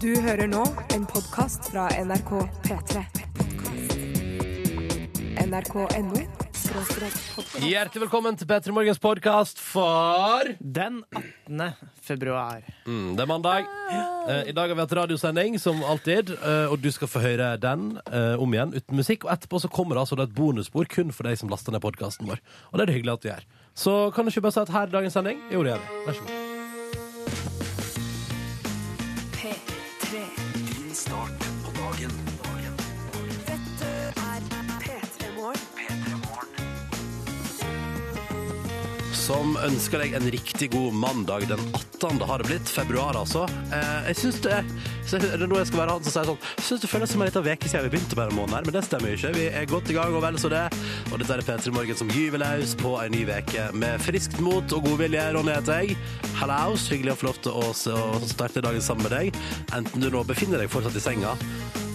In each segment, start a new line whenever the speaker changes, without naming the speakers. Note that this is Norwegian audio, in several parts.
Du hører nå en podkast fra NRK P3. NRK.no podkast.
Hjertelig velkommen til P3 Morgens podkast for
Den 18. februar.
mm, Det er mandag. Eh, I dag har vi hatt radiosending, som alltid, eh, og du skal få høre den eh, om igjen uten musikk. Og etterpå så kommer det altså da et bonusspor kun for deg som laster ned podkasten vår. Og det er det hyggelig at du gjør. Så kan du ikke bare si at her er dagens sending? Jo, det gjør vi. Vær så god.
P3.
Din start på dagen. dagen.
Dette er P3 Morgen.
Som ønsker deg en riktig god mandag den 18. har det blitt. Februar, altså. Eh, jeg syns det så er det noe jeg skal være han som sier sånn Jeg syns det føles som en liten uke siden vi begynte med denne måneden, her, men det stemmer jo ikke. Vi er godt i gang, og vel så det. Og dette er P3 Morgen som gyver løs på en ny uke med friskt mot og godvilje. Ronny heter jeg. Hallaus. Hyggelig å få lov til å s- å starte dagen sammen med deg. Enten du nå befinner deg fortsatt i senga,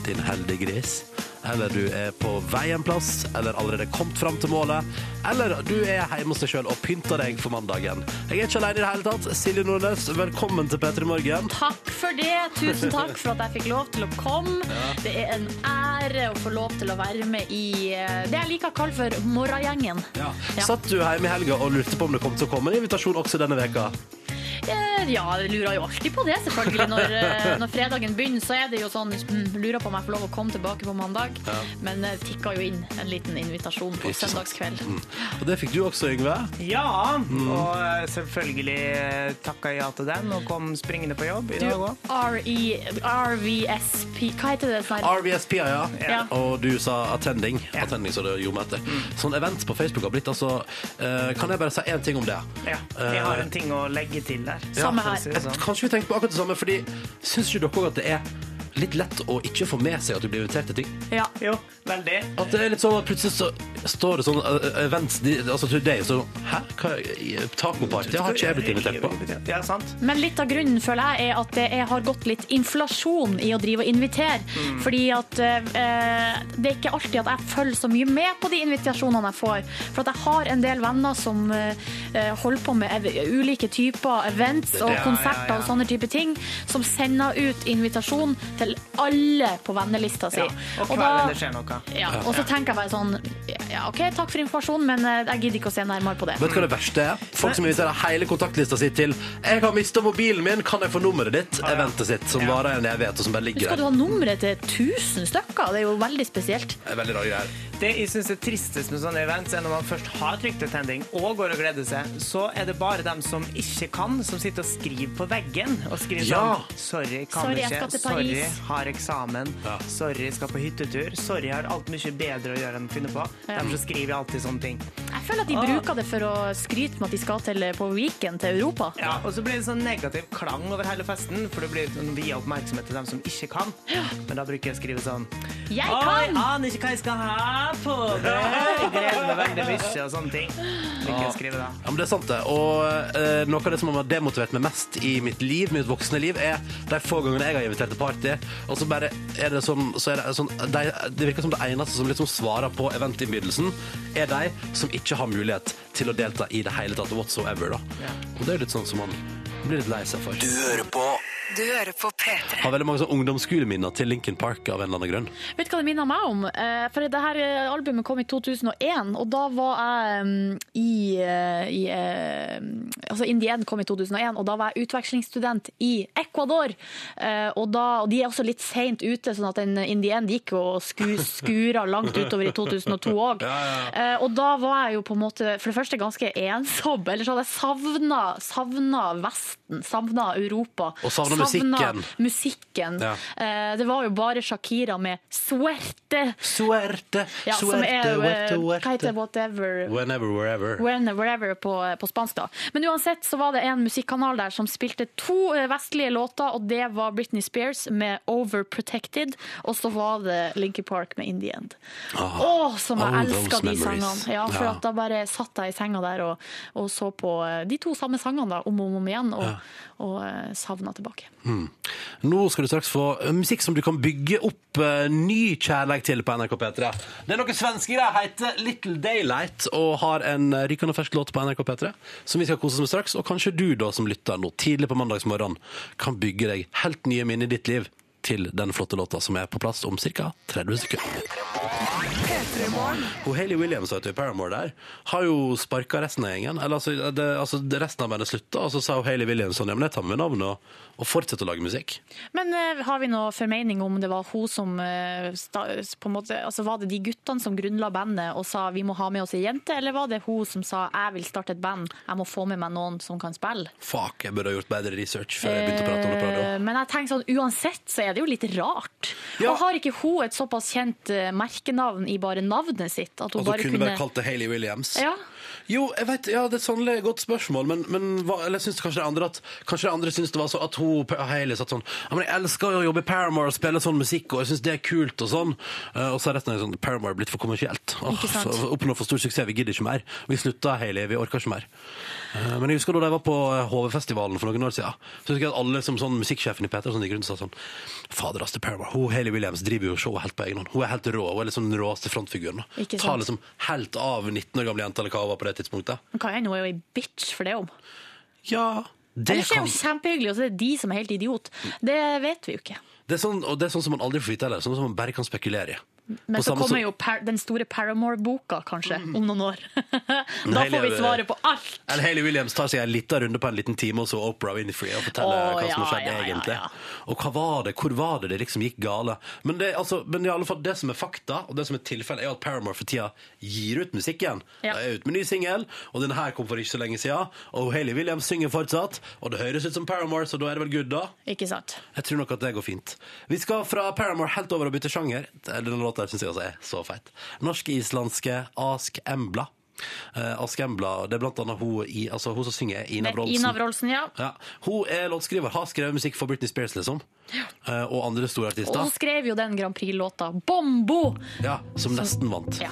din heldige gris eller du er på vei en plass, eller allerede kommet fram til målet, eller du er hjemme hos deg sjøl og pynter deg for mandagen. Jeg er ikke alene i det hele tatt. Silje Nordnes, velkommen til P3 Morgen.
Takk for det. Tusen takk for at jeg fikk lov til å komme. Det er en ære å få lov til å være med i eh, det jeg liker å kalle for Morragjengen. Ja.
Satt du hjemme i helga og lurte på om det kom til å komme en invitasjon også denne veka?
Eh, Ja, jeg lurer jo alltid på det, selvfølgelig. Når, eh, når fredagen begynner, så er det jo sånn mm, Lurer på om jeg får lov å komme tilbake på mandag. Men det tikka jo inn en liten invitasjon på
Ikke sant. Mm.
søndagskveld.
Og det fikk du også, Yngve.
Ja! Og eh, selvfølgelig eh, takka ja til den og kom springende på jobb i
Du, E
dag òg.
RE RVSP Hva heter det? Sånn her?
RVSP, ja.
Ja.
Og du sa attending. Attending, så det gjorde meg etter. Sånn event på Facebook har blitt altså eh, Kan jeg bare si én ting om det?
Ja, jeg har en ting å legge til der.
Samme
for å
her.
si det
Jeg-
sånn.
Kanskje vi tenker på akkurat det samme, fordi syns ikke dere også at det er litt lett å ikke få med seg at du blir invitert til ting?
Ja.
Jo, veldig.
At det er litt sånn at plutselig så står det sånn uh, events de- altså today, så Hæ? Hva, i- eh, tacoparty har ikke jeg blitt invitert på.
Ja, sant.
Men litt av grunnen føler jeg er at det er, har gått litt inflasjon i å drive og invitere.
Mm.
Fordi at eh, det er ikke alltid at jeg følger så mye med på de invitasjonene jeg får. For at jeg har en del venner som eh, holder på med ev- ulike typer events og
Ja,
konserter
ja, ja.
og sånne type ting, som sender ut invitasjon til alle på vennelista si.
Ja. Og hver gang det skjer noe.
ja, og så tenker jeg bare sånn ja, OK, takk for informasjonen, men eh, jeg gidder ikke å se nærmere på det.
Vet du hva det verste er? Folk som inviterer hele kontaktlista si til 'Jeg har mista mobilen min, kan jeg få nummeret ditt?' Eventet sitt, som varer en evighet, og som bare ligger
Skal du
der.
ha nummeret til 1000 stykker? Det er jo veldig spesielt.
Det er veldig rare greier.
Det jeg syns er tristest med sånne events, er når man først har trykt til tending og går og gleder seg, så er det bare dem som ikke kan, som sitter og skriver på veggen. Og skriver
Ja.
sånn Sorry, kan
Sorry, jeg
ikke.
skal til
Sorry,
Paris.
har eksamen.
Ja.
Sorry, skal på hyttetur. Sorry, har alt mye bedre å gjøre enn å finne på.
Ja.
Dem som skriver alltid sånne ting.
Jeg føler at de
Ah.
bruker det for å skryte med at de skal til på weekend til Europa.
Ja, og så blir det sånn negativ klang over hele festen, for det blir sånn via oppmerksomhet til dem som ikke kan. Men da bruker jeg å skrive sånn
Jeg
Oi,
kan!
aner ikke hva jeg skal ha på meg. Jeg gleder meg veldig mye og sånne ting. Bruker jeg å skrive da.
Ja, men det er sant det. Og eh, noe av det som har demotivert meg mest i mitt liv, mitt voksne liv, er de få gangene jeg har invitert til party, og så bare er det sånn, så er det, sånn de, Det virker som det eneste som liksom svarer på eventinnbydelsen, er de som ikke har mulighet til å delta i det hele tatt whatsoever, da. Og det er jo litt sånn som man blir litt lei seg for.
Du hører på
Du hører på P3.
Har veldig mange sånn ungdomsskoleminner til Lincoln Park av en eller annen grunn.
Vet du hva det minner meg om? Eh, For det her eh, albumet kom i 2001, og da var jeg mm, i, eh, i eh, Altså In the End kom i 2001, og da var jeg utvekslingsstudent i Ecuador. Eh, Og, da, og de er også litt seint ute, sånn at den In the End gikk og sku, skura langt utover i 2002 òg. Eh, Og da var jeg jo på en måte for det første ganske ensom. Eller så hadde jeg savna, savna Vesten, savna Europa.
Og savna musikken.
musikken.
Ja.
Eh, Det var jo bare Shakira med 'Suerte'.
Suerte,
Ja, som er jo, eh, Hva heter det? Whatever.
Whenever, wherever.
When, wherever på, på spansk, da. Men uansett så var det en musikkanal der som spilte to eh, vestlige låter, og det var Britney Spears med 'Overprotected', og så var det Linky Park med 'In the End'.
Ah,
Å, som jeg
all
elska de
those memories.
sangene! Ja, for
Ja.
at da bare satt jeg i senga der og, og så på eh, de to samme sangene da, om og om igjen, og, og eh, savna tilbake. musikk.
Hmm. Nå skal du straks få eh, musikk som du kan bygge opp eh, ny kjærlighet til på NRK P3. Det er noen svensker der, heter Little Daylight, og har en eh, rykende fersk låt på NRK P3 som vi skal kose oss med straks. Og kanskje du da som lytter nå tidlig på mandagsmorgenen kan bygge deg helt nye minner i ditt liv til den flotte låta som er på plass om ca. 30 sekunder. Og Hayley Williams vet du, i Paramore der har jo sparka resten av gjengen. Eller altså, det, altså det- resten av bandet slutta, og så sa jo Hayley Williams sånn ja, men jeg tar med meg navnet og, og fortsetter å lage musikk.
Men eh, har vi noe formening om det var hun som eh, sta, på en måte, altså Var det de guttene som grunnla bandet og sa vi må ha med oss ei jente, eller var det hun som sa jeg vil starte et band, jeg må få med meg noen som kan spille?
Fuck, jeg burde ha gjort bedre research før jeg begynte å prate om det på
Eh,
radio.
Men jeg tenker sånn, uansett så er det jo litt rart.
Ja.
Og har ikke hun et såpass kjent eh, merkenavn i bare navnet sitt? At
At
hun
hun
bare
kunne
kunne
bare kalt det Hayley Williams.
Ja.
Jo, jeg vet, ja, det er et sannelig godt spørsmål, men, men hva, eller syns kanskje det andre at Kanskje det andre syns det var så at hun Hayley satt sånn Ja, men jeg elsker å jobbe i Paramore og spille sånn musikk, og jeg syns det er kult, og sånn. Eh, og så er resten av det sånn Paramore er blitt for kommersielt. Åh,
Ikke sant.
så Oppnå for stor suksess, vi gidder ikke mer. Vi slutta, Hayley, vi orker ikke mer. Eh, men jeg husker da de var på HV-festivalen for noen år siden, så husker jeg at alle som sånn musikksjefen i Peter og sånn gikk rundt og sa sånn Fader, ass, det er Paramore. Hun Hayley Williams driver jo showet helt på egen hånd. Hun er helt rå. Hun er liksom den råeste frontfiguren. da.
Ikke
Ta
sant.
liksom helt av 19 år gamle jente eller hva hun var på det tidspunktet.
Kan jeg nå er jo ei bitch for det om?
Ja, det
Ellers er
kan
hun kjempehyggelig, og så er det de som er helt idiot. Det vet vi jo ikke.
det er sånn, Og det er sånn som man aldri får vite heller. Sånn som man bare kan spekulere i.
Men
På
så
samme
kommer
som-
jo par den store Paramore-boka, kanskje, om noen år. da
Nei,
får vi
det-
svaret på alt!
Eller Hayley Williams tar seg en liten runde på en liten time, og så Oprah Winfrey og forteller
Å,
hva som har
ja,
skjedd
ja, ja,
egentlig.
ja.
Og hva var det? Hvor var det det liksom gikk gale? Men det, altså, men i alle fall, det som er fakta, og det som er tilfellet, er jo at Paramore for tida gir ut musikk igjen.
Ja.
De er ute med ny singel, og denne her kom for ikke så lenge siden. Og Hayley Williams synger fortsatt, og det høres ut som Paramore, så da er det vel good, da?
Ikke sant?
Jeg tror nok at det går fint. Vi skal fra Paramore helt over og bytte sjanger. Denne låta her synes jeg også er så feit. Norske-islandske Ask Embla. Eh, Ask Embla, det er blant annet hun, i, altså, hun som synger Ina
Med
Brolsen.
Ina Wroldsen, ja.
Ja. Hun er låtskriver, har skrevet musikk for Britney Spears, liksom. Eh, og andre store
Og
artister.
hun skrev jo den Grand Prix-låta 'Bombo'!
Ja, som nesten vant.
Ja.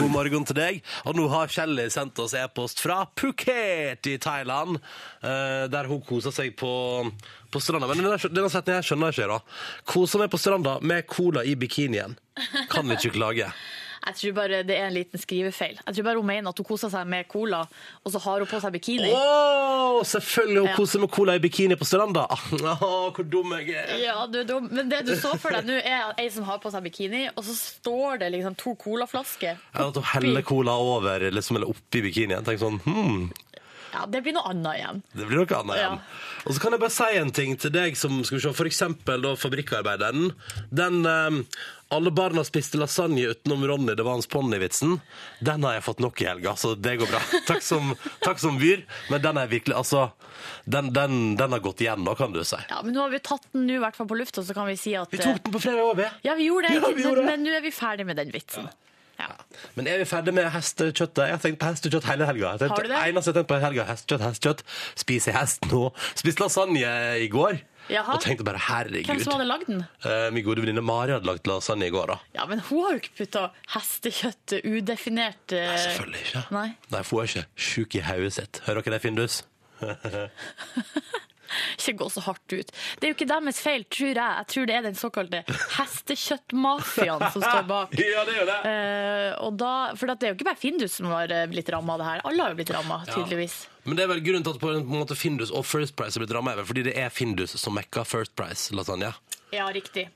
God morgen til deg. Og nå har Kjelli sendt oss e-post fra Phuket i Thailand, eh, der hun koser seg på, på stranda. Men denne, denne setningen her skjønner jeg ikke, da. Koser meg på stranda med cola i bikinien. Kan ikke klage.
Jeg tror bare det er en liten skrivefeil. Jeg tror bare hun mener at hun koser seg med cola, og så har hun på seg bikini.
Åh, selvfølgelig hun
Ja.
koser med cola i bikini på stranda. Ah, Åh, hvor dum jeg er.
Ja, du er dum. Men det du så for deg nå, er ei som har på seg bikini, og så står det liksom to colaflasker.
Eller at hun heller cola over, liksom, eller oppi bikinien. Tenk sånn, hmm,
Ja, det blir noe annet igjen.
Det blir noe annet igjen. Og så kan jeg bare si en ting til deg som skal vi se, for eksempel da fabrikkarbeideren. Den eh, alle barna spiste lasagne utenom Ronny, det var hans ponnivitsen. Den har jeg fått nok i helga, så det går bra. Takk som, takk som byr. Men den er virkelig, altså, den, den, den har gått igjen nå, kan du si.
Ja, Men nå har vi tatt den nå, i hvert fall på lufta, så kan vi si at
Vi tok den på fredag òg, vi.
Ja, vi gjorde det,
Ja, vi gjorde
men-
det.
men nå er vi ferdig med den vitsen. Ja.
Men er vi ferdig med hestekjøttet? Jeg har tenkt på hestekjøtt hele helga. Jeg
Har du
tenkte,
det?
eneste jeg tenkte på i helga, hestekjøtt, hestekjøtt. Spiser jeg hest nå? Spiste lasagne i går.
Jaha.
Og tenkte bare herregud.
Hvem som hadde lagd den?
Eh, Min gode venninne Mari hadde lagt lasagne i går, da.
Ja, Men hun har jo ikke putta hestekjøtt udefinert eh,
Selvfølgelig ikke.
Nei.
Nei, for hun er ikke sjuk i hodet sitt. Hører dere det, Findus?
Ikke gå så hardt ut. Det er jo ikke deres feil, tror jeg. Jeg tror det er den såkalte hestekjøttmafiaen som står bak.
Ja, det gjør det.
Eh, og da, for at det er jo ikke bare Findus som har eh, blitt ramma av det her. Alle har jo blitt ramma, tydeligvis.
Men det er vel grunnen til at på en måte Findus og First Price er blitt rammet er vel fordi det er Findus som mekka First Price-lasagne.
Ja, riktig.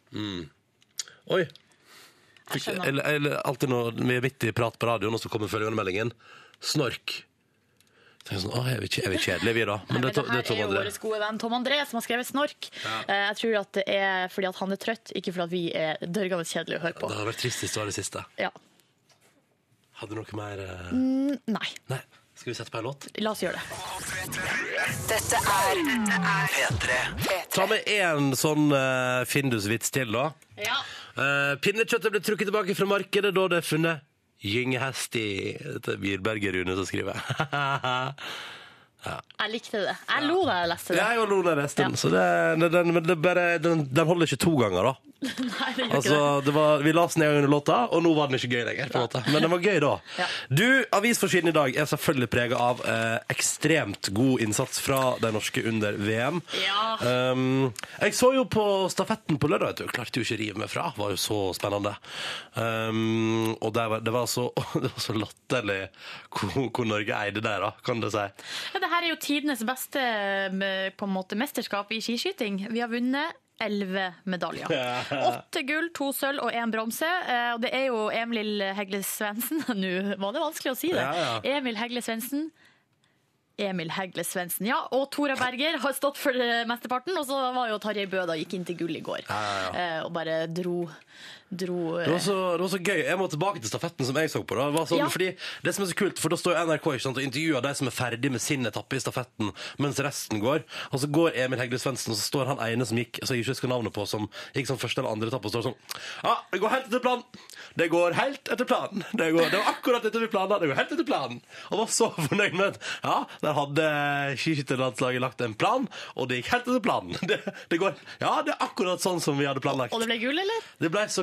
Oi.
Jeg skjønner.
Eller, eller alltid når vi er midt i prat på radioen, og så kommer følgende meldingen. Snork. Tenker jeg Sånn, Å, er vi, kje- er vi kjedelige, vi, da?
Nei,
Men det, er
men
to- det er
det her
Tom
er jo
André.
vår gode venn Tom André som har skrevet 'Snork'. Eh, jeg tror at det er fordi at han er trøtt, ikke fordi at vi er dørgende kjedelige å høre
Det
på.
har vært trist hvis det var det siste.
Ja.
Hadde du noe mer eh,
Mm. Nei,
Nei. Skal vi sette på en låt?
la oss gjøre det.
Dette er
P3.
Ta med én sånn eh, Findus-vits til, da.
Ja.
Eh, pinnekjøttet ble trukket tilbake fra markedet da det er funnet gyngehest i Dette er Birberget Rune som skriver.
Jeg likte det. Jeg lo da jeg leste det.
Jeg og Lone er resten,
Ja.
så det, det, den, men det er bare, den, den holder ikke to ganger, da.
Nei, det gjør ikke det.
Altså, det var, vi la oss ned under låta, og nå var den ikke gøy lenger. på en måte. Men den var gøy da.
Ja.
Du, Avisforsiden i dag er selvfølgelig prega av eh, ekstremt god innsats fra de norske under VM.
Ja.
Um, jeg så jo på stafetten på lørdag, vet du. Klarte jo ikke å rive meg fra. Det var jo så spennende. Um, og det var, det, var så, det var så latterlig hvor, hvor Norge eide der, da, kan du si.
Ja, det her er jo tidenes beste eh, på en måte, mesterskap i skiskyting. Vi har vunnet elleve medaljer. Åtte gull, to sølv og én bronse. Eh, Og det er jo Emil Hegle Svendsen Nå var det vanskelig å si det.
Ja,
Emil Hegle Svendsen. Emil Hegle Svendsen, ja. Og Tora Berger har stått for eh, mesteparten. Og så var jo Tarjei Bø da gikk inn til gull i går Eh, og bare dro, dro eh,
Det var, så, det var så gøy. Jeg må tilbake til stafetten som jeg så på. Da. Det, var sånn,
Ja.
fordi, det som er så kult, for da står jo NRK ikke sant, og intervjuer de som er ferdig med sin etappe i stafetten, mens resten går. Og så går Emil Hegle Svendsen, og så står han ene som gikk, som jeg ikke husker navnet på, som gikk som første eller andre etappe, og står sånn Ja, det går helt etter planen! Det går helt etter planen! Det, går, det var akkurat etter vi planla! Det går helt etter planen! Og var så fornøyd med at ja, der hadde skiskytterlandslaget lagt en plan, og det gikk helt etter planen. Det, det går, ja, det er akkurat sånn som vi hadde planlagt.
Og det ble gull, eller?
Det ble så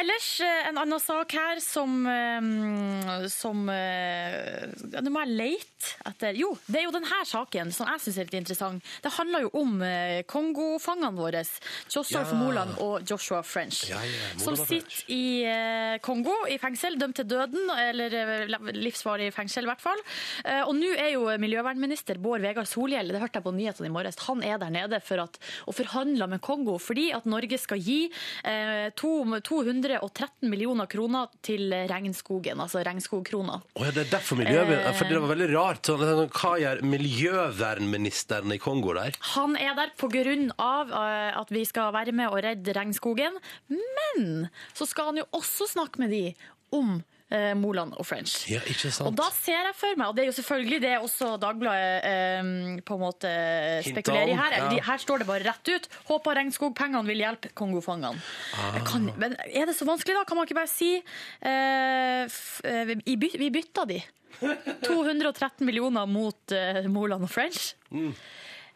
Ellers, eh, en annen sak her som, eh, som eh, ja, Nå må jeg lete etter Jo, det er jo denne saken som jeg syns er litt interessant. Det handler jo om eh, Kongo-fangene våre. Joshua Moland og Joshua French.
Ja, ja,
som
Moland og French.
sitter i eh, Kongo, i fengsel, dømt til døden, eller eh, la- livsvarig fengsel i hvert fall. Eh, Og nå er jo miljøvernminister Bård Vegar Solhjell, det hørte jeg på nyhetene i morges, han er der nede for at, og forhandler med Kongo fordi at Norge skal gi eh, to, 213 millioner kroner til regnskogen, altså regnskogkroner.
Å ja, det er derfor miljø...
Eh.
Fordi det var veldig rart. Sånn, hva gjør miljøvernministeren i Kongo der?
Han er der på grunn av eh, at vi skal være med og redde regnskogen, men så skal han jo også snakke med de om eh, Moland og French.
Ja, ikke sant?
Og da ser jeg for meg, og det er jo selvfølgelig det også Dagbladet eh, på en måte spekulerer i
om,
her.
ja.
De, her står det bare rett ut. Håper regnskogpengene vil hjelpe kongofangene.
Ah.
Jeg Kan, men er det så vanskelig, da? Kan man ikke bare si eh, f, eh, vi- i by, Vi bytta de. 213 millioner mot eh, Moland og French.
Mm.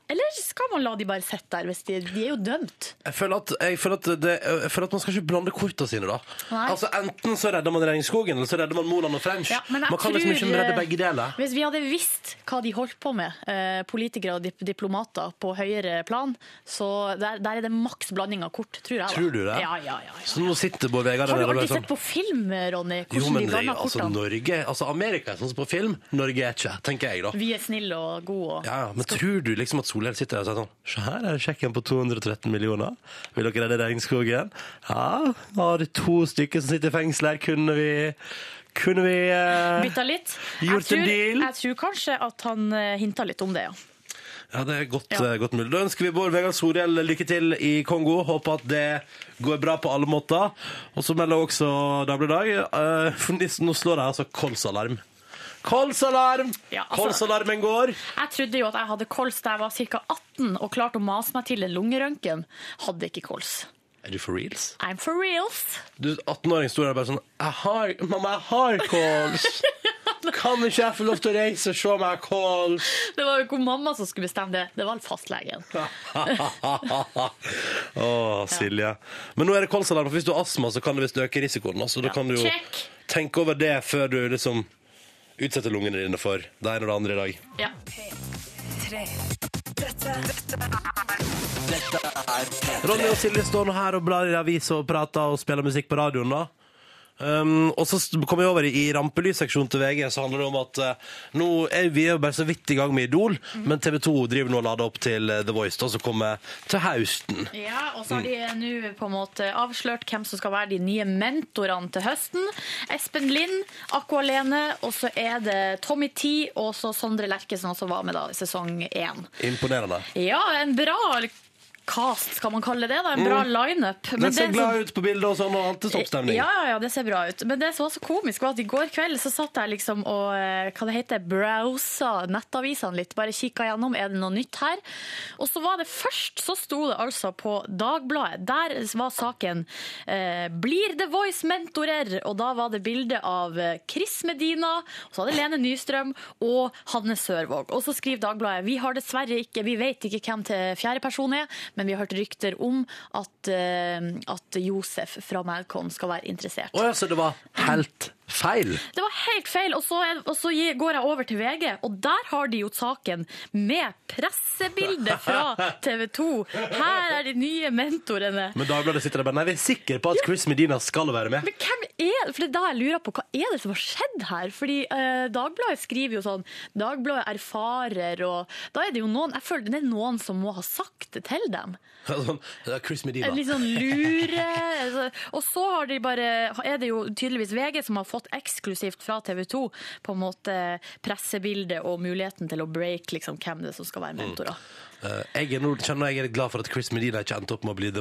Eller skal man la de bare sitte der? Hvis de, de er jo dømt.
Jeg føler, at, jeg, føler at det, jeg føler at man skal ikke blande kortene sine, da.
Nei.
Altså Enten så redder man regnskogen, eller så redder man Moland og French.
Ja, men jeg
man kan liksom
tror,
ikke redde
eh,
begge deler.
Hvis vi hadde visst hva de holdt på med, eh, politikere og dip diplomater på høyere plan, så der, der er det maks blanding av kort, tror jeg. da.
Tror du det?
Ja, ja, ja. ja.
Så nå sitter Bård Vegar
Har
der
du
og
aldri
er sånn
sett på film, Ronny,
Jo,
hvordan
men det,
vi blander
altså,
kortene?
Norge, altså Amerika er sånn som på film, Norge er ikke, tenker jeg, da.
Vi er snille og gode. Og...
Ja, ja, Men tror du liksom at Solhjell sitter der og sier sånn Se her er det sjekken på 213 millioner. Vil dere redde regnskogen? Ja, nå har vi to stykker som sitter i fengsel her. Kunne vi Kunne vi eh,
Bytta litt. Jeg
Gjort en
tror,
deal.
jeg tror kanskje at han eh, hinta litt om det, ja.
Ja, det er godt,
Ja.
eh, godt mulig. Da ønsker vi Bård Vegar Solhjell lykke til i Kongo. Håper at det går bra på alle måter. Og så melder også Dagbladet Dag eh, for nissen, Nå slår jeg altså kolsalarm. Kolsalarm!
Ja, altså-
Kolsalarmen går.
Jeg trodde jo at jeg hadde kols da jeg var ca. 18 og klarte å mase meg til en lungerøntgen. Hadde ikke kols.
Er du for reals?
I'm for reals.
Du, 18-åring står der bare sånn jeg har, Mamma, jeg har kols! Kan ikke jeg få lov til å reise og se om jeg har kols?
Det var jo ikke mamma som skulle bestemme det, det var fastlegen.
Å, Silje. Men nå er det kolsalarm, for hvis du har astma, så kan det visst øke risikoen. Altså, da kan du jo
Check.
tenke over det før du liksom utsetter lungene dine for det ene og det andre i dag.
Ja.
Ronny og Silje står nå her og blar i avis og prater og spiller musikk på radioen, da. Um, og så st- kom jeg over i, i rampelysseksjonen til VG, så handler det om at eh, nå er vi jo bare så vidt i gang med Idol, men TV 2 driver nå og lader opp til eh, The Voice, da, som kommer til høsten.
og så har de nå på en måte avslørt hvem som skal være de nye mentorene til høsten. Espen Lind, Aqua Lene, og så er det Tommy Tee og så Sondre Lerche, som også var med da i sesong én.
Imponerende.
Ja, en bra cast, skal man kalle det. da En bra lineup. Men
Den ser
det Mm. er så-
glad ut på bildet og sånn, og alt er toppstemning.
Eh, Ja, ja, ja, det ser bra ut. Men det som var så komisk, var at i går kveld så satt jeg liksom og eh, hva det heter, browsa nettavisene litt. Bare kikka gjennom, er det noe nytt her? Og så var det først, så sto det altså på Dagbladet. Der var saken eh, 'Blir The Voice-mentorer'? Og da var det bilde av eh, Chris Medina, og så hadde Lene Nystrøm og Hanne Sørvåg. Og så skriver Dagbladet 'Vi har dessverre ikke, vi vet ikke hvem til fjerde person er', men vi har hørt rykter om at, eh, at Josef fra Malcolm skal være interessert.
Å ja, så det var helt feil.
Det var helt feil. Og så, er, og så gi- går jeg over til VG, og der har de gjort saken med pressebilde fra TV 2. Her er de nye mentorene.
Men Dagbladet sitter der bare Nei, vi er sikre på at Chris Medina skal være med.
Men hvem er For det er da jeg lurer på hva er det som har skjedd her? Fordi eh, Dagbladet skriver jo sånn Dagbladet erfarer og Da er det jo noen Jeg føler det er noen som må ha sagt det til dem.
Sånn, ja, Chris Medina.
En litt sånn lure altså. Og så har de bare, er det jo tydeligvis VG som har fått eksklusivt fra TV 2 på en måte pressebildet og muligheten til å break liksom, hvem det er som skal være mentorer. sånn-
Eh, Jeg er nå kjenner jeg er glad for at Chris Medina ikke endte opp med å bli The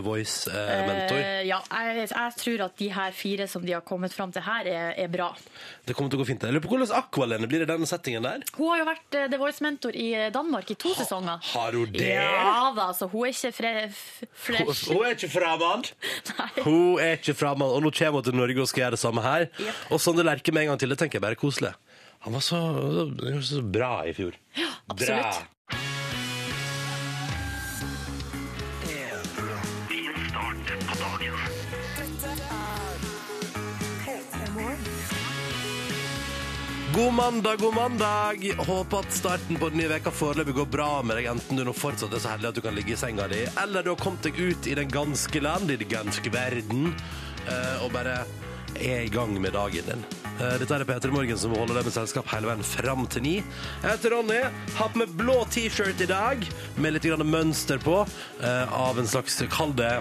Voice-mentor.
Eh, ja, jeg, jeg tror at de her fire som de har kommet fram til her, er, er bra.
det kommer til å gå fint. Jeg lurer på hvordan Aqualene blir i den settingen der.
Hun har jo vært eh, The Voice-mentor i Danmark i to sesonger.
har hun det?
Ja da, så hun er ikke fre f-
Hun
fresh.
hun er ikke fremmed!
Nei.
Hun er ikke fremmed, og nå kommer hun til Norge og skal gjøre det samme her.
Jep.
Og Sondre Lerche med en gang til. Det tenker jeg bare er koselig. Han var så, han var så bra i fjor. Ja,
absolutt.
God mandag, god mandag! Håper at starten på den nye veka foreløpig går bra med deg, enten du nå fortsatt er så heldig at du kan ligge i senga di, eller du har kommet deg ut i den ganske land, i den ganske verden, eh, og bare er i gang med dagen din. Eh, Dette er Peter Morgen som holder deg med selskap hele veien fram til ni. Jeg heter Ronny, har på meg blå T-shirt i dag, med litt grann mønster på, eh, av en slags, kall det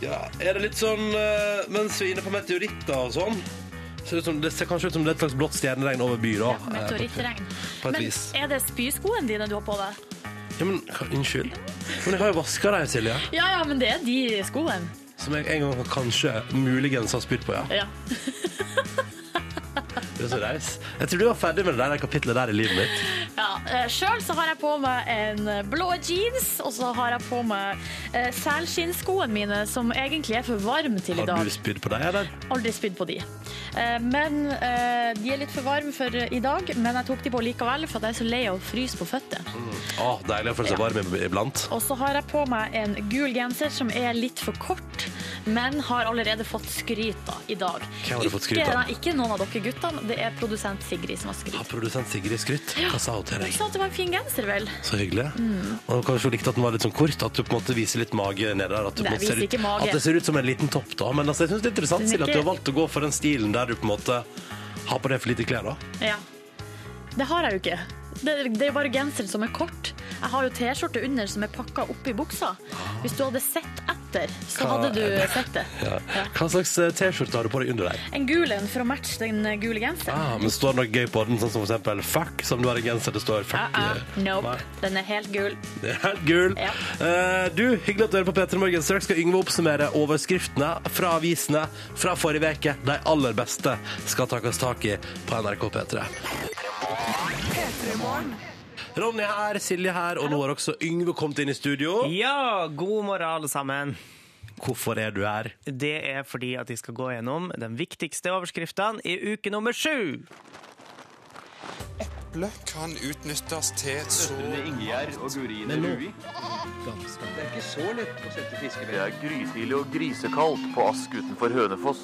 ja, er det litt sånn eh, Mens vi er inne på meteoritter og sånn ser det, ut som, det ser kanskje ut som det er et slags blått stjerneregn over byen. da. Eh,
Ja, Meteorittregn.
På et
Men
vis.
er det spyskoene dine du har på deg?
Ja, men, hva- unnskyld. Men jeg har jo vaska dem, Silje.
Ja, ja, men det er de skoene.
Som jeg en gang kanskje muligens har spydd på, ja.
Ja.
Det er så reis. Jeg tror du var ferdig med det der kapitlet der i livet mitt.
ja. Sjøl så har jeg på meg en blå jeans, og så har jeg på meg eh, selskinnskoene mine, som egentlig er for varme til i
Har
dag.
du spydd på deg, eller?
Aldri spydd på de. Eh, Men eh, de er litt for varme for eh, i dag, men jeg tok de på likevel, for at jeg er så lei av å fryse på føttene.
Å, deilig å føle seg varm ib- iblant.
Og så har jeg på meg en gul genser som er litt for kort, men har allerede fått skryt da, i dag.
Hvem har du fått skryt av?
Ikke, nei, ikke noen av dere guttene, det er produsent Sigrid som har
Har
skryt.
produsent Sigrid skrytt? Hva sa hun til
Hun
deg?
sa at det var en fin genser, vel?
Så hyggelig. Og kanskje hun likte at den var litt sånn kort, at du på en måte viser litt mage nede der. At, du på en
Nei,
måte ser
viser
ut,
ikke mage.
at det ser ut som en liten topp, da. Men altså, jeg syns det er interessant
Den er
Silje, at du
ikke-
har valgt å gå for den stilen der du på en måte har på deg for lite klær, da.
Ja. Det har jeg jo ikke. Det, det er bare genseren som er kort. Jeg har jo T-skjorte under som er pakka opp i buksa. Hvis du hadde sett etter,
Ah.
så
Hva
hadde
er det?
du sett det. Ja.
Hva slags eh, T-skjorte har du på deg under der?
En gul en for å matche den gule genseren.
Ah, men står det noe gøy på den, sånn som for eksempel fuck, som du har i genser det står fuck eh,
Ah, ah,
i?
nope.
Nei,
Den er helt gul.
det er helt gul.
Ja.
Eh, du, hyggelig at du hører på P3 Morgen. Straks skal Yngve oppsummere overskriftene fra avisene fra forrige uke. De aller beste skal takes tak i på NRK P3. Ronny her, Silje her, og nå har også Yngve kommet inn i studio.
Ja, god morgen, alle sammen.
Hvorfor er du her?
Det er fordi at de skal gå gjennom den viktigste overskriftene i uke nummer sju.
eple kan utnyttes til så
Det er grytidlig og grisekaldt på Ask utenfor Hønefoss.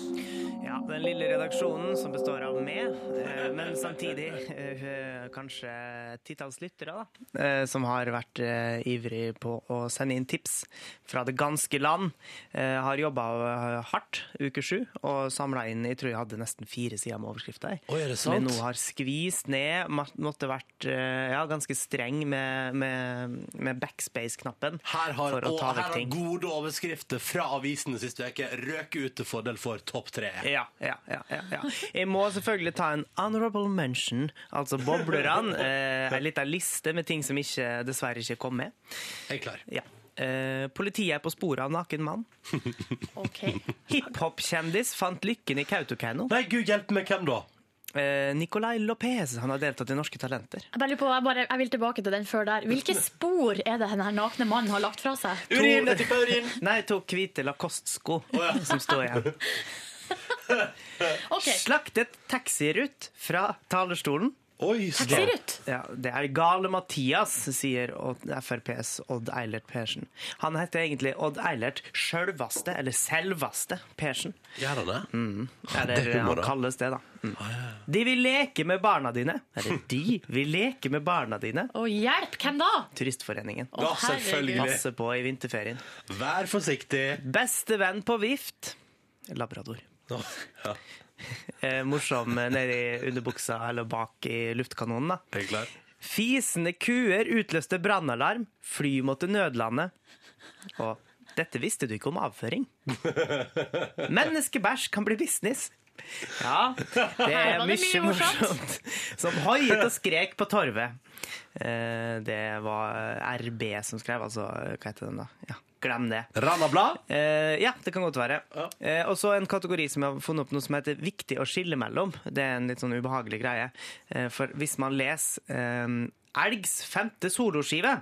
Ja, den lille redaksjonen som består av meg, eh, men samtidig eh, kanskje et titalls lyttere, da, eh, som har vært eh, ivrig på å sende inn tips fra det ganske land, eh, har jobba hardt uke sju og samla inn Jeg tror jeg hadde nesten fire sider med overskrifter.
Oi, er det
Som jeg
sant?
nå har skvist ned. ma- Måtte vært eh, ja, ganske streng med, med, med backspace-knappen
Her har,
for å
og
ta
her
vekk
har
ting.
gode overskrifter fra avisene sist uke røket ut til fordel for topp tre.
Ja, ja, ja, ja, ja. Jeg må selvfølgelig ta en honorable mention, altså boblerne. Eh, en liten liste med ting som ikke, dessverre ikke kom med.
Jeg er klar.
Ja. Eh, politiet er på sporet av naken mann.
OK.
Hiphop-kjendis fant lykken i Kautokeino.
Nei, gud hjelpe meg, hvem da?
Eh, Nicolay Lopez han har deltatt i Norske Talenter.
Jeg, bare lurer på, jeg, bare, jeg vil tilbake til den før der. Hvilke spor er det denne nakne mannen har lagt fra seg?
Urin! Jeg tipper urin!
Nei, to hvite Lacoste-sko som står igjen.
Ok,
Slaktet taxirut fra talerstolen.
Oi, så da.
Taxirut.
Ja, det er gale Mathias, sier Odd- FrPs Odd Eilert Persen. Han heter egentlig Odd Eilert Sjølvaste, eller Selvaste Persen.
Gjør han det? Det Ah,
Eller
er humor,
han
da.
kalles det, da. Mm. De vil leke med barna dine. Eller de vil leke med barna dine.
Å, hjelp! Hvem da?
Turistforeningen.
Å,
Ja, selvfølgelig.
Passe på i vinterferien.
Vær forsiktig.
Beste venn på vift. Labrador.
Å, ja,
Eh, morsom eh, nedi underbuksa eller bak i luftkanonen, da.
er jeg klar?
Fisende kuer utløste brannalarm. Fly måtte nødlande. Og dette visste du ikke om avføring. Menneskebæsj kan bli business. Ja, det
Her
er
var det
mye
mye morsomt.
morsomt. Som hoiet og skrek på torvet. Eh, Det var RB som skrev, altså Hva heter den, da? Ja, glem det.
Rana Blad?
Eh, ja, det kan godt være.
Ja.
Eh, og så en kategori som jeg har funnet opp noe som heter 'viktig å skille mellom'. Det er en litt sånn ubehagelig greie. Eh, for hvis man leser eh, 'Elgs femte soloskive',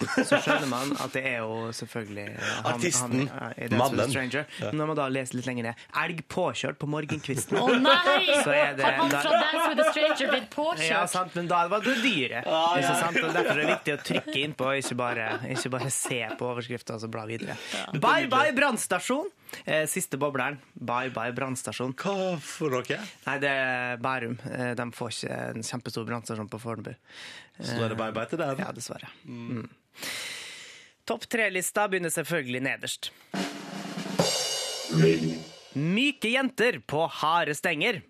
så skjønner man at det er jo selvfølgelig han- han-
Artisten.
ja, i Dance with a
Mannen.
Stranger. Men når man da leser litt lenger ned 'Elg påkjørt på morgenkvisten'.
Å nei!
Så er det-
Har han fra
da-
Dance with a Stranger blitt
Ja,
påkjørt?
sant, men da var det dyret. Ikke sant? Og derfor er det viktig å trykke innpå, og ikke bare, ikke bare se på overskrifta og så bla videre. Bye bye brannstasjon! Eh, siste bobleren. Bye bye brannstasjon.
Hva for noe?
Nei, det er Bærum. Eh, de får ikke en kjempestor brannstasjon på Fornebu.
Så da er det bye bye til
Eh,
den.
Ja, dessverre. Mm. Topp tre-lista begynner selvfølgelig nederst. Myke jenter på harde stenger.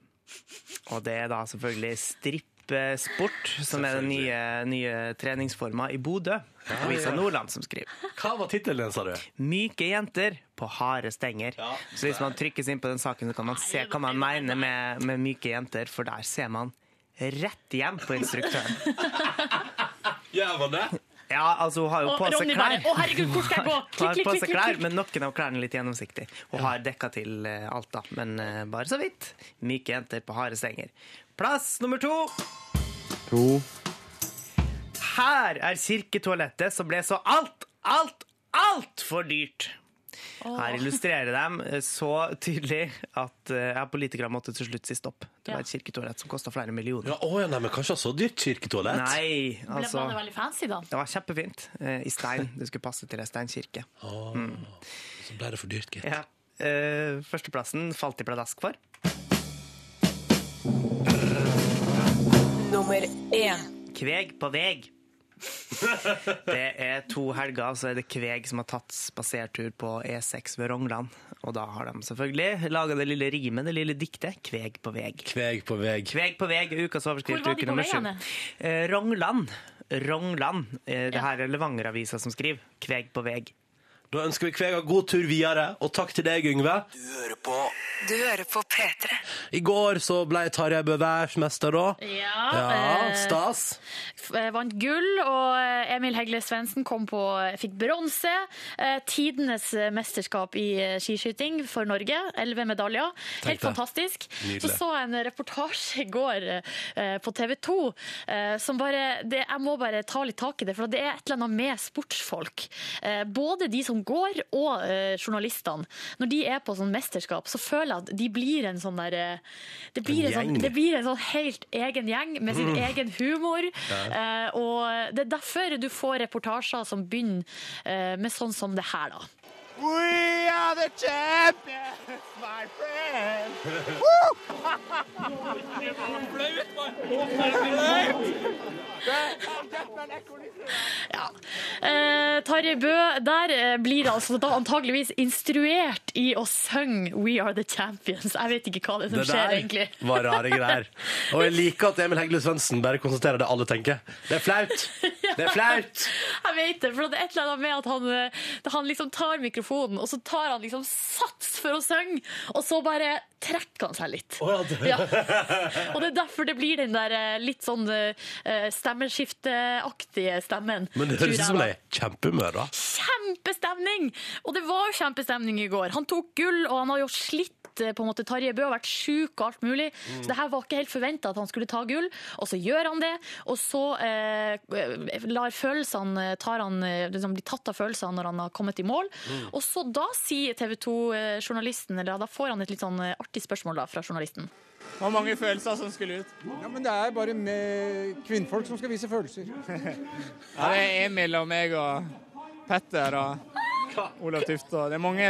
Og det er da selvfølgelig strippesport, som er den nye, nye treningsforma i Bodø. Avisa Nordland som skriver.
Hva var tittelen, sa du?
Myke jenter på harde stenger.
Ja.
Så hvis man trykkes inn på den saken, så kan man se hva man mener med, med myke jenter, for der ser man rett hjem på instruktøren.
Gjør man det?
Ja, altså hun har jo
Og
på seg
Ronny
klær.
bare Å, herregud, hvor skal jeg gå?
Hun har
Klikk,
på
klikk,
seg
klikk.
klær,
klikk.
men noen av klærne er litt gjennomsiktig. Hun har dekka til eh, alt, da, men eh, bare så vidt. Myke jenter på harde stenger. Plass nummer to. Her er kirketoalettet som ble så alt, alt, altfor dyrt. Her illustrerer de eh, så tydelig at eh, ja, politikere måtte til slutt si stopp. Det var et kirketoalett som kosta flere millioner.
Ja, å, ja, nei, men kanskje så dyrt kirketoalett?
Nei,
Ble
altså
var det veldig fancy, da?
Det var kjempefint. eh, I stein. Det skulle passe til ei steinkirke.
Så ble det for dyrt, gitt.
Ja. Eh, førsteplassen falt i pladask for.
Nummer én.
Kveg på veg. Det er to helger, så er det Kveg som har tatt spasertur på E6 ved Rongland. Og da har de selvfølgelig laga det lille rimet, det lille diktet, Kveg på veg.
Kveg på veg.
Kveg på veg, ukas overskrift,
Hvor var de
uke
på
nummer sju.
veiene?
Eh, Rongland. Rongland. Eh, det her er Levanger-avisa som skriver. Kveg på veg.
Da ønsker vi Kvega god tur videre, og takk til deg, Yngve.
Du hører på
Du hører på P3.
I går så ble Tarjei Bø verdensmester, da.
Ja,
Ja,
eh,
stas.
f- eh, vant gull, og eh, Emil Hegle Svendsen kom på, fikk bronse. Eh, Tidenes eh, mesterskap i eh, skiskyting for Norge. Elleve medaljer.
Tenk
Helt
det.
fantastisk.
Nydelig.
Så så jeg en reportasje i går eh, på TV 2 eh, som bare det, Jeg må bare ta litt tak i det, for det er et eller annet med sportsfolk. Eh, Både de som går, og eh, journalistene. Når de er på sånn mesterskap, så føler jeg at de blir en sånn der eh, Det blir
En
en, sånn,
gjeng. Mm.
det blir en sånn helt egen gjeng med sin egen humor. Eh, og det er derfor du får reportasjer som begynner eh, med sånn som det her, da.
We are the champions, my friend!
Ja. Eh, Tarjei Bø, der eh, blir altså da antageligvis instruert i å synge 'We are the champions'. Jeg vet ikke hva det er som
Det
skjer,
der
egentlig.
var rare greier. Og jeg liker at Emil Hegle Svendsen bare konstaterer det alle tenker. Det er flaut! Det er flaut!
Jeg vet det, for det er et eller annet med at han, eh, han liksom tar mikrofonen, og så tar han liksom sats for å synge, og så bare trekker han seg litt.
Å, ja, det-
Ja. Og det er derfor det blir den der eh, litt sånn eh, stemmeskifteaktige stemmen.
Men det
tror
høres ut
jeg
som
da.
det er kjempehumør, da.
Kjempestemning! Og det var jo kjempestemning i går. Han tok gull, og han har jo slitt eh, på en måte Tarjei Bø har vært sjuk og alt mulig. Så det her var ikke helt forventa at han skulle ta gull, og så gjør han det. Og så eh, lar følelsene tar han, eh, liksom, blir tatt av følelsene når han har kommet i mål. Og så da sier TV 2-journalisten, eller ja, da får han et litt sånn eh, artig spørsmål da fra journalisten.
Det var mange følelser som skulle ut.
Ja, men det er bare med kvinnfolk som skal vise følelser.
Ja, det er Emil og meg og Petter og Olav Tufte. og Det er mange,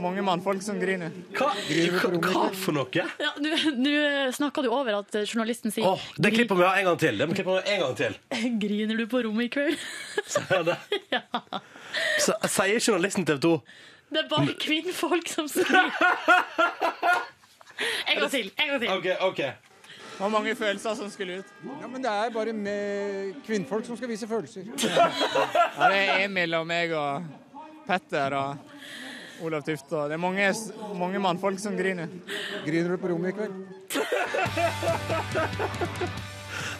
mange mannfolk som griner.
Hva, hva, hva for noe?
Ja, Nå nå snakka du over at eh, journalisten sier
Åh, det klipper vi av en gang til. Det må vi klippe av en gang til.
Griner du på rommet i kveld?
Sier det. Så- Sier journalisten TV 2
Det er bare kvinnfolk som skriver. En gang til. en gang til.
OK, OK.
Det var mange følelser som skulle ut.
Ja, men det er bare med kvinnfolk som skal vise følelser.
Ja, det er Emil og meg og Petter og Olav Tufte. og Det er mange, mange mannfolk som griner.
Griner du på rommet i kveld?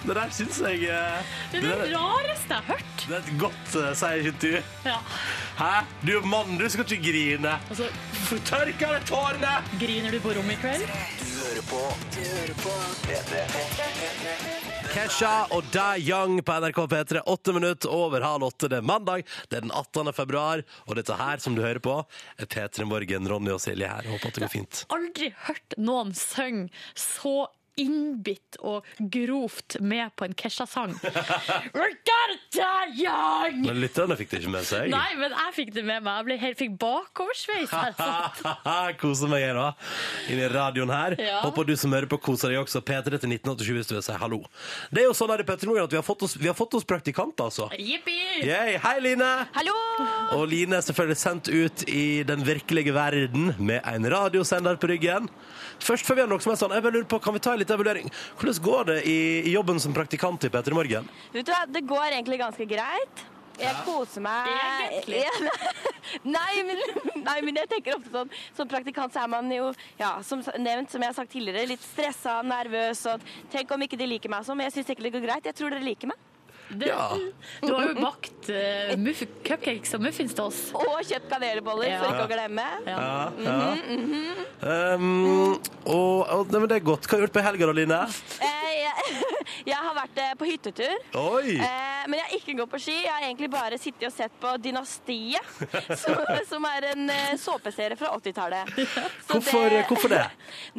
Det der syns jeg eh,
Det er det rareste jeg har hørt.
det er et godt uh, seiersintervju.
Ja.
Hæ? Du er mann, du skal ikke grine.
Altså,
Få Tørk av deg tårene!
griner du på rommet i kveld?
Kesha og Da Young på NRK P3, åtte minutter over halv åtte. Det er mandag, det er den 18. februar, og dette her som du hører på, er P3 Morgen, Ronny og Silje her. Håper at det går fint.
Aldri hørt noen synge så innbitt og grovt med på en Kesha-sang. We're gonna die young!
Men lytterne fikk det ikke med seg.
Nei, men jeg fikk det med meg. Jeg ble helt, fikk bakoversveis. altså. her, sant?
Koser meg her da Inni radioen her
Ja.
Håper du som hører på koser deg også P3 til 1987 hvis du vil si hallo Det er jo sånn her i P3 Morgen at vi har fått oss, vi har fått oss praktikant altså
Jippi!
Yay. Hei Line
Hallo!
Og Line er selvfølgelig sendt ut i den virkelige verden Med en radiosender på ryggen Først før vi har noe som er sånn Jeg bare lurer på, kan vi ta en liten evaluering Hvordan går det i, i jobben som praktikant i P3 Morgen?
Vet du hva, det går egentlig ganske greit. Jeg koser meg.
Egentlig.
Ja, nei, men, nei, men jeg tenker ofte sånn Som praktikant så er man jo, ja, som nevnt, som jeg har sagt tidligere, litt stressa, nervøs og Tenk om ikke de liker meg og sånn, men jeg syns egentlig det går greit. Jeg tror dere liker meg.
Det,
Ja.
Du har jo bakt eh, muff- cupcakes og muffins til oss.
Og kjøpt kanelboller,
Ja.
for ikke å glemme.
Ja, ja. Um, og, og, nei, men det er godt Hva har du gjort på helgen da, Line?
Eh, jeg, jeg har vært eh, på hyttetur.
Oi!
Eh, men jeg har ikke gått på ski. Jeg har egentlig bare sittet og sett på Dynastiet, som, som er en eh, såpeserie fra 80-tallet. Så
Hvorfor
Eh,
det? Hvorfor det?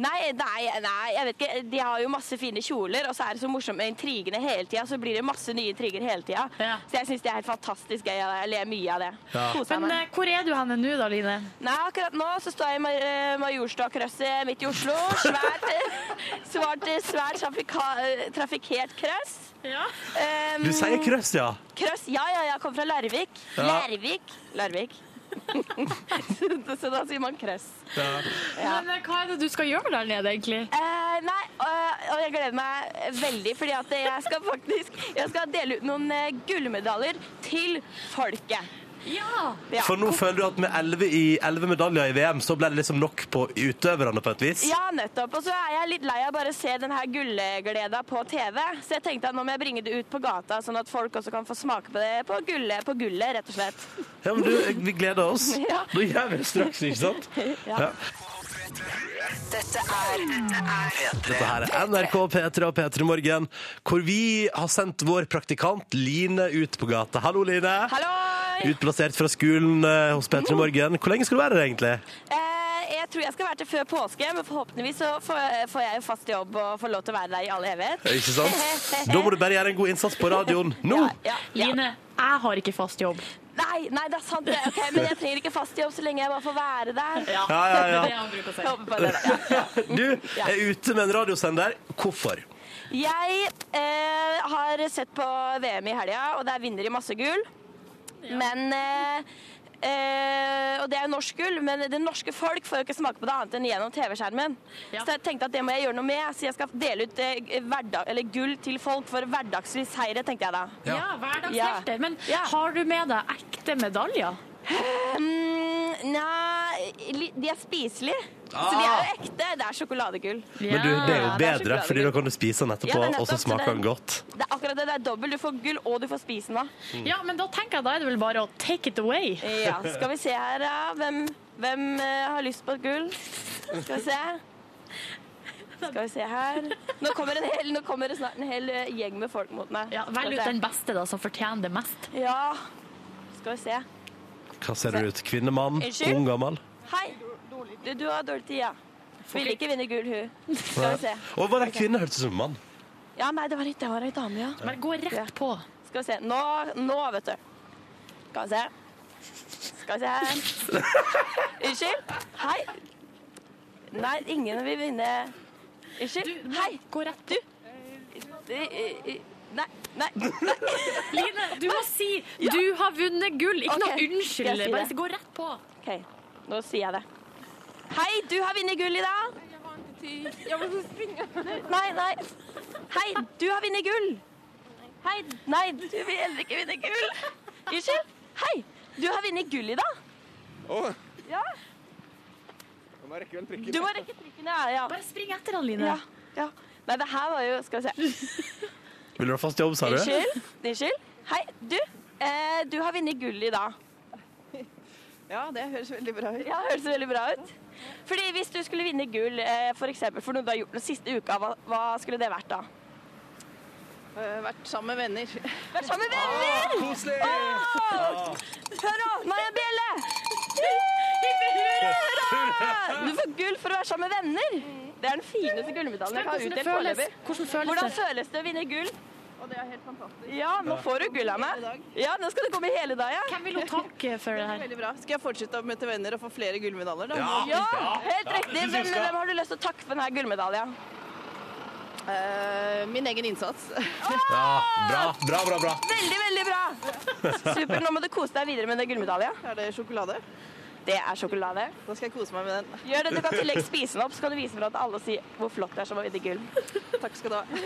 Nei, nei, nei, jeg vet ikke. De har jo masse fine kjoler, og så er det så morsomt med intrigene hele tida. Så blir det masse nye intriger hele tida.
Ja.
Så jeg syns det er helt fantastisk gøy. og Jeg ler mye av det. Koser
Men
meg.
eh, hvor er du henne nå da, Line?
Nei, akkurat nå så står jeg i Mar- eh, Majorstua-krøsset midt i Oslo. Svært, eh, svært, eh, svært trafika- eh, trafikkert krøss.
Ja.
Um,
Du sier krøss, ja.
Krøss, ja, ja, jeg kommer fra Larvik. Larvik. Larvik. så, så da sier man krøss. Ja.
Men eh, hva er det du skal gjøre der nede, egentlig?
Eh, nei, og, og jeg gleder meg veldig, fordi at jeg skal faktisk jeg skal dele ut noen eh, gullmedaljer til folket.
Ja!
Ja.
For nå føler du at med 11, i, 11 medaljer i VM, så ble det liksom nok på utøverne på et vis?
Ja, nettopp. Og så er jeg litt lei av bare å se denne gullgleda på TV. Så jeg tenkte at nå må jeg bringe det ut på gata, sånn at folk også kan få smake på det på gullet, på gullet rett og slett.
Ja, men du, vi gleder oss.
Ja.
Da gjør vi det straks, ikke sant? Ja.
Dette er Dette er
Dette her er NRK P3 og P3 Morgen, hvor vi har sendt vår praktikant Line ut på gata. Hallo, Line.
Halloi!
Utplassert fra skolen eh, hos P3 Morgen. Hvor lenge skal du være der, egentlig?
Eh, jeg tror jeg skal være til før påske, men forhåpentligvis så får, får jeg jo fast jobb og får lov til å være der i all evighet.
Ikke sant? Da må du bare gjøre en god innsats på radioen nå.
Ja, ja.
Line, jeg har ikke fast jobb.
Nei, nei, det er sant. det. Ok, men jeg trenger ikke fast jobb så lenge jeg bare får være der.
Ja, ja, ja.
Det er det han bruker å si.
Jeg håper på det. da.
Du er ute med en radiosender. Hvorfor?
Jeg eh, har sett på VM i helga, og det er vinner i masse gull. Men eh, eh, Og det er jo norsk gull, men det norske folk får jo ikke smake på det annet enn gjennom TV-skjermen.
Ja.
Så jeg tenkte at det må jeg gjøre noe med, så jeg skal dele ut eh, hverdag, eller gull til folk for hverdagslige seire, tenkte jeg da.
Ja, hverdagshelter. Men
Ja.
har du med deg ekte medaljer?
Mm, nei, li- de er spiselige. Så de er jo ekte. Det er sjokoladegull.
Men du,
Ah,
det er jo
det er
bedre, fordi da kan du spise den etterpå,
Ja, det er
og så
nettopp, så
smaker
det-
den godt.
Det er akkurat det. Det er dobbelt. Du får gull, og du får spise den. da.
Ja, men da tenker jeg da er det vel bare å take it away.
Ja, skal vi se her, da. Hvem, hvem eh, har lyst på et gull? Skal vi se. Skal vi se her. Nå kommer, en hel, nå kommer det snart en hel eh, gjeng med folk mot meg.
Ja, Velg ut den beste da, som fortjener det mest.
Ja. Skal vi se.
Hva ser du ut? Kvinne, mann,
Unnskyld?
ung, gammel?
Hei. Du, du har dårlig tid, ja. Vil ikke vinne gull, hun. Skal vi se.
Og var det en kvinne, hørtes ut som en mann?
Ja, nei, det var ei det var ei dame, ja.
Bare gå rett på.
Skal vi se. Nå, nå vet du. Skal vi se. Skal vi se her. Unnskyld. Hei. Nei, ingen vil vinne. Unnskyld. Hei.
Gå rett
Du. I- i- i- Nei. Nei. nei.
Line, du må si du har vunnet gull. Ikke noe
Ok, skal
unnskyld.
jeg si
Bare
det?
gå rett på.
OK, nå sier jeg det. Hei, du har vunnet gull i dag. Nei, nei. Hei, du har vunnet gull. Hei, nei, du vil heller ikke vinne gull. Unnskyld. Hei, du har vunnet gull i dag.
Å.
Ja,
Du må rekke vel prikken.
du må rekke trikken. Ja, ja.
Bare spring etter han, Line.
ja, ja. Nei, det her var jo Skal vi se.
Vil du ha fast jobb, sa du?
Unnskyld. Unnskyld. Hei, du. Eh, du har vunnet gull i dag.
Ja, det høres veldig bra ut.
Ja, høres veldig bra ut. Fordi hvis du skulle vinne gull eh, for, eksempel, for noe du har gjort den siste uka, hva, hva skulle det vært da?
Eh, Vært sammen med venner.
Vært sammen med venner!
Koselig!
Åh! Hør nå, nå er jeg bjelle! Hipp, hurra, hurra! Du får gull for å være sammen med venner. Det er den fineste gullmedaljen jeg har
Hvordan det
utdelt
føles?
foreløpig.
Hvordan føles det?
Hvordan føles det å vinne gull?
Og det er helt fantastisk.
Ja, nå får du gull av meg. Ja, nå skal du komme hele dag, ja.
Hvem vil hun takke for det her?
Veldig bra. Skal jeg fortsette å møte venner og få flere gullmedaljer, da?
Ja, helt riktig.
synes
Hvem,
jeg skal.
hvem har du lyst til å takke for denne gullmedaljen?
Eh, min egen innsats.
Ja, bra, bra, bra, bra.
Veldig, veldig bra! Supert. Nå må du kose deg videre med den gullmedaljen.
Er det sjokolade?
Det er sjokolade.
Da skal jeg kose meg med den.
Gjør det, Du kan i tillegg spise den opp, så kan du vise fra til alle og si hvor flott det er som har vunnet gull.
Takk skal du ha.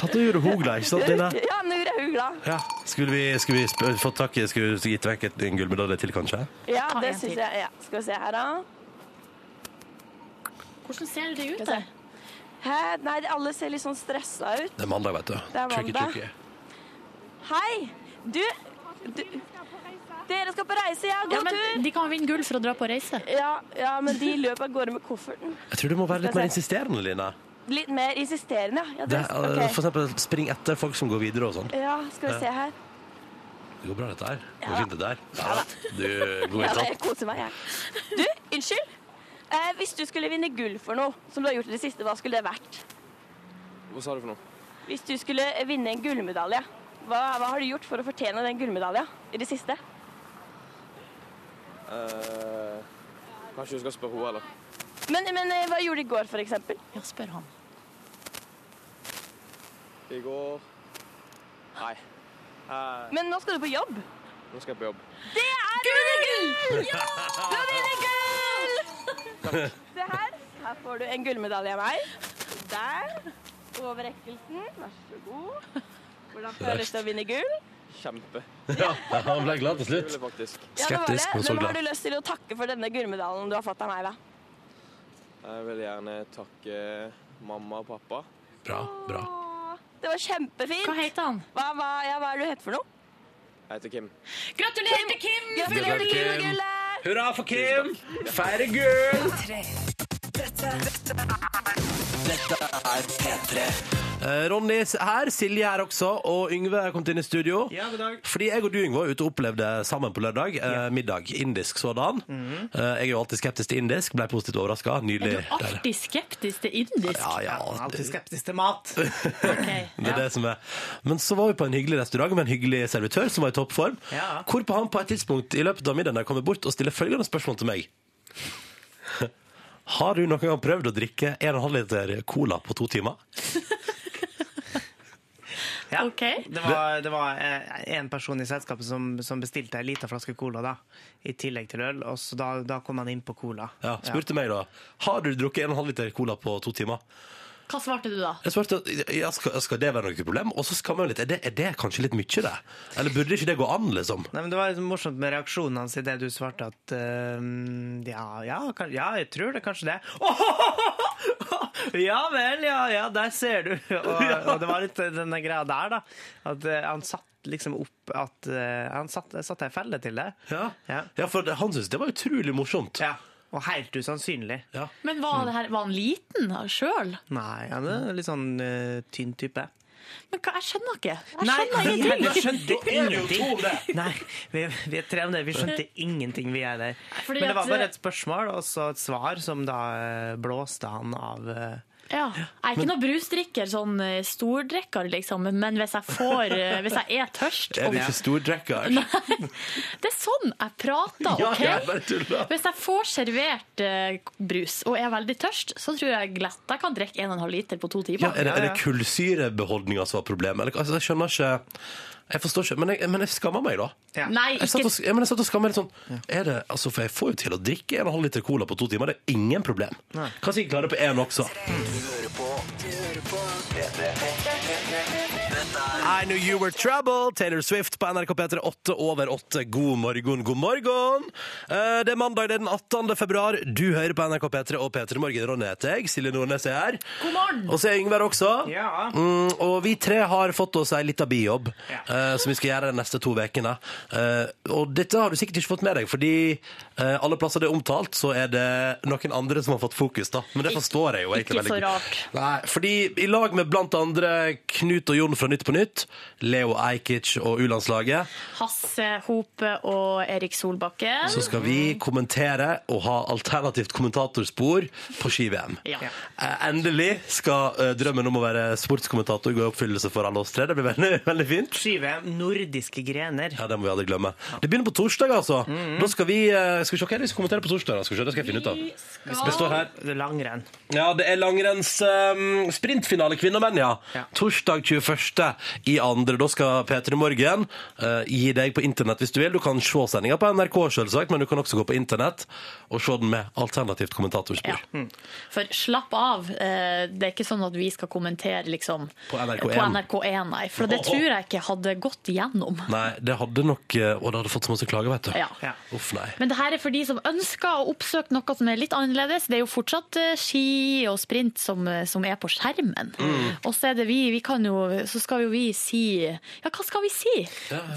Satt og gjorde hogla, ikke sant, Line?
Ja, nå er jeg glad.
Ja. Skulle vi, skulle vi sp- fått tak i Skulle vi gitt vekk et- en gullmedalje til, kanskje?
Ja,
Ta
det
en
syns
til.
jeg. Ja. Skal vi se her, da.
Hvordan ser det ut?
Skal
Det?
vi Hæ? Nei, de alle ser litt sånn stressa ut.
Det er mandag, vet du.
Det er
Tricky,
mandag.
tricky.
Hei! Du, du Dere skal på reise, ja.
Ja,
God
men
tur!
de kan vinne gull for å dra på reise.
Ja, ja, men de løp av gårde med kofferten.
Jeg tror du må være litt
Skal
mer
jeg se.
insisterende, Line.
Litt mer insisterende, ja. ja
Det,
det,
eh, for
ok.
eksempel spring etter folk som går videre og sånn.
Ja, skal vi se her.
Det går bra, dette her. Det går fint, dette her. Ja, du, god
Ja, da, jeg
innsats.
koser meg, jeg. Du, unnskyld. Eh, hvis du skulle vinne gull for noe som du har gjort i det siste, hva skulle det vært?
Hva sa du for noe?
Hvis du skulle vinne en gullmedalje, hva, hva har du gjort for å fortjene den gullmedalja i det siste?
Eh, kanskje du skal spørre henne, eller?
Men, men eh, hva gjorde du i går, for eksempel?
Ja, spør han.
I går Nei. Eh,
Men nå skal du på jobb.
nå skal jeg på jobb.
Det er gull! Ja! Du har vunnet gull! Se her. Her får du en gullmedalje av meg. Der. Overrekkelsen. Vær så god. Hvordan føles det å vinne gull?
Kjempe.
Ja, han ble glad til slutt.
Kule, faktisk.
Ja, det var det.
Skeptisk, men så
Hvem har
glad.
du lyst til å takke for denne gullmedaljen du har fått av meg, da?
Jeg vil gjerne takke mamma og pappa.
Bra, bra.
Åh, Det var kjempefint.
Hva heter han?
Hva, hva, ja, hva er det du heter for noe?
Jeg heter Kim.
Gratulerer til Kim!
Gratulerer til Kim.
Gullet!
Hurra for Kim! Feire gull! Eh, Ronny s- her, Silje her også, og Yngve er kommet inn i studio.
Ja, god dag.
Fordi jeg og du, Yngve, var ute og opplevde sammen på lørdag. Eh, middag. Indisk sådan. Eh, jeg er jo alltid skeptisk til indisk. Ble positivt overraska. Nydelig.
Er du
deilig.
alltid skeptisk til indisk?
Ja, ja.
Alltid
Det,
skeptisk til mat.
Ok.
det er det som er. Men så var vi på en hyggelig restaurant med en hyggelig servitør som var i toppform.
Ja.
Hvorpå han på et tidspunkt i løpet av middagen der kommer bort og stiller følgende spørsmål til meg. Har du noen gang prøvd å drikke 1,5 liter cola på to timer?
Ja.
Ok.
Det var, det var eh, en person i selskapet som, som bestilte en liten flaske cola da, i tillegg til øl, og så da, da kom han inn på cola.
Ja, spurte meg da Har du drukket en og en halv liter cola på to timer?
Hva svarte du da?
Jeg svarte at ja, skal, skal det være noe problem? Og så skammer jeg meg litt. Er det, er det kanskje litt mye, det? Eller burde ikke det gå an, liksom?
Nei, men Det var litt morsomt med reaksjonen hans i det du svarte at eh, ja, ja, kan, ja, jeg tror det kanskje det. Ja vel, ja, ja, der ser du. Og, og det var litt denne greia der, da. At eh, han satt liksom opp at eh, Han satt, satt ei felle til det.
Ja, for han syntes det var utrolig morsomt.
Ja, Og helt usannsynlig.
Men var, det her, var han liten sjøl?
Nei, han er en litt sånn eh, tynn type.
Men hva, jeg skjønner ikke. Jeg
Nei,
skjønner
vi
ingenting.
heller skjønte
Da er det jo to om
ingenting.
det.
Nei, vi, vi er tre om det. Vi skjønte ingenting, vi er der.
Fordi
Men det var
at- eh,
bare et spørsmål, og så et svar, som da eh, blåste han av eh,
Ja. Jeg er ikke noen brusdrikker, sånn eh, stordrikker, liksom, men hvis jeg får eh, Hvis jeg er tørst
Er
og-
du ikke stordrekker?
Nei. Det er sånn jeg prater,
Ja,
OK?
jeg bare tuller.
Hvis jeg får servert eh, brus og er veldig tørst, så tror jeg lett jeg kan drikke 1,5 liter på to
Ja,
timer.
er det, er det kullsyrebeholdninga som var problemet? Eller, altså, jeg skjønner ikke Jeg forstår ikke, men jeg, men jeg skammer meg, da.
Nei,
Jeg satt
ikke
og, ja, men jeg satt og skammer meg litt sånn er det, altså, For jeg får jo til å drikke en og en halv liter cola på to timer, det er ingen problem. Kanskje jeg klarer det på én også. I knew you were trouble. Taylor Swift på NRK P3 8 over 8. God morgen, god morgen. Eh, Det er mandag, det er den 18. februar. Du hører på NRK P3 og P3 Morgen. Ronny heter jeg. Silje Nordnes er her.
God morgen.
Og så er Yngvar også.
Ja.
Mm, og vi tre har fått oss ei lita bijobb eh, som vi skal gjøre de neste to ukene. og dette har du sikkert ikke fått med deg, fordi eh, alle plasser det er omtalt, så er det noen andre som har fått fokus, da. Men det forstår jeg jo egentlig
Ikke så rart.
Nei, fordi i lag med blant andre Knut og Jon fra Nytt på Nytt, Leo Ajkic og U-landslaget,
Hasse Hope og Erik Solbakken.
så skal vi
Mhm.
kommentere og ha alternativt kommentatorspor på ski-VM.
Ja.
Eh, Endelig skal eh, drømmen om å være sportskommentator gå i oppfyllelse for alle oss tre. Det blir veldig, veldig fint.
Ski-VM, nordiske grener.
Ja, det må vi aldri glemme. Det begynner på torsdag, altså. Da skal vi eh, Skal vi se hva er det vi skal kommentere på torsdag? da? Skal vi se, det skal jeg finne ut av.
skal-
Det står her.
Det er langrenn.
Ja, det er langrenns eh, sprintfinale kvinner og menn, ja. Torsdag 21. i andre. Da skal P3 Morgen eh, gi deg på internett hvis du vil. Du kan se sendinga på NRK, selvsagt, men du kan også gå på internett og se den med alternativt kommentatorspor.
For slapp av, eh, det er ikke sånn at vi skal kommentere liksom,
På NRK1.
på NRK1, nei. For det tror jeg ikke hadde gått igjennom.
Nei, det hadde nok eh, Og det hadde fått så masse klager, vet du.
Ja.
Uff, nei.
Men det her er for de som ønsker å oppsøke noe som er litt annerledes. Det er jo fortsatt eh, ski og sprint som, eh, som er på skjermen. Og så er det vi, vi kan jo, så skal jo vi si Ja, hva skal vi si?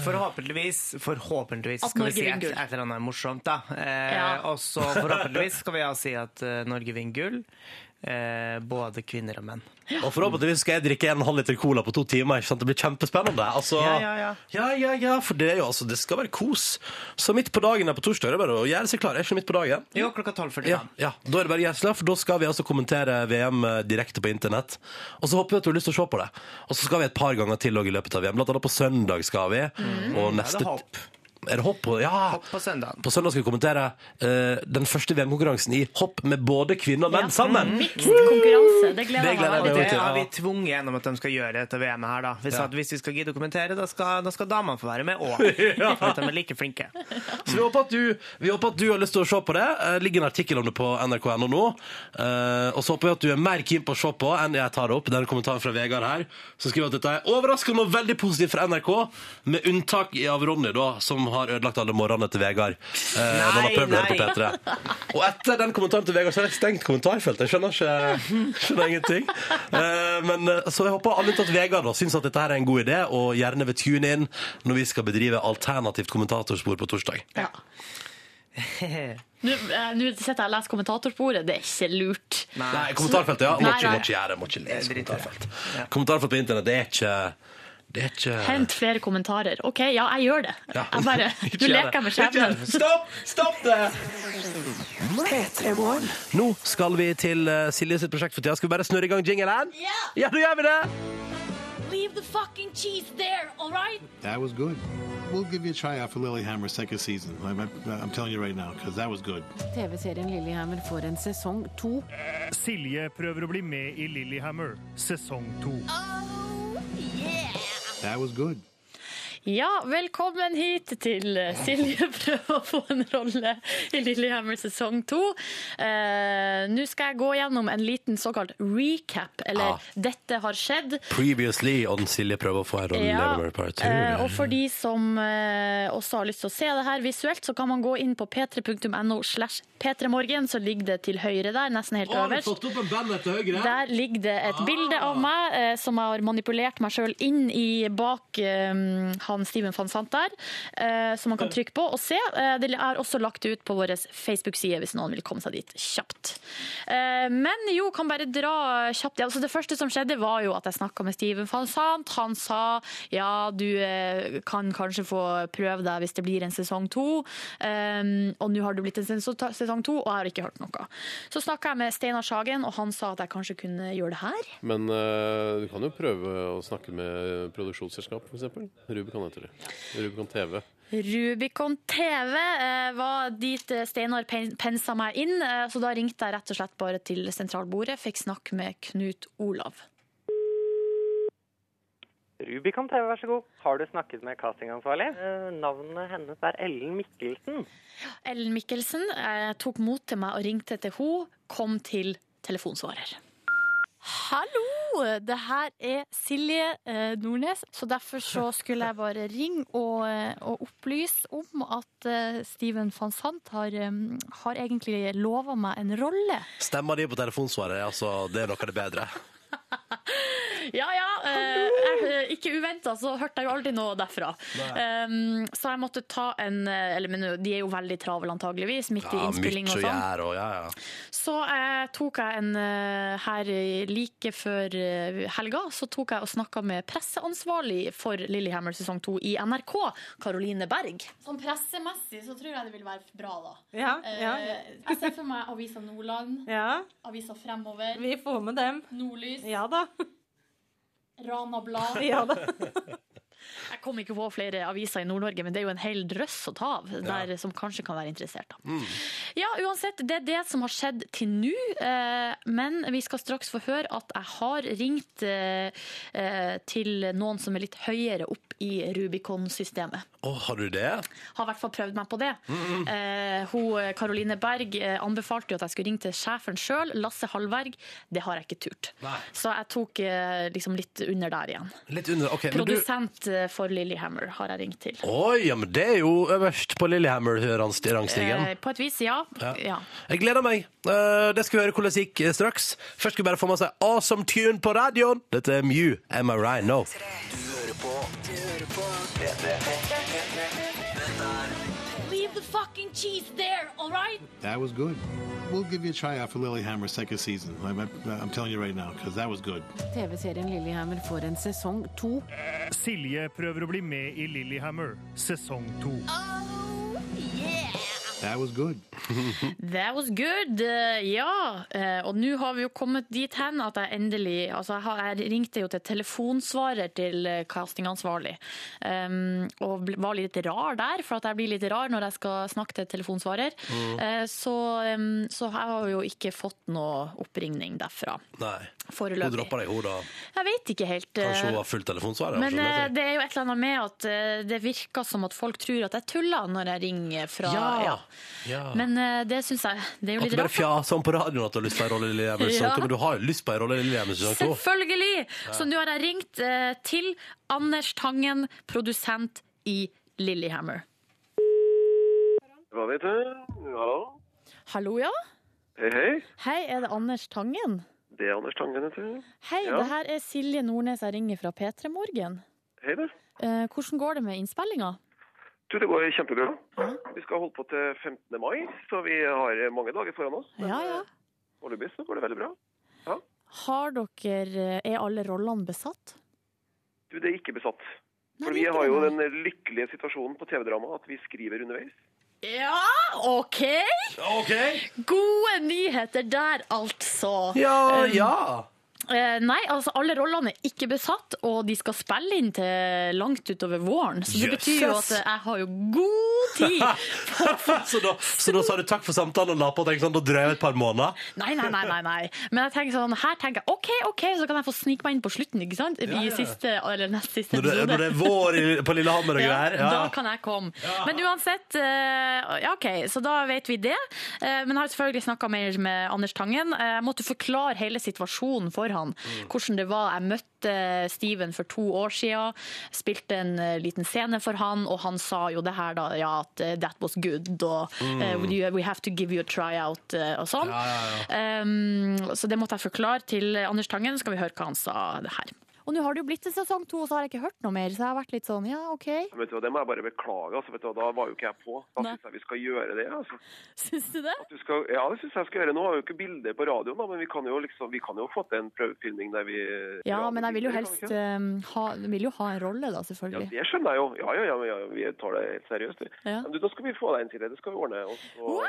Forhåpentligvis, forhåpentligvis
At
skal vi
Norge
si et,
vinner gull.
et eller annet morsomt, da. Eh,
Ja.
Og så forhåpentligvis skal vi ja si at eh, Norge vinner gull. Eh, både kvinner og menn.
Og forhåpentligvis skal jeg drikke en halv liter cola på to timer. Ikke sant? Det blir kjempespennende. Altså,
Ja, ja, ja.
ja, ja, ja, for det er jo altså Det skal være kos. Så midt på dagen her på torsdag, det er bare å gjøre seg klar. Er ikke det midt på dagen?
Jo, klokka 12.45.
Ja, ja, da er det bare gjensla, for da skal vi altså kommentere VM direkte på internett. Og så håper vi at du har lyst til å se på det. Og så skal vi et par ganger til også i løpet av VM. Blant annet på søndag skal vi. Og
Mm. Ja,
neste
det er hopp.
Er det hopp? på- Ja.
På søndag.
På søndag skal vi kommentere eh, den første VM-konkurransen i hopp med både kvinner og menn sammen.
Mm.
Mixed konkurranse. Det
Mm. Det
gleder jeg meg
gleder jeg
veldig
meg
til.
Det
til,
har vi
ja.
tvunget gjennom at de skal gjøre dette VM-et her, da. Hvis,
Ja.
at, hvis vi skal gidde å kommentere, da skal, da skal damene få være med òg.
Ja.
For at de er like flinke.
Så vi håper, at du, vi håper at du har lyst til å se på det. Eh, Det ligger en artikkel om det på nrk.no nå. Eh, og så håper vi at du er mer keen på å se på enn jeg tar opp. Den kommentaren fra Vegard her, som skriver at dette er overraskende og veldig positivt fra NRK, med unntak av Ronny, da, som har ødelagt alle morgenene til Vegard. eh, når han har prøvd å høre på
Nei,
P3. Og etter den kommentaren til Vegard, så har jeg stengt kommentarfeltet. Jeg skjønner ikke skjønner ingenting. Eh, men, eh, så jeg håper alle unntatt Vegard da, syns at dette her er en god idé, og gjerne vil tune inn når vi skal bedrive alternativt kommentatorspor på torsdag.
Nå eh, nå sitter jeg og leser kommentatorsporet, det er ikke lurt.
Nei, kommentarfeltet, ja. Må
Nei,
ikke,
nei.
må ikke gjøre det. Må ikke lese kommentarfelt. Kommentarfelt på internett, det er ikke Det er ikke
Hent flere kommentarer. OK, ja, jeg gjør det.
Ja.
Jeg bare,
Ikke
nå
gjør
leker jeg med
det. Ikke gjør
skjebnen.
det. Stopp! Stopp det! Nå skal vi til eh, Silje sitt prosjekt for tida. Skal vi bare snurre i gang jingelen? Ja, da gjør vi det!
Leave the fucking cheese there, all right?
That was good. We'll give you a tryout for Lilyhammer second season. I'm, I'm telling you right now, because that was good.
TV-serien Lillehammer får en sesong to.
Silje prøver å bli med i Lillehammer, sesong to.
That was good.
Ja, velkommen hit til eh, Silje prøver å få en rolle i Lillehammer sesong to. Eh, Nå skal jeg gå gjennom en liten såkalt recap, eller
Ah.
'dette har skjedd'.
Previously on Silje prøver å få en rolle i Lillehammer Part 2.
eh, og for de som eh, også har lyst til å se det her visuelt, så kan man gå inn på p3.no slash p3morgen, så ligger det til høyre der, nesten helt øverst.
opp en band etter
Der ligger det et bilde av meg eh, som jeg har manipulert meg sjøl inn i bak eh, han Steven van Sant der, eh, som man kan trykke på og se. Eh, det er også lagt ut på vår Facebook-side hvis noen vil komme seg dit kjapt. Eh, men jo, kan bare dra kjapt. Ja, altså, det første som skjedde, var jo at jeg snakka med Steven van Sant. Han sa ja, du eh, kan kanskje få prøve deg hvis det blir en sesong to. Eh, og nå har du blitt en sesong sesong to, og jeg har ikke hørt noe. Så snakka jeg med Steinar Sagen, og han sa at jeg kanskje kunne gjøre det her.
Men eh, du kan jo prøve å snakke med produksjonsselskap, f.eks. Rubicon heter det. Rubicon TV.
Rubicon TV eh, var dit eh, Steinar pen- pensa meg inn, eh, så da ringte jeg rett og slett bare til sentralbordet, fikk snakke med Knut Olav.
Rubicon TV, vær så god. Har du snakket med castingansvarlig? Eh, navnet hennes er Ellen Mikkelsen.
Ellen Mikkelsen eh, tok mot til meg og ringte til henne, kom til telefonsvarer. Hallo, det her er Silje eh, Nordnes. Så derfor så skulle jeg bare ringe og, eh, og opplyse om at eh, Steven van Sant har, eh, har egentlig lova meg en rolle.
Stemmer de på telefonsvaret, altså, det er noe av det bedre.
Ja, ja. eh, jeg, ikke uventa, så hørte jeg jo aldri noe derfra. Um, så jeg måtte ta en eh, Eller men de er jo veldig travle, antageligvis, midt i
Ja,
innspilling
mye
og
å
sånn.
gjøre og ja, ja.
Så eh, tok jeg en eh, her eh, like før eh, helga, så tok jeg og snakka med presseansvarlig for Lillehammer sesong to i NRK, Caroline Berg. Sånn pressemessig så tror jeg det vil være bra, da.
Ja, ja.
Eh, Jeg ser for meg Avisa Nordland,
Ja.
Avisa Fremover,
Vi får med dem.
Nordlys,
Ja da.
Rana Blad.
Ja da.
Jeg kom ikke på flere aviser i Nord-Norge, men det er jo en hel drøss å ta av der som kanskje kan være interessert. Da. Ja, uansett, det er det som har skjedd til nå, eh, men vi skal straks få høre at jeg har ringt eh, eh, til noen som er litt høyere opp i Rubicon-systemet.
Å, har du det?
Har i hvert fall prøvd meg på det.
Mm, mm.
Eh, hun, Karoline Berg eh, anbefalte jo at jeg skulle ringe til sjefen sjøl, Lasse Hallberg. Det har jeg ikke turt. Så jeg tok eh, liksom litt under der igjen.
Litt under, ok. men du...
Produsent eh, for Lillehammer har jeg ringt til.
Oi, ja, men det er jo øverst på Lillehammer-rangstigen.
Eh, på et vis, ja.
Ja.
ja.
Jeg gleder meg. Eh, Det skal vi høre hvordan det gikk eh, straks. Først skal vi bare få med seg Awesome Tune på radioen. Dette er Mew, Am I Right Now.
Du hører på P3.
Leave the fucking cheese there, all right?
That was good. We'll give you a tryout for Lilyhammer second season. I'm, I'm telling you right now, because that was good.
TV-serien Lillehammer får en sesong to.
Silje prøver å bli med i Lillehammer sesong to.
Oh,
That was good.
That was good. Eh, Ja. Eh, Og nå har vi jo kommet dit hen at jeg endelig Altså, jeg, har, jeg ringte jo til telefonsvarer til eh, castingansvarlig. Um, og bl- var litt rar der, for at jeg blir litt rar når jeg skal snakke til telefonsvarer.
Mm.
Eh, Så, um, så jeg har jo ikke fått noe oppringning derfra.
Nei.
Foreløpig.
Hun droppa deg, hun da.
Jeg vet ikke helt. eh,
Kanskje hun har fullt telefonsvaret?
Men
altså,
eh, det er jo et eller annet med at eh, det virker som at folk tror at jeg tuller når jeg ringer fra
Ja.
eh, ja.
ja.
Men eh, det syns jeg Det er jo
At du
litt
bare
rart.
fjaser om på radioen at du har lyst på en rolle i Lillehammer sesong
Ja.
to, men du har jo lyst på en rolle i Lillehammer sesong to.
Selvfølgelig!
Ja.
Så nå har jeg ringt eh, til Anders Tangen, produsent i Lillehammer.
Hva vet du? Hallo?
Hallo, ja?
Hei, hei.
Hei, er det Anders Tangen?
Det er Anders Tangen, heter du.
Hei,
ja.
det her er Silje Nordnes jeg ringer fra P3 Morgen.
Hei, du.
Eh, hvordan går det med innspillinga?
Du, det går kjempebra. Vi skal holde på til 15. mai, så vi har mange dager foran oss.
Ja, ja.
Foreløpig så går det veldig bra.
Har dere eh, Er alle rollene besatt?
Du, det er ikke besatt.
Nei,
For
det
vi
er ikke
har jo
det,
den lykkelige situasjonen på TV-drama at vi skriver underveis.
Ja, OK!
Ok!
Gode nyheter der, altså.
Ja,
Um,
ja.
Eh, nei, altså alle rollene er ikke besatt, og de skal spille inn til langt utover våren. Så det betyr jo at
Jøsses.
jeg har jo god tid.
så, da, så da sa du takk for samtalen og la på og tenkte sånn, da drøyer jeg et par måneder.
Nei, nei, nei, nei, nei. Men jeg tenker sånn, her tenker jeg OK, OK, så kan jeg få snike meg inn på slutten, ikke sant? I
Ja, ja.
siste, eller nest siste
Når det,
episode.
når det er vår i- på Lillehammer og greier. Ja.
Da kan jeg komme. Men uansett, eh, ja, ok, så da vet vi det. Eh, men jeg har selvfølgelig snakka mer med Anders Tangen. Eh, Jeg måtte forklare hele situasjonen for han.
Mm.
Hvordan det var. Jeg møtte Steven for to år siden, spilte en eh, liten scene for han, og han sa jo det her, da, ja, at eh, that was good, og
Mm.
eh, would you- we have to give you a tryout, eh, og sånn. Eh, så det måtte jeg forklare til Anders Tangen. Så skal vi høre hva han sa det her. Og nå har det jo blitt til sesong to, og så har jeg ikke hørt noe mer. Så jeg har vært litt sånn, ja, OK.
Vet du hva, Det må jeg bare beklage. altså, vet du hva, Da var jo ikke jeg på. Da
Nei.
syns jeg vi skal gjøre det. altså.
Syns du det?
Du skal, ja, det syns jeg skal gjøre. Nå har vi jo ikke bilder på radioen, da, men vi kan jo liksom, vi kan jo få til en prøvefilming der vi
Ja, men jeg vil jo
kan vi
helst
ikke?
eh, ha, vil jo ha en rolle, da,
Ja,
selvfølgelig.
Det skjønner jeg jo. Ja, ja, ja, men ja vi tar det helt seriøst. vi.
Ja.
Men du, da skal vi få deg inn til det. Det skal vi ordne. Og så,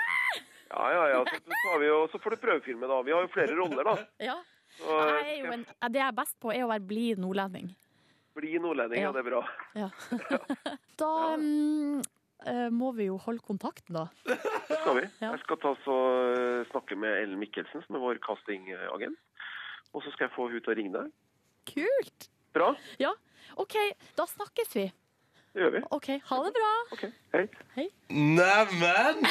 ja, ja, ja, så, tar vi jo, så får du prøvefilme, da. Vi har jo flere roller, da.
Ja.
Så
Jeg er jo
skal
en, det jeg er best på, er å være blid nordlending.
bli nordlending, ja. Det er bra.
Ja. Da mm, eh, må vi jo holde kontakten, da.
Det skal vi.
Ja.
Jeg skal ta så eh, snakke med Ellen Mikkelsen, som er vår castingagent. Og så skal jeg få hun til å ringe deg.
Kult!
Bra.
Ja. OK, da snakkes vi.
Det gjør vi.
OK, ha det bra.
Hei.
Hei.
Neimen!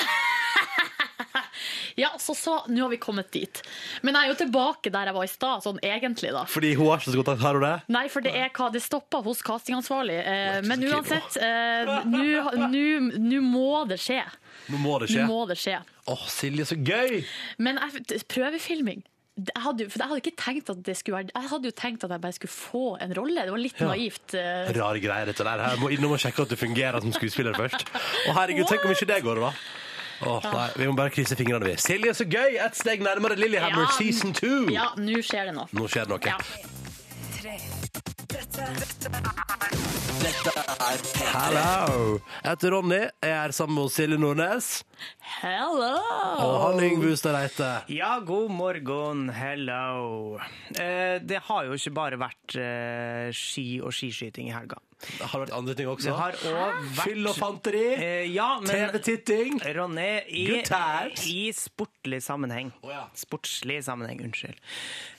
Ja, så så, nå har vi kommet dit. Men jeg er jo tilbake der jeg var i stad, sånn egentlig, da.
Fordi hun har ikke så kontakt. Har hun det?
Nei, for det er hva det stopper hos castingansvarlig. Eh, men uansett, eh, nå nå- nå må det skje.
Nå må det skje.
Nå må det skje.
Å, Silje, så gøy!
Men jeg, prøvefilming jeg hadde, jo- for jeg hadde ikke tenkt at det skulle være Jeg hadde jo tenkt at jeg bare skulle få en rolle. Det var litt
Ja.
naivt. eh.
Rare greier, dette der. Jeg må innom og sjekke at du fungerer som skuespiller først. Å, herregud, tenk om ikke det går, da. Åh,
Ja.
nei, Vi må bare krysse fingrene, vi. Silje, så gøy! Ett steg nærmere Lillehammer
Ja.
season two!
Ja, nå skjer det noe.
Nå skjer det noe.
Tre. Dette, dette
Hello! Jeg heter Ronny, jeg er sammen med Silje Nordnes.
Hello!
Og han Yngve Hustad Reite.
Ja, god morgen, hello. Eh, det har jo ikke bare vært eh, ski og skiskyting i helga.
Det har vært andre ting også.
Det har òg
Hæ?
vært
Fyll og fanteri,
Eh, ja, men-
TV-titting.
Ronny, i,
Good times.
i sportlig sammenheng. Sportslig sammenheng, unnskyld.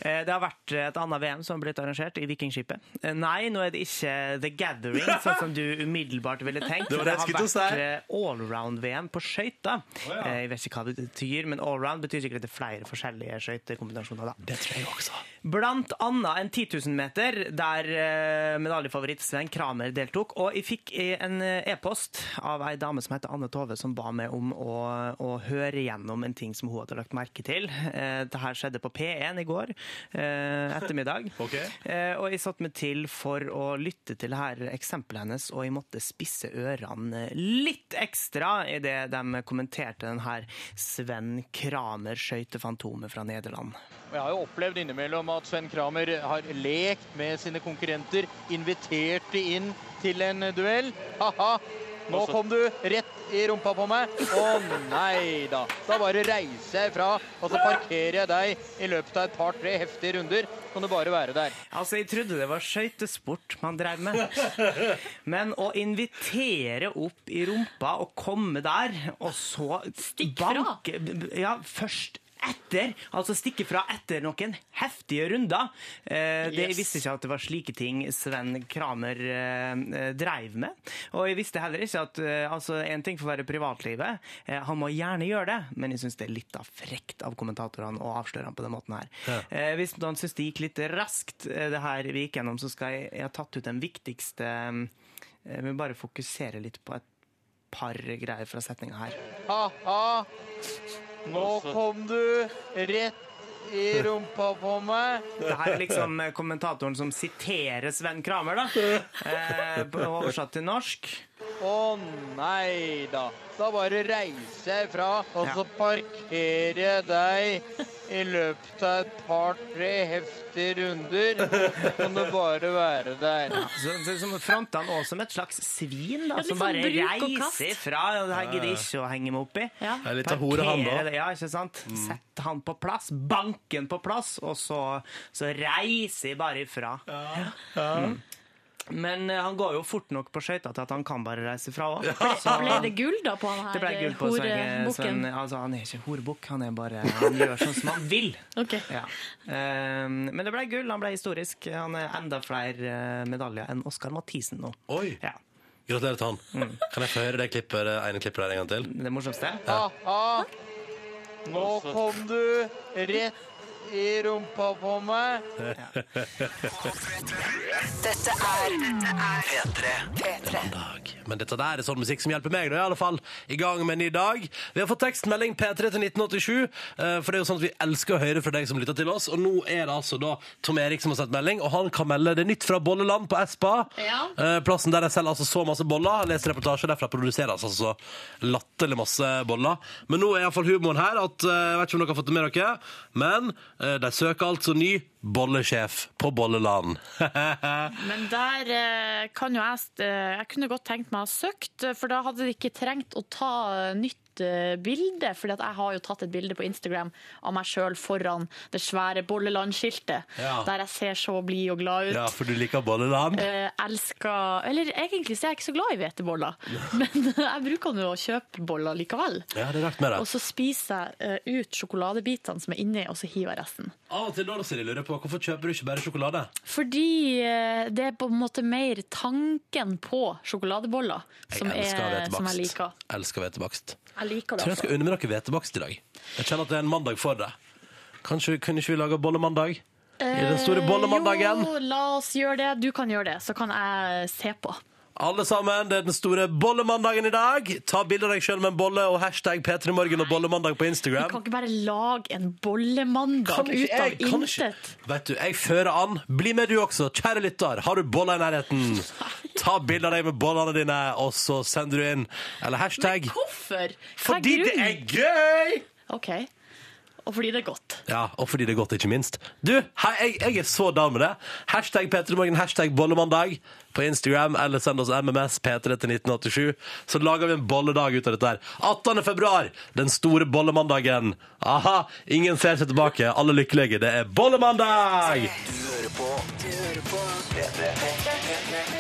Eh, det har vært et annet VM som har blitt arrangert, i Vikingskipet. Eh, nei, nå er det ikke The Gathering, sånn som du umiddelbart ville tenkt.
Det var det jeg skulle til å si.
vært eh, allround-VM på skøyter. Eh, Jeg vet ikke hva det betyr, men allround betyr sikkert at det er flere forskjellige skøytekombinasjoner. Da.
Det tror jeg også.
Blant annet en 10 000 meter, der eh, medaljefavoritt Sven Kramer deltok. Og jeg fikk eh, en eh, e-post av ei dame som heter Anne Tove, som ba meg om å, å høre gjennom en ting som hun hadde lagt merke til. Eh, Det her skjedde på P1 i går eh, ettermiddag. Eh, Og jeg satte meg til for å lytte til her eksempelet hennes, og jeg måtte spisse ørene litt ekstra idet de kommenterte den her Sven Kramer-skøytefantomet fra Nederland.
Og Jeg har jo opplevd innimellom at Sven Kramer har lekt med sine konkurrenter, invitert de inn til en duell. Haha, nå
Også-
kom du rett i rumpa på meg. Å nei da. Da bare reiser jeg fra, og så parkerer jeg deg i løpet av et par-tre heftige runder. Kan du bare være der.
Altså, Jeg trodde det var skøytesport man drev med. Men å invitere opp i rumpa og komme der, og så Stikk
fra.
Ja, først etter. Altså stikke fra etter noen heftige runder. Eh, det, Jeg
Yes.
visste ikke at det var slike ting Sven Kramer eh, eh, dreiv med. Og jeg visste heller ikke at eh, altså, En ting får være privatlivet. Eh, han må gjerne gjøre det, men jeg syns det er litt da frekt av kommentatorene å avsløre han på den måten her. Eh, hvis noen syns det gikk litt raskt, eh, det her vi gikk gjennom, så skal jeg, jeg har tatt ut den viktigste eh, Jeg vil bare fokusere litt på et par greier fra setninga her.
Ha-ha, nå kom du rett i rumpa på meg.
Det her er liksom eh, kommentatoren som siterer Sven Kramer, da. Eh, på- oversatt til norsk.
Å nei da. Da bare reise fra og så parkere deg i løpet av et par-tre heftige runder. Kan du bare være der.
Så, så, som fronter han også som et slags svin, da,
Ja, litt
som
sånn
bare
bruk og kast.
reiser fra. og Det her gidder ikke å henge meg opp i.
Ja.
Det er litt av hore, han, da. Mm.
Parkere det, Ja, ikke sant? Sett han på plass, banken på plass, og så, så reiser jeg bare ifra. Mm. Men eh, han går jo fort nok på skøyta til at han kan bare reise fra òg.
Ble det gull da på han her eh,
Det ble gull på Sven, Sven.
horebukken?
Altså, han er ikke horebukk, han er bare Han gjør sånn som han vil.
Ok.
Ja. Ehm, men det ble gull, han ble historisk. Han er enda flere eh, medaljer enn Oskar Mathisen nå.
Oi!
Ja.
Gratulerer til han. Kan jeg få høre det klippet, det ene klippet der en gang til?
Det morsomste?
Ja.
Ah, nå kom du rett i rumpa på meg.
Dette er P3. P3.
Men dette der er sånn musikk som hjelper meg, da, i alle fall. I gang med en ny dag. Vi har fått tekstmelding P3 til 1987, eh, for det er jo sånn at vi elsker å høre fra deg som lytter til oss. Og nå er det altså da Tom Erik som har sendt melding, og han kan melde det nytt fra Bolleland på Espa.
Ja.
Eh, Plassen der de selger altså så masse boller. Jeg leser reportasjer derfra produseres altså latterlig masse boller. Men nå er iallfall humoren her at eh, Jeg vet ikke om dere har fått det med dere, men eh, de søker altså ny bollesjef på Bolleland.
Men der eh, kan jo jeg st- eh, Jeg kunne godt tenkt meg å ha søkt, eh, for da hadde de ikke trengt å ta eh, nytt eh, bilde, fordi at jeg har jo tatt et bilde på Instagram av meg sjøl foran det svære Bolleland-skiltet,
Ja.
der jeg ser så blid og glad ut.
ja, for du liker Bolleland?
Eh, elsker Eller egentlig så er jeg ikke så glad i hveteboller, men eh, jeg bruker nå å kjøpe boller likevel.
Ja, det er rart med det.
Og så spiser jeg eh, ut sjokoladebitene som er inni, og så hiver jeg resten.
Av og til da, Silje, lurer jeg på hvorfor kjøper du ikke bare sjokolade?
Fordi eh, det er på en måte mer tanken på sjokoladeboller som, er, som jeg liker.
Elsker hvetebakst.
Jeg liker
Tror jeg
det.
skal
Altså.
unne meg noe hvetebakst i dag. Jeg kjenner at det er en mandag for det. Kanskje kunne ikke vi lage bollemandag? I den store bollemandagen.
Eh, Jo, la oss gjøre det. Du kan gjøre det, så kan jeg se på.
Alle sammen, det er den store bollemandagen i dag. Ta bilde av deg sjøl med en bolle og hashtag P3morgen og bollemandag på
Du
Instagram.
kan ikke bare lage en bollemandag
Kan ikke
ut av
jeg- kan ikke-
intet.
Vet du, jeg fører an. Bli med du også, kjære lytter. Har du boller i nærheten? Ta bilde av deg med bollene dine, og så sender du inn. Eller hashtag.
Hvorfor? Hva
Fordi det
grunnen?
er gøy!
OK. Og fordi det er godt.
Ja, og fordi det er godt, ikke minst. Du, hei, jeg, jeg er så down med det. Hashtag P3morgen, hashtag bollemandag på Instagram, eller send oss MMS P3 til 1987. Så lager vi en bolledag ut av dette her. 18. februar, den store bollemandagen. Aha, ingen ser seg tilbake. Alle lykkelige. Det er bollemandag!
Du hører på Du hører på P3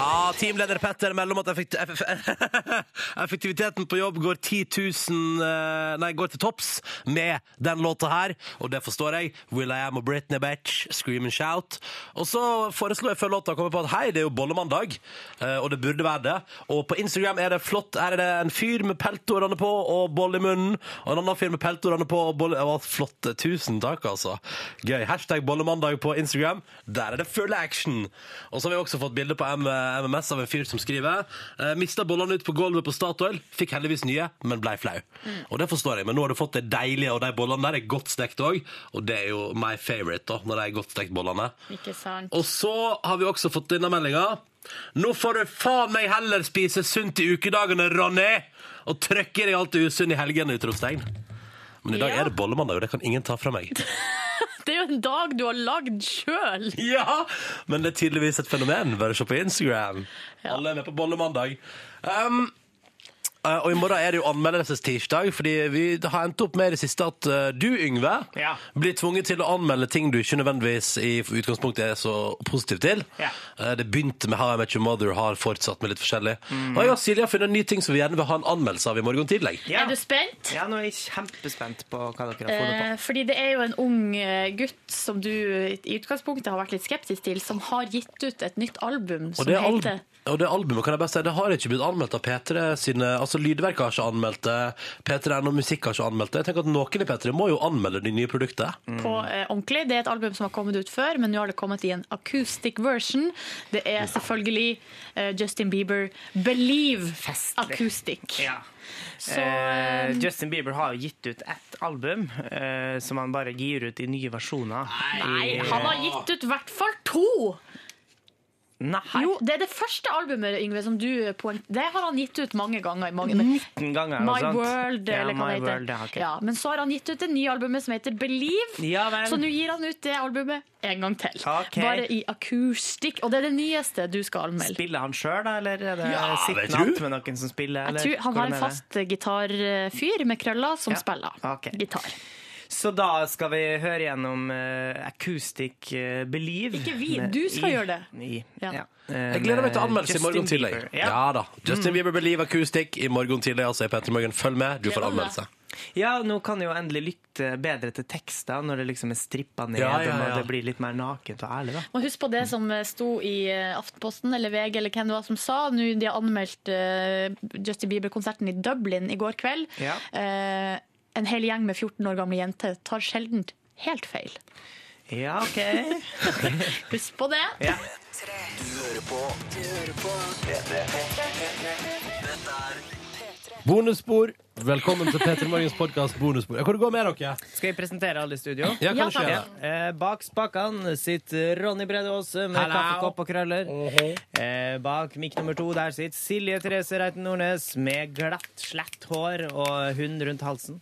Ja, teamleder Petter melder om at effekt eff effektiviteten på jobb går 10 000, eh, nei, går til topps med den låta her, og det forstår jeg. Will I Am og Britney Batch, Scream and Shout. Og så foreslo jeg før låta kom jeg på at hei, det er jo bollemandag, eh, og det burde være det. Og på Instagram er det flott, her er det en fyr med peltorene på og boll i munnen, og en annen fyr med peltorene på og boll, det var flott. Tusen takk, altså. Gøy. Hashtag bollemandag på Instagram. Der er det full action. Og så har vi også fått bilde på M MMS av en fyr som skriver eh, Mista bollene ut på gulvet på Statoil, fikk heldigvis nye, men blei flau. Og det forstår jeg, men nå har du fått det deilige, og de bollene der er godt stekt òg. Og det er jo my favorite, da, når de er godt stekt, bollene.
Ikke sant?
Og så har vi også fått denne meldinga. Nå får du faen meg heller spise sunt i ukedagene, Ronny! Og trøkke i deg alt det usunne i helgene, utropstegn. Men i dag
Ja.
er det bollemandag, og det kan ingen ta fra meg.
Det er jo en dag du har lagd sjøl!
Ja! Men det er tydeligvis et fenomen. Bare se på Instagram. Alle er med på bollemandag. Um, eh, og i morgen er det jo anmeldelsestirsdag, fordi vi har endt opp med i det siste at eh, du, Yngve,
Ja.
blir tvunget til å anmelde ting du ikke nødvendigvis i utgangspunktet er så positiv til.
Ja.
Eh, Det begynte med How I Met Your Mother, har fortsatt med litt forskjellig.
Mm.
Og jeg og Silje har funnet en ny ting som vi gjerne vil ha en anmeldelse av i morgen tidlig.
Er du spent?
Ja, nå er jeg kjempespent på hva dere har funnet på.
Eh, fordi det er jo en ung eh, gutt som du i utgangspunktet har vært litt skeptisk til, som har gitt ut et nytt album
Og
som
det, al
heter
og det albumet kan jeg bare si, det har ikke blitt anmeldt av P3 sine Altså Lydverket har ikke anmeldt det, P3 og Musikk har ikke anmeldt det. Jeg tenker at Noen i P3 må jo anmelde de nye produktene.
på eh, ordentlig. Det er et album som har kommet ut før, men nå har det kommet i en acoustic version. Det er selvfølgelig eh, Justin Bieber 'Believe' acoustic. Så
Eh,
eh,
Justin Bieber har jo gitt ut ett album eh, som han bare gir ut i nye versjoner.
Nei, han har gitt ut i hvert fall to!
Nei.
Jo, det er det første albumet, Yngve, som du poeng... Det har han gitt ut mange ganger. i Mange...
19 ganger.
My
noe sånt.
World,
ja,
eller hva
My
det heter.
World, ja, ok.
Ja, men så har han gitt ut det nye albumet som heter Believe.
Ja vel.
Så nå gir han ut det albumet en gang til.
Ok.
Bare i akustikk. Og det er det nyeste du skal anmelde.
Spiller han sjøl, da, eller er det
Ja,
sitter
det
han
tror.
att med noen som spiller?
Jeg
Eller?
tror han har
Hvordan er
en
det?
fast gitarfyr med krøller som spiller
Ok.
gitar.
Så da skal vi høre gjennom eh, Acoustic eh, Believe.
Ikke vi,
med-
du skal
i-
gjøre det.
I,
Ja.
ja. Eh,
Jeg gleder meg til anmeldelse i morgen tidlig.
Ja.
Ja da. Justin Bieber Believe Acoustic i morgen tidlig. Altså i Petter Morgen. Følg med, du får
Gleder meg.
anmeldelse.
ja, nå kan jeg jo endelig lytte bedre til tekster når det liksom er strippa ned,
Ja, ja,
og når
ja.
det blir litt mer nakent og ærlig, da.
Og husk på det som sto i eh, Aftenposten eller VG eller hvem det var som sa. Nå de har anmeldt eh, Justin Bieber-konserten i Dublin i går kveld.
Ja.
Eh, en hel gjeng med 14 år gamle jenter tar sjelden helt feil.
Ja, OK.
Husk på det.
Ja.
Du hører på Du hører på P3. Dette er
Bonusspor. Velkommen til Petter Morgens podkast Bonusspor. Ja, Hvor det går med dere?
Skal jeg presentere alle i studio?
Ja, Ja, kanskje, takk.
Eh, Bak spakene sitter Ronny Brede Aase med
Hello.
kaffekopp og krøller. eh, bak mikk nummer to der sitter Silje Therese Reiten Nordnes med glatt, slett hår og hund rundt halsen.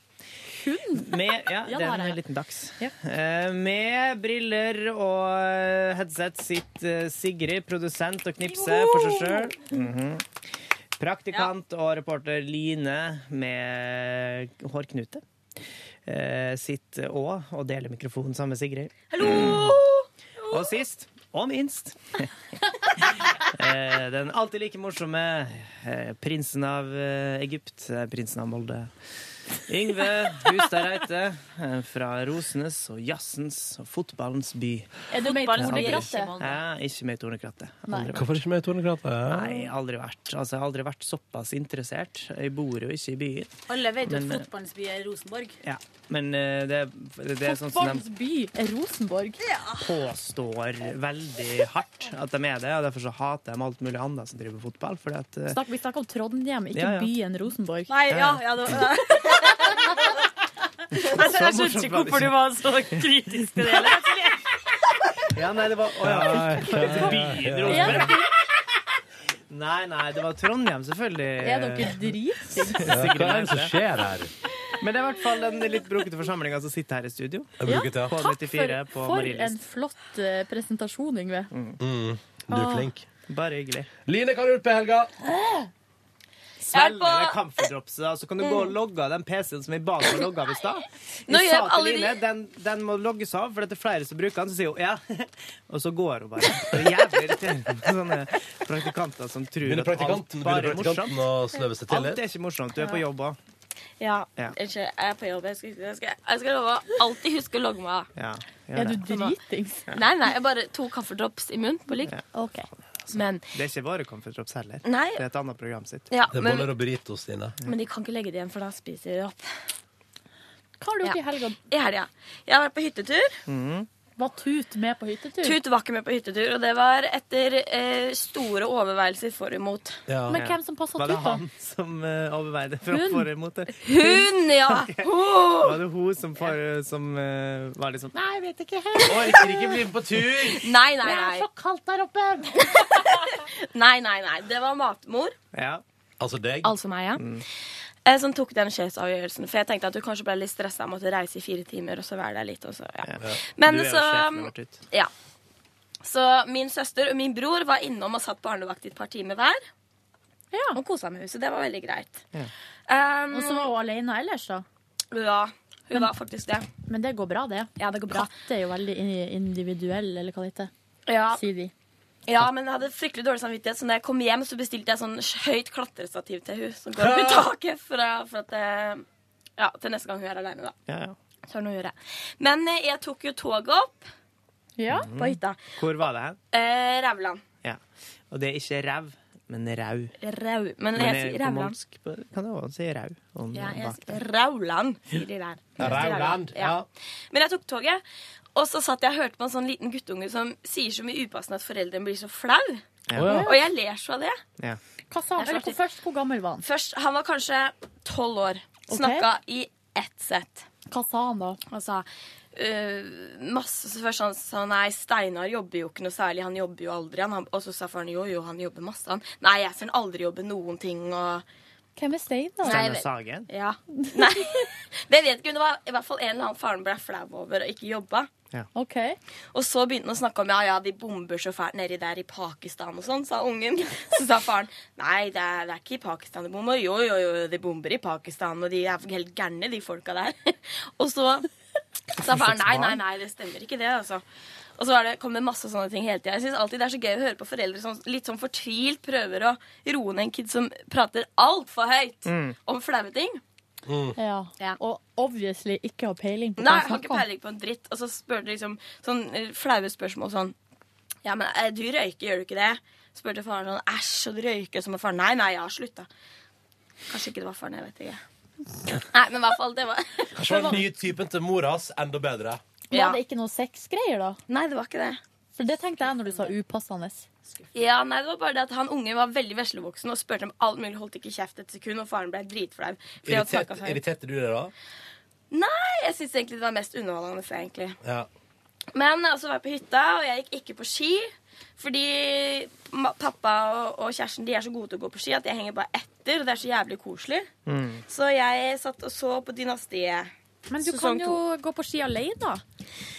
Hund? Med, ja, det
Ja, det har
er en
jeg.
liten dags. Eh, med briller og eh, headset sitter eh, Sigrid, produsent og knipse for seg sjøl. Praktikant og reporter Line med hårknute. Eh, sitter òg og deler mikrofonen sammen med Sigrid. Mm. Og sist, og minst eh, Den alltid like morsomme eh, prinsen av eh, Egypt, eh, prinsen av Molde. Yngve Hustad Reite eh, fra Rosenes og jazzens og fotballens by.
Er du med i
sånn
Tornekrattet?
Ja, ikke med i Tornekrattet.
Nei.
Aldri vært.
Hvorfor ikke med i Tornekrattet?
Nei, aldri vært. Altså, jeg har aldri vært såpass interessert. Jeg bor jo ikke i byen.
Alle vet jo at
Men, eh,
fotballens by er Rosenborg.
Ja. Men eh, det, det er sånn som
Fotballens
de
by er Rosenborg.
påstår veldig hardt at de er det, og derfor så hater de alt mulig annet som driver med fotball. Fordi at, eh,
Snakk, vi snakker om Trondheim, ikke
Ja, ja.
byen Rosenborg.
Nei, ja, ja det var Jeg
Så
skjønner
morsomt
ikke
var det
hvorfor du
ikke.
var så kritisk til det. Eller?
Ja, nei, det var å, ja. Byen Rosenborg. Nei, nei, det var Trondheim, selvfølgelig.
Er
Eh,
dere dritings?
Ja, hva er det som skjer her?
Men det er i hvert fall den litt brokete forsamlinga som sitter her i studio.
Ja,
På
takk
94
for,
på
for
Marienlyst.
en flott eh, presentasjon, Yngve.
Mm, du er
Ah.
flink.
Bare hyggelig.
Line, hva har du gjort på helga?
Svelg deg camferdropset, da, så kan du gå og logge av den PC-en som jeg ba deg å logge av i stad.
Mm. Nå
Jeg
gjør
sa til
alle de-
Line, den, den må logges av, for det er flere som bruker den. Så sier hun ja, og så går hun bare. Det er jævlig irriterende med sånne praktikanter som tror
Begynner
at alt
praktikanten,
bare
begynner
er morsomt.
praktikanten å sløve seg til
Alt
litt?
er ikke morsomt. Du er på jobb òg.
Ja,
Ja.
unnskyld. Jeg er på jobb. Jeg skal, huske- jeg skal, jeg skal love å alltid huske å logge meg av.
Ja, gjør
Er du
det.
dritings?
Nei, nei, jeg bare tok kaffedrops i munnen på ligg.
Ok.
Men,
Det er ikke våre comferdrops heller.
Nei.
Det er et annet program sitt.
ja,
Det er
men,
boller og burritos, Line.
men de kan ikke legge det igjen, for da spiser de det opp.
Hva har du gjort i helga?
I helga. Jeg har vært på hyttetur.
Var Tut med på hyttetur?
Tut var ikke med på hyttetur, og det var etter eh, store overveielser for og imot.
Men hvem som passet
Var det
Tut, da?
han som eh, overveide fra
Hun.
forrige mot det?
Hun, ja! Hun!
Var det hun som, for, som eh, var litt sånn
Nei, jeg vet ikke helt.
Orker ikke bli med på tur!
Nei, nei,
Det er
nei.
så kaldt der oppe.
nei, nei, nei. Det var matmor,
Ja.
Altså deg?
altså meg, ja, eh, som tok den sjefsavgjørelsen. For jeg tenkte at du kanskje ble litt stressa og måtte reise i fire timer og så være der litt. Og så, ja. Men
du er jo
så
sjefen vår, Tut.
Ja. Så min søster og min bror var innom og satt på barnevakt i et par timer hver. Og kosa med huset. Det var veldig greit.
Ja.
Um,
Og så var hun alene ellers, da.
ja, hun var faktisk det.
Men det går bra, det.
Ja, det går bra.
Katter er jo veldig in- individuell, eller hva det heter.
Ja,
Sier vi.
ja, men jeg hadde fryktelig dårlig samvittighet, så når jeg kom hjem, så bestilte jeg sånn høyt klatrestativ til hun som går opp i taket for, for at eh, Ja, til neste gang hun er aleine, da.
Ja, ja.
Så har hun noe å gjøre. Men eh, jeg tok jo toget opp
Ja.
på hytta.
Hvor var det hen?
Eh, Rauland.
Ja. Og det er ikke rev, men rau.
Rau. Men jeg sier
på
Rauland.
molsk på- kan det også si rau. om
Ja, jeg
bak der.
sier Rauland, sier de der.
Rauland, ja.
Men jeg tok toget, og så satt jeg og hørte på en sånn liten guttunge som sier så mye upassende at foreldrene blir så flau.
Ja.
Og jeg ler så av det.
Ja.
Hva sa han?
Det er
Eller
så
hvor, først, hvor gammel var han?
Først, Han var kanskje tolv år.
Ok.
Snakka i ett sett.
Hva sa han da?
Han sa eh, masse. Så først han sa nei, Steinar jobber jo ikke noe særlig. Han jobber jo aldri. Han, og så sa faren jo, jo, han jobber masse. Han nei, jeg ser han aldri jobbe noen ting. og...
Hvem er Steinar?
Nei, jeg vet- Ja. Nei, det vet ikke. hun. Det var i hvert fall en eller annen faren ble flau over og ikke jobba.
Ok.
Og så begynte han å snakke om ja, ja, de bomber så fælt nedi der i Pakistan og sånn, sa ungen. Så sa faren nei, det er, det er ikke i Pakistan de bomber. Jo, jo, jo, de bomber i Pakistan, og de er helt gærne, de folka der. Og så sa faren nei, nei, nei, det stemmer ikke det, altså. Og så er det, kommer det masse sånne ting hele tida. Jeg synes alltid det er så gøy å høre på foreldre som litt sånn fortvilt prøver å roe ned en kid som prater altfor høyt
Mm.
om flaue ting.
Ja. Og obviously ikke har peiling på
Nei,
hva
jeg har
han
ikke
snakker om.
peiling på en dritt. Og så spør de liksom sånn eh, flaue spørsmål sånn Ja, men eh, du røyker, gjør du ikke det? Spurte faren sånn Æsj, og du røyker? Så må faren Nei, nei, jeg har slutta. Kanskje ikke det var faren, jeg vet ikke. Nei, men i hvert fall, det var
Kanskje det var den nye typen til moras enda bedre.
Var det ikke noe sexgreier, da?
Nei, det var ikke det.
For det tenkte jeg når du sa upassende.
Ja, nei, det var bare det at han unge var veldig veslevoksen og spurte om alt mulig, holdt ikke kjeft et sekund, og faren ble dritflau. fordi han
Irritert,
snakket så høyt.
irriterte du deg da?
Nei, jeg syns egentlig det var mest underholdende, egentlig.
Ja.
Men eh, så var jeg på hytta, og jeg gikk ikke på ski. Fordi ma- pappa og, og kjæresten de er så gode til å gå på ski at jeg henger bare etter. Og det er så jævlig koselig.
Mm.
Så jeg satt og så på Dynastiet.
Men du kan jo gå på ski alene, da.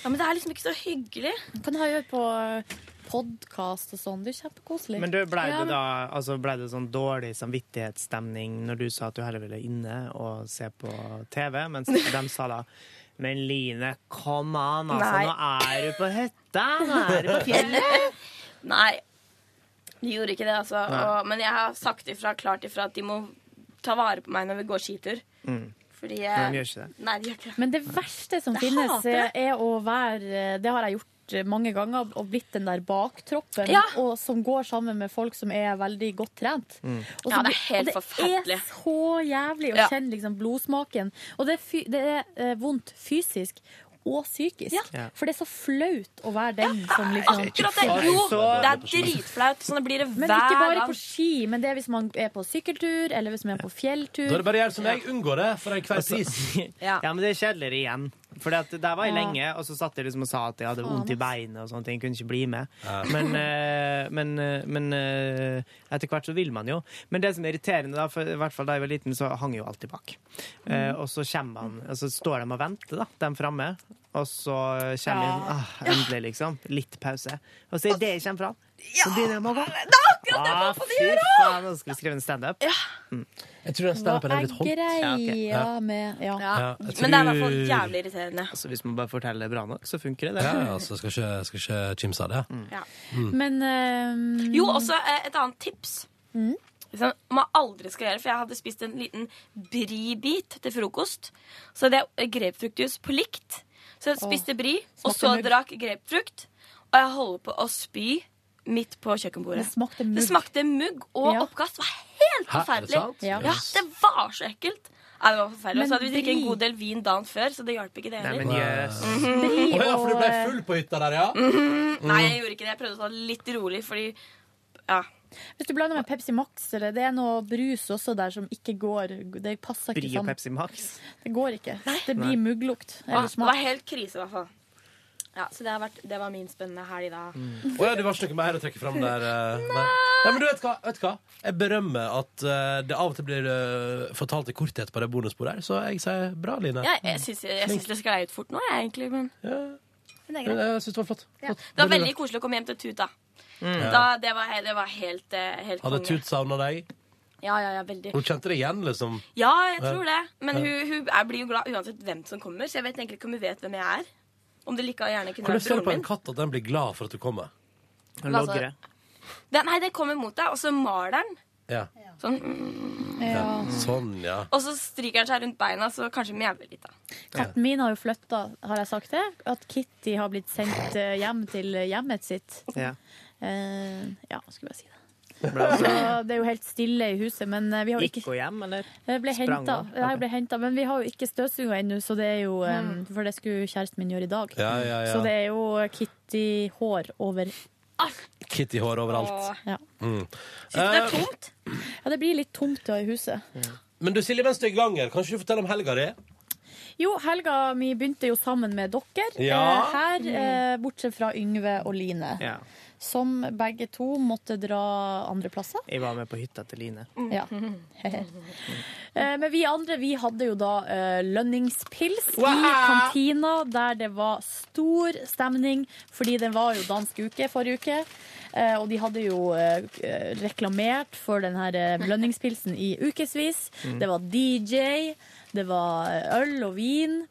Ja, Men det er liksom ikke så hyggelig.
Du kan høre på podkast og sånn. Det er kjempekoselig.
Men du, blei
Ja,
det
men-
da altså ble det sånn dårlig samvittighetsstemning når du sa at du heller ville inne og se på TV, mens de sa da Men Line, kom an, altså.
Nei.
Nå er du på hytta! Nå er du på fjellet!
Nei. De gjorde ikke det, altså.
Nei.
Og, men jeg har sagt ifra, klart ifra at de må ta vare på meg når vi går skitur.
Mm.
Fordi
Men de gjør ikke det.
Nei, de gjør ikke det.
Men det verste som
Jeg
finnes, eh,
hater det.
er å være eh, Det har jeg gjort mange ganger, og blitt den der baktroppen
Ja.
og, som går sammen med folk som er veldig godt trent. Og så
Ja, det er
blir-
helt
og Det
forferdelig.
er så jævlig å
Ja.
kjenne liksom blodsmaken. Og det er, fy, det er eh, vondt fysisk. Og psykisk.
Ja.
For det er så flaut å være den som liksom
Akkurat det. Jo, det er dritflaut. Sånn det blir det
Men
hver
ikke bare
gang.
på ski, men det er hvis man er på sykkeltur, eller hvis man er på fjelltur.
Da er det bare å gjøre som jeg, unngå det for enhver
Altså-
pris.
Ja.
men det er kjedeligere igjen. For der var jeg
Ja.
lenge, og så satt jeg liksom og sa at jeg hadde
Faen,
vondt i
ass.
beinet og sånne ting. Kunne ikke bli med. Men, eh, men, eh, men eh, etter hvert så vil man jo. Men det som er irriterende, da, for i hvert fall da jeg var liten, så hang jeg jo alltid bak. Eh,
Mm.
og så kommer man, og så står de og venter, da, dem framme. Og så kommer jeg sånn, ah, endelig, liksom. Litt pause. Og så idet jeg kommer fram, så begynner jeg å gå. Ah, fy faen, nå skal vi skrive en standup.
Jeg tror den
Hva er greia
Ja, ok.
med Ja.
Ja, jeg
Men det er i hvert fall
tror-
jævlig irriterende.
Altså, hvis man bare forteller det bra nok, så funker det. det.
Ja, ja, så skal ikke, skal ikke kimse av det.
Ja.
Mm.
Men
Jo, også eh, et annet tips. Som man aldri skal gjøre, for jeg hadde spist en liten bri-bit til frokost. Så hadde jeg grapefruktjuice på likt. Så jeg
Åh,
spiste bri, og
smakte
så
mugg.
drakk grapefrukt. Og jeg holder på å spy midt på kjøkkenbordet.
Det smakte mugg.
Det smakte mugg og
Ja.
oppkast. Det var helt
Hæ, er det
forferdelig.
sant?
Ja.
Ja.
Det var så ekkelt. Nei, det var forferdelig. Og
Men
så hadde vi drukket en
bri-
god del vin dagen før, så det hjalp ikke det
Nei,
heller.
men jøss.
Bri
Å ja, for du ble
og- eh,
full på hytta der, ja?
Mm.
Mhm. Nei,
Mm.
jeg gjorde ikke det. Jeg prøvde å ta det litt rolig, fordi Ja.
Hvis du blander med Pepsi Max, eller det er noe brus også der som ikke går Det passer ikke
Bri og
sammen.
Pepsi Max.
Det går ikke. Det
Nei.
blir mugglukt.
Ja,
Eller
det var
smak.
helt krise, i hvert fall. Ja, så det, har vært, det var min spennende helg da.
Å ja, det var ikke noe mer å trekke fram der. eh, Nei. Nei, men du vet hva? vet du hva? Jeg berømmer at eh, det av og til blir eh, fortalt i korthet på det bonussporet her, så jeg sier bra, Line.
Jeg, jeg, syns, jeg syns det sklei ut fort nå, jeg, egentlig. Men, men det er
Men
greit.
Jeg syns det var flott.
Ja. Det var
Veldig
veldig koselig å komme hjem til Tut, da.
Mm.
da det, var, he- det var helt, eh, helt
Hadde
konge.
Tut savna deg?
Ja, ja, ja, veldig.
Hun kjente det igjen, liksom?
Ja, jeg tror det. Men
Ja.
hun, hun er, blir jo glad uansett hvem som kommer, så jeg vet egentlig ikke om hun vet hvem jeg er. Om det like gjerne kunne
Hvordan
vært
ser du på en
broren min.
katt at den blir glad for at du kommer?
Hun Altså- logrer. Den, nei, den kommer mot deg, og så maler den.
Ja.
Sånn. mm.
Ja.
Sånn, ja.
Og så stryker den seg rundt beina, så kanskje mjauer litt, da.
Katten min har jo flytta, har jeg sagt det? At Kitty har blitt sendt eh, hjem til hjemmet sitt.
Ja.
Eh, ja, skulle jeg si det.
Bra.
Så det er jo helt stille i huset, men eh, vi har jo
Gikk
ikke
hun hjem, eller?
Jeg ble
Sprang
henta.
hun?
Jeg ble hentet, men vi har jo ikke støvsuga ennå, så det er jo eh, For det skulle kjæresten min gjøre i dag.
Ja, ja, ja.
Så det er jo Kitty-hår over
Kitty-hår overalt.
Ja.
Mm. Eh,
tomt?
Ja, det blir litt tomt da i huset.
Men du, Silje, mens du er i gang her, kan ikke du fortelle om helga di?
Jo, helga mi begynte jo sammen med dere.
Ja.
eh, Her, eh,
Mm.
bortsett fra Yngve og Line.
Ja.
Som begge to måtte dra andreplasser.
Jeg var med på hytta til Line.
Ja. Eh, Men vi andre vi hadde jo da eh, lønningspils i kantina, der det var stor stemning, fordi det var jo dansk uke forrige uke. eh, Og de hadde jo eh, reklamert for den her eh, lønningspilsen i ukevis.
Mm.
Det var DJ, det var eh, øl og vin.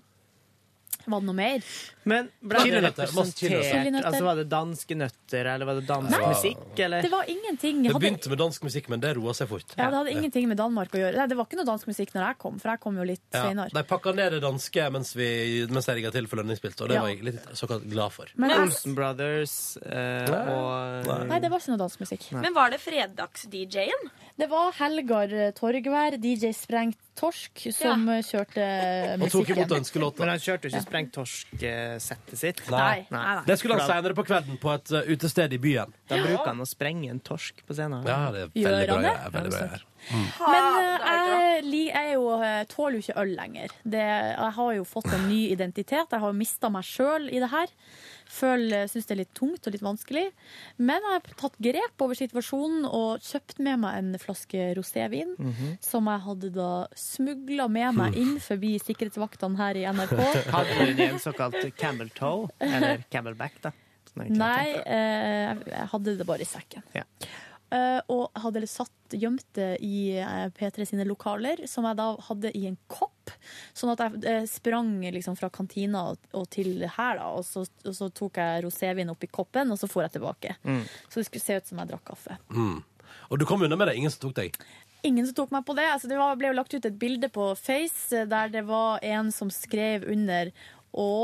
Var det noe mer?
Men ble det
Chilinøtter, masse
representert?
chilinøtter.
Altså, var det danske nøtter, eller var det dansk
Nei.
musikk, eller?
Det var ingenting. Jeg
Det
hadde
begynte med dansk musikk, men det roa seg fort.
Ja, Det hadde ingenting med Danmark å gjøre. Nei, Det var ikke noe dansk musikk når jeg kom, for jeg kom jo litt
Ja,
senere.
De pakka ned det danske mens, vi, mens jeg rigga til for lønningspilt, og det
Ja.
var jeg litt såkalt glad for.
Men jeg-
Olsen Brothers eh, og
Nei, det var ikke noe dansk musikk.
Nei.
Men var det fredags-DJ-en?
Det var Helgar eh, Torgvær, DJ Sprengt Torsk, som eh, kjørte musikken.
Men han kjørte jo ikke Sprengt torsk-settet sitt.
Nei. Det skulle han senere på kvelden på et uh, utested i byen.
Da bruker han å sprenge en torsk på scenen.
Ja, det er
Gjør
veldig bra.
han det?
Ja, veldig bra. gjør.
Men eh, jeg, li- jeg er jo, eh, tåler jo ikke øl lenger. Det, jeg har jo fått en ny identitet. Jeg har mista meg sjøl i det her. Jeg syns det er litt tungt og litt vanskelig. Men jeg har tatt grep over situasjonen og kjøpt med meg en flaske rosévin.
Mhm.
Som jeg hadde da smugla med meg inn forbi sikkerhetsvaktene her i NRK.
Hadde du en såkalt camel toe, eller camelback, da? Sånn som egentlig
Nei,
heter.
eh, jeg hadde det bare i sekken. Eh, og hadde satt gjemt det i eh, P3 sine lokaler, som jeg da hadde i en kopp. Sånn at jeg eh, sprang liksom fra kantina og, og til her, da. Og så, og så tok jeg rosévin oppi koppen, og så for jeg tilbake.
Mm.
Så det skulle se ut som jeg drakk kaffe.
Mm. Og du kom unna med det. Ingen som tok deg.
Ingen som tok meg på det. Altså, det var, ble jo lagt ut et bilde på Face eh, der det var en som skrev under Å,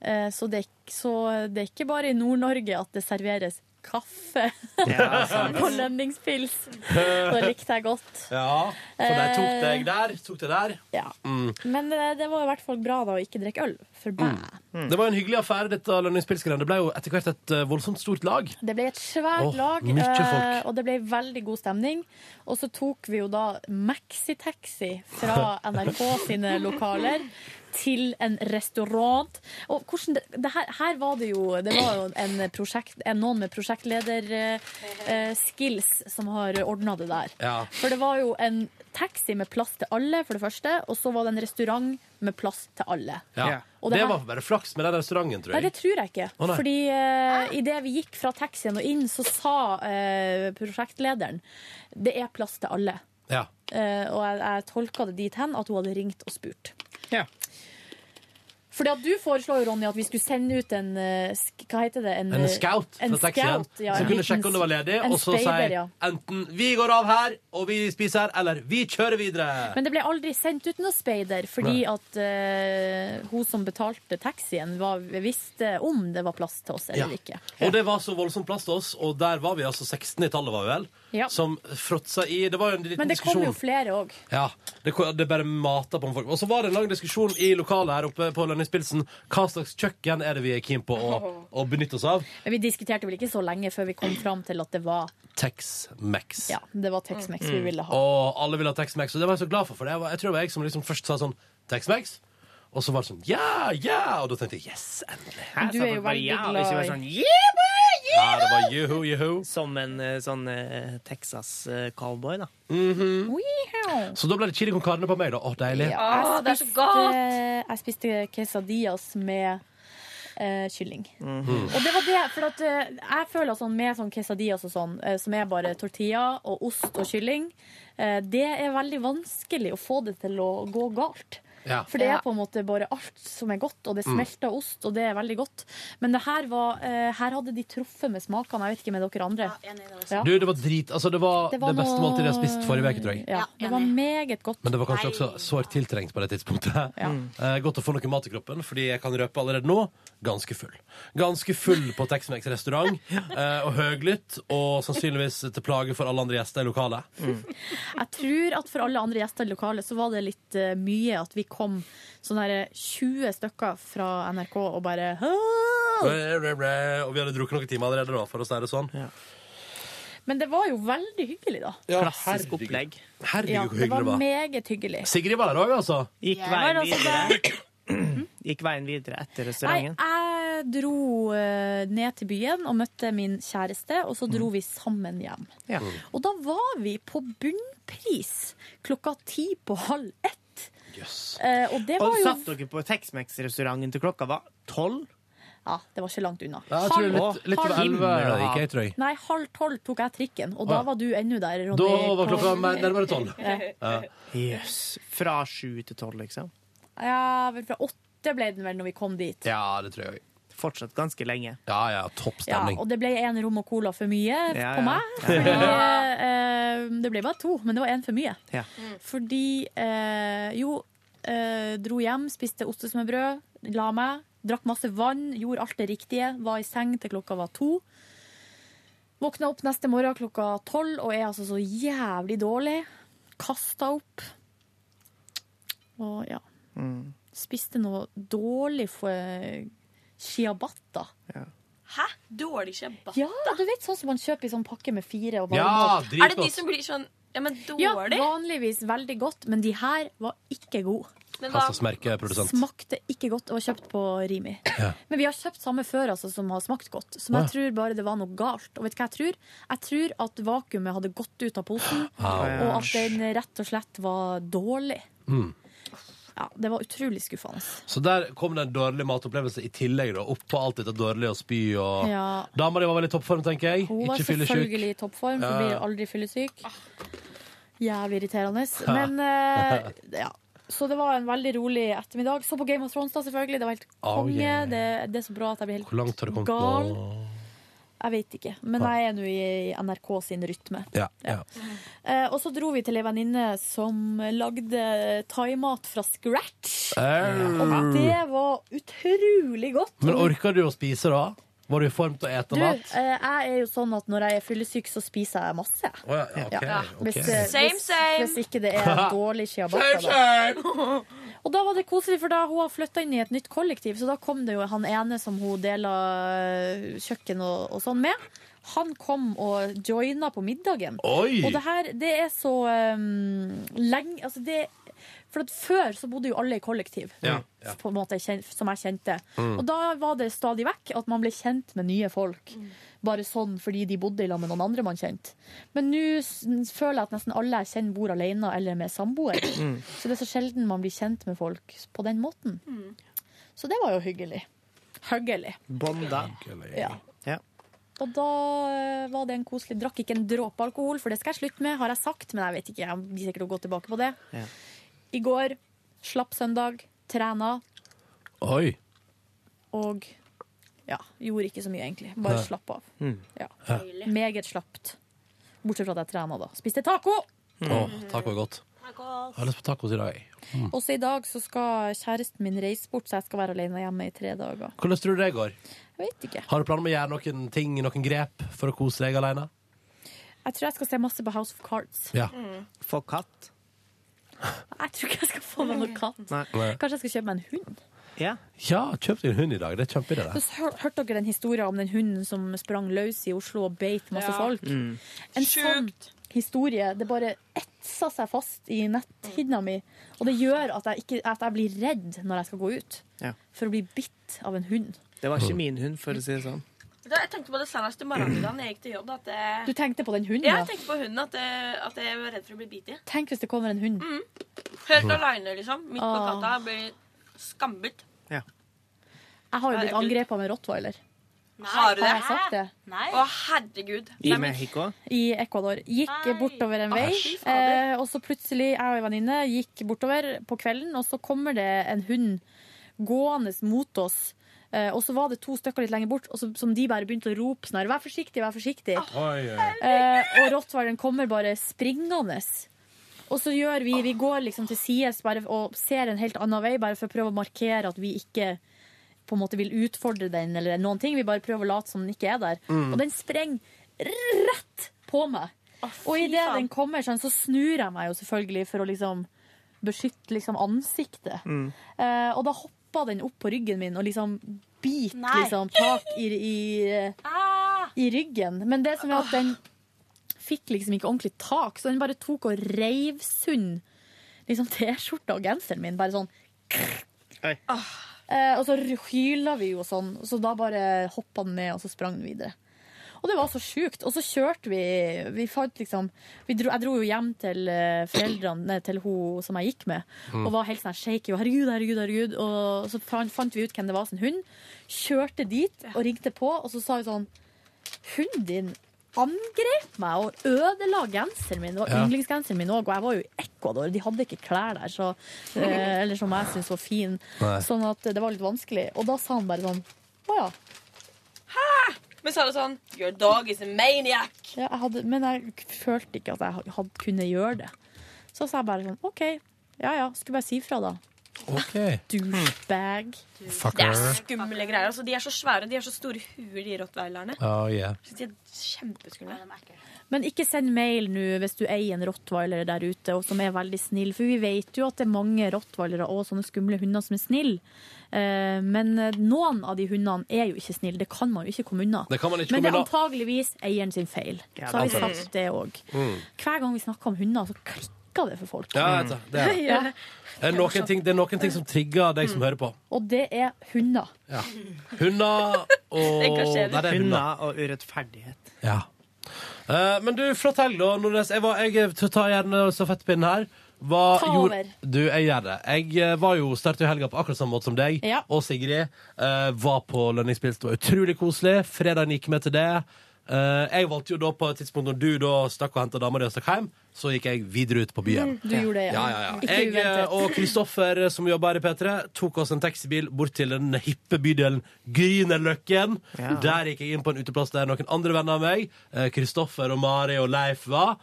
eh, så det, er ikk- så det er ikke bare i Nord-Norge at det serveres kaffe
Ja, sant.
på lønningspils. Da likte jeg godt.
Ja, for de tok deg der. Tok deg der.
Ja.
Mm.
Men eh, det var i hvert fall bra da å ikke drikke øl. For bæ. Mm.
Det var en hyggelig affære, dette lønningspilsgreiene. Det ble jo etter hvert et uh, voldsomt stort lag.
Det ble et svært
Åh,
lag,
mye folk.
eh, og det ble veldig god stemning. Og så tok vi jo da maxitaxi fra NRK sine lokaler til en restaurant. Og hvordan det, det her, her var det jo Det var jo en prosjekt, en, noen med prosjektleder-skills som har ordna det der.
Ja.
For det var jo en taxi med plass til alle, for det første, og så var det en restaurant med plass til alle.
Ja.
Og
det,
det her-
var bare flaks med den restauranten, tror
Nei, det
jeg.
tror jeg ikke.
Å, nei.
Fordi uh, idet vi gikk fra taxien og inn, så sa eh, prosjektlederen det er plass til alle.
Ja.
Eh, og jeg, jeg tolka det dit hen at hun hadde ringt og spurt.
Ja.
Fordi at du foreslår, jo, Ronny, at vi skulle sende ut en eh, sk- Hva heter det?
En scout
en
fra taxien
scout, ja, en
som kunne
liten
sjekke om det var ledig,
en
og så
speider,
si
ja.
enten 'vi går av her, og vi spiser her', eller 'vi kjører videre'.
Men det ble aldri sendt ut noe speider, fordi at eh, hun som betalte taxien, var, visste om det var plass til oss eller
Ja.
ikke.
Og det var så voldsomt plass til oss, og der var vi altså 16 i tallet, var vi vel?
Ja.
Som fråtsa i Det var jo en liten
Men det kom
diskusjon.
jo flere òg.
Ja, det, det bare mata på folk. Og så var det en lang diskusjon i lokalet her oppe på Lønningspilsen. Hva slags kjøkken er det vi er keen på å, å benytte oss av?
Men vi diskuterte vel ikke så lenge før vi kom fram til at det var
Tex-Mex.
Ja, det var Tex-Mex vi ville ha.
Og alle ville ha Tex-Mex, og det var jeg så glad for. for det var, Jeg tror det var jeg som liksom først sa sånn Tex-Mex. Og så var det sånn ja, ja! Og da tenkte jeg yes, endelig.
Her
Du
sa
er jo
folk bare
veldig
ja, og
glad
ikke
i-
bare sånn, yeah, boy, yeah!
Ja, det var juhu, juhu.
Som en eh, sånn eh, Texas eh, cowboy, da.
Mhm.
Weehow.
Så da ble det chili con carne på meg, da. Å, deilig.
Jeg
det er så
spiste-
godt!
Jeg spiste quesadillas med eh, kylling.
Mhm.
Og det var det, for at, eh, jeg føler at sånn, med sånn quesadillas og sånn, eh, som er bare tortilla og ost og kylling, eh, det er veldig vanskelig å få det til å gå galt.
Ja.
For det
Ja.
er på en måte bare alt som er godt, og det
Mm.
smelter ost, og det er veldig godt. Men det her, var, eh, her hadde de truffet med smakene, jeg vet ikke med dere andre. Ja.
Du, det var drit Altså, det var det,
Det var
beste
noe-
måltidet jeg har spist forrige uke, tror jeg.
Ja, det var meget godt.
Men det var kanskje også sårt tiltrengt på det tidspunktet. Eh, godt å få noe mat i kroppen, fordi jeg kan røpe allerede nå ganske full. Ganske full på Tex-Mex restaurant, eh, og høglytt, og sannsynligvis til plage for alle andre gjester i lokalet.
Jeg tror at for alle andre gjester i lokalet så var det litt eh, mye at vi kom sånn her eh, 20 stykker fra NRK og bare «Åh!»
Og vi hadde drukket noen timer allerede, da, for å si det sånn.
Men det var jo veldig hyggelig, da.
Klassisk opplegg.
Ja,
Herregud, hvor
det
hyggelig
var
det var.
meget hyggelig.
Sigrid var der òg, altså.
Gikk
Jeg
veien
var altså
videre. Gikk veien videre etter
Nei,
restauranten.
jeg dro eh, ned til byen og møtte min kjæreste, og så dro vi sammen hjem.
Ja.
Og da var vi på bunnpris klokka ti på halv ett. Eh, og det
Og
var jo
satt dere på Tex-Mex-restauranten til klokka var tolv?
Ja, det var ikke langt unna.
Ja, jeg tror det er litt- litt over elleve
Halv-
gikk jeg,
tror jeg.
Nei, halv tolv tok jeg trikken, og
Å,
da
ja.
var du ennå der, Ronny.
Ah. Da var
på-
klokka mer- nærmere tolv.
Ja.
Yes. Fra sju til tolv, liksom?
Ja, vel fra åtte ble den vel når vi kom dit.
Ja, det tror jeg.
Fortsatt ganske lenge.
Ja, ja, topp
Ja, og det ble én rom og cola for mye
Ja, ja.
på meg. Fordi, eh, det ble bare to, men det var én for mye.
Ja.
Fordi eh, jo, eh, dro hjem, spiste ostesmørbrød, la meg, drakk masse vann, gjorde alt det riktige, var i seng til klokka var to. Våkna opp neste morgen klokka tolv og er altså så jævlig dårlig. Kasta opp. Og ja.
Mm.
Spiste noe dårlig for eh, shiabata.
Hæ? Dårlig ciabatta?
Ja, du vet sånn som man kjøper i sånn pakke med fire og
Ja,
varmemat.
er det de som blir sånn Ja, men
Ja,
dårlig?
vanligvis veldig godt, men de her var ikke gode.
Men
Hva slags merke er produsent?
Smakte ikke godt og var kjøpt på Rimi.
Ja.
Men vi har kjøpt samme før altså, som har smakt godt, som
Å,
jeg
ja.
tror bare det var noe galt. Og vet du hva jeg tror? Jeg tror at vakuumet hadde gått ut av posen,
Ah, Au.
og at den rett og slett var dårlig.
Mm.
Ja, Det var utrolig skuffende.
Så der kom det en dårlig matopplevelse i tillegg, da. Oppå alt dette dårlige og spy og
Ja.
Dama di var vel i toppform, tenker jeg.
Hun var
Ikke fyllesyk.
selvfølgelig i toppform, for
Ja.
blir aldri fyllesyk. Jævlig irriterende.
Ja.
Men eh, ja. Så det var en veldig rolig ettermiddag. Så på Game of Thrones, da, selvfølgelig. Det var helt
Oh,
konge.
yeah.
det, det er så bra at jeg blir
Hvor langt har du
helt
kommet
gal.
nå?
Jeg vet ikke. Men jeg er nå i NRK sin rytme.
Ja, ja.
Eh, og så dro vi til ei venninne som lagde thaimat fra scratch.
Au.
Og det var utrolig godt.
Mm. Men
Og hun
orker du å spise, da? Var du i form til å ete
du,
mat?
eh, jeg er jo sånn at når jeg er fyllesyk, så spiser jeg masse.
Å, ja, ja, ok, ok.
Hvis, eh,
Same,
hvis,
same.
hvis ikke det er dårlig shiabata.
Same,
da. Og da var det koselig, for da hun har flytta inn i et nytt kollektiv, så da kom det jo han ene som hun dela eh, kjøkken og, og sånn med. Han kom og joina på middagen.
Oi!
Og det her, det er så eh, lenge Altså, det For at før så bodde jo alle i kollektiv
Ja, ja.
på en måte, kjen- som jeg kjente.
Mm.
Og da var det stadig vekk at man ble kjent med nye folk. Bare sånn fordi de bodde i lag med noen andre man kjente. Men nå s- føler jeg at nesten alle jeg kjenner, bor alene eller med samboer.
Mm.
Så det er så sjelden man blir kjent med folk på den måten. Så det var jo hyggelig. Hyggelig.
Bonda.
Ja.
Ja.
Og da eh, var det en koselig Drakk ikke en dråpe alkohol, for det skal jeg slutte med, har jeg sagt. Men jeg vet ikke, jeg blir sikkert å gå tilbake på det.
Ja.
I går, slapp søndag, trena
Oi.
og ja, gjorde ikke så mye, egentlig. Bare
Nei.
slapp av.
Mm.
Ja.
Ja.
Meget slapt. Bortsett fra at jeg trena, da. Spiste taco!
Å, taco er godt. Jeg har lyst på tacos i dag. Mm.
Også i dag så skal kjæresten min reise bort, så jeg skal være alene hjemme i tre dager.
Hvordan tror du det går?
Jeg vet ikke.
Har du planer om å gjøre noen ting, noen grep, for å kose deg alene?
Jeg tror jeg skal se masse på House of Cards.
Ja.
Få katt.
Jeg tror ikke jeg skal få meg noen katt. Kanskje jeg skal kjøpe meg en hund?
Ja,
kjøp deg en hund i dag. Det er kjempeidé. det.
Så hør- hørte dere den historien om den hunden som sprang løs i Oslo og beit masse
Ja.
folk?
Mm.
En sånn historie. Det bare etsa seg fast i netthinna mi. Og det gjør at jeg, ikke, at jeg blir redd når jeg skal gå ut.
Ja.
For å bli bitt av en hund.
Det var ikke min hund, for å si det sånn.
Da, jeg tenkte på det senest i morgen da jeg gikk til jobb. At jeg,
Du tenkte på den hunden,
ja?
ja?
Jeg tenkte på hunden, at jeg, at jeg var redd for å bli bitt i.
Tenk hvis det kommer en hund.
Mm. Helt aleine, liksom. Midt på
Ah.
katta. Blir skambit.
Jeg har jo
Ja,
blitt angrepet av en rottweiler.
Har du det?
Har jeg sagt det?
Å, herregud.
I Mexico.
i Ecuador. Gikk bortover en vei,
Æsj. Fy
eh, og så plutselig, jeg og en venninne gikk bortover på kvelden, og så kommer det en hund gående mot oss. Eh, og så var det to stykker litt lenger bort, og så, som de bare begynte å rope sånn her, vær forsiktig, vær forsiktig. Eh, og rottweileren kommer bare springende. Og så gjør vi, vi går liksom til sides bare og ser en helt annen vei, bare for å prøve å markere at vi ikke på en måte vil utfordre den eller noen ting. Vi bare prøver å late som den ikke er der.
Mm.
Og den sprenger rett på meg. Og idet den kommer sånn, så snur jeg meg jo selvfølgelig for å liksom beskytte liksom ansiktet.
Mm.
Eh, og da hoppa den opp på ryggen min og liksom bit
Nei.
eh,
Ah.
liksom, tak i, i, i ryggen. Men det som er at den fikk liksom ikke ordentlig tak, så den bare tok og reiv sund liksom T-skjorta og genseren min. Bare sånn Eh, og så hyla vi jo sånn, så da bare hoppa den ned, og så sprang den videre. Og det var så sjukt. Og så kjørte vi Vi fant liksom vi dro, Jeg dro jo hjem til eh, foreldrene nei, til hun som jeg gikk med,
Mm.
og var helt sånn shaky. Og herregud, herregud, herregud. Og så fant, fant vi ut hvem det var sin hund. Kjørte dit og ringte på, og så sa hun sånn Hunden din angrep meg og ødela genseren min. Det var
Ja.
yndlingsgenseren min òg, og jeg var jo i Ecuador. De hadde ikke klær der, så, eh, eller som jeg syntes var fin.
Nei.
Sånn at det var litt vanskelig. Og da sa han bare sånn Å ja.
Men så er det sånn Your dog is a maniac.
ja jeg hadde, men jeg k- følte ikke at jeg ha- hadde, kunne gjøre det. Så sa jeg bare sånn OK, ja ja, skulle bare si fra, da.
OK.
Douchebag.
Fucker.
Det er skumle greier. Altså, de er så svære, de har så store huer, de rottweilerne.
Oh, yeah.
Jeg synes de er kjempeskumle.
Men ikke send mail nå hvis du eier en rottweiler der ute og som er veldig snill, for vi vet jo at det er mange rottweilere og sånne skumle hunder som er snille. Men eh, noen av de hundene er jo ikke snille, det kan man jo ikke komme unna.
Det kan man ikke komme
Men det er
unna.
antageligvis eieren sin feil.
Ja,
Så har vi
antageligvis.
sagt det òg.
Mm.
Hver gang vi snakker om hunder, så klikker det for folk.
Ja, jeg vet det. Det er det.
Ja.
Det er noen ting, det er noen ting som trigger deg som hører på.
Og det er hunder.
Ja. Hunder og Nei, det er hunder.
Hunder og urettferdighet.
Ja. Eh, men du, fortell, da. Nordnes. Jeg, var, jeg tar gjerne stafettpinnen her. Hva
Ta
gjorde-
over.
Du, jeg gjør det. Jeg eh, var jo startet jo helga på akkurat samme måte som deg
Ja.
og Sigrid. eh, var på lønningspils. Det var utrolig koselig. Fredagen gikk med til det. Eh, jeg valgte jo da på et tidspunkt når du da stakk og henta dama di og stakk hjem, så gikk jeg videre ut på byen.
Mm, du gjorde det, ja.
ja, ja, ja.
Ikke
Jeg
uventet.
eh, og Kristoffer, eh, som jobber her i P3, tok oss en taxibil bort til den hippe bydelen Grünerløkken.
Ja.
Der gikk jeg inn på en uteplass der noen andre venner av meg, eh, Kristoffer og Mari og Leif, var.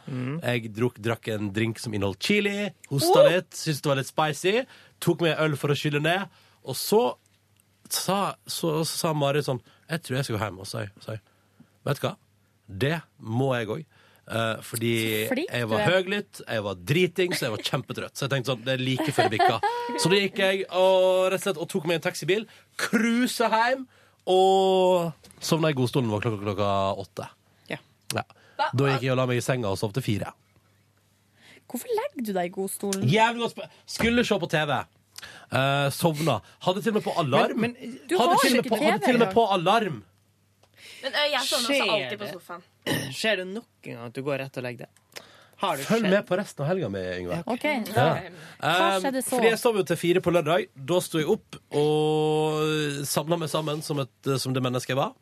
Jeg drok, drakk en drink som inneholdt chili, hosta
Oh!
litt, syntes det var litt spicy, tok meg en øl for å skylle ned, og så sa, så, så sa Mari sånn Jeg tror jeg skal gå hjem. Og så sa jeg- sa jeg Vet du hva? Det må jeg òg. Eh, fordi
Så flink
jeg
du
var
er.
høylytt, jeg var driting, så jeg var kjempetrøtt. Så jeg tenkte sånn, det er like før det bikka. Så da gikk jeg og, rett og, slett, og tok med en taxibil, cruisa hjem og sovna i godstolen vår klokka, klokka åtte.
Ja.
Da gikk jeg og la meg i senga og sov til fire.
Hvorfor legger du deg i godstolen?
Jævlig godt sp- Skulle se på TV. Eh, sovna. Hadde til og med på alarm.
Men- men- Du
hadde
har
til og med
ikke
på,
TV
hadde til og med
engang.
på alarm.
Men ø, jeg sovner også
Skjer
alltid på
det?
sofaen.
Skjer det nok en gang at du går rett og legger deg? Har det
Følg
skjedd?
med på resten av helga mi, Yngve.
Ok,
Ja.
da. Hva
Um,
skjedde så?
Fordi jeg sov jo til fire på lørdag. Da sto jeg opp og samla meg sammen som, et, som det mennesket jeg var.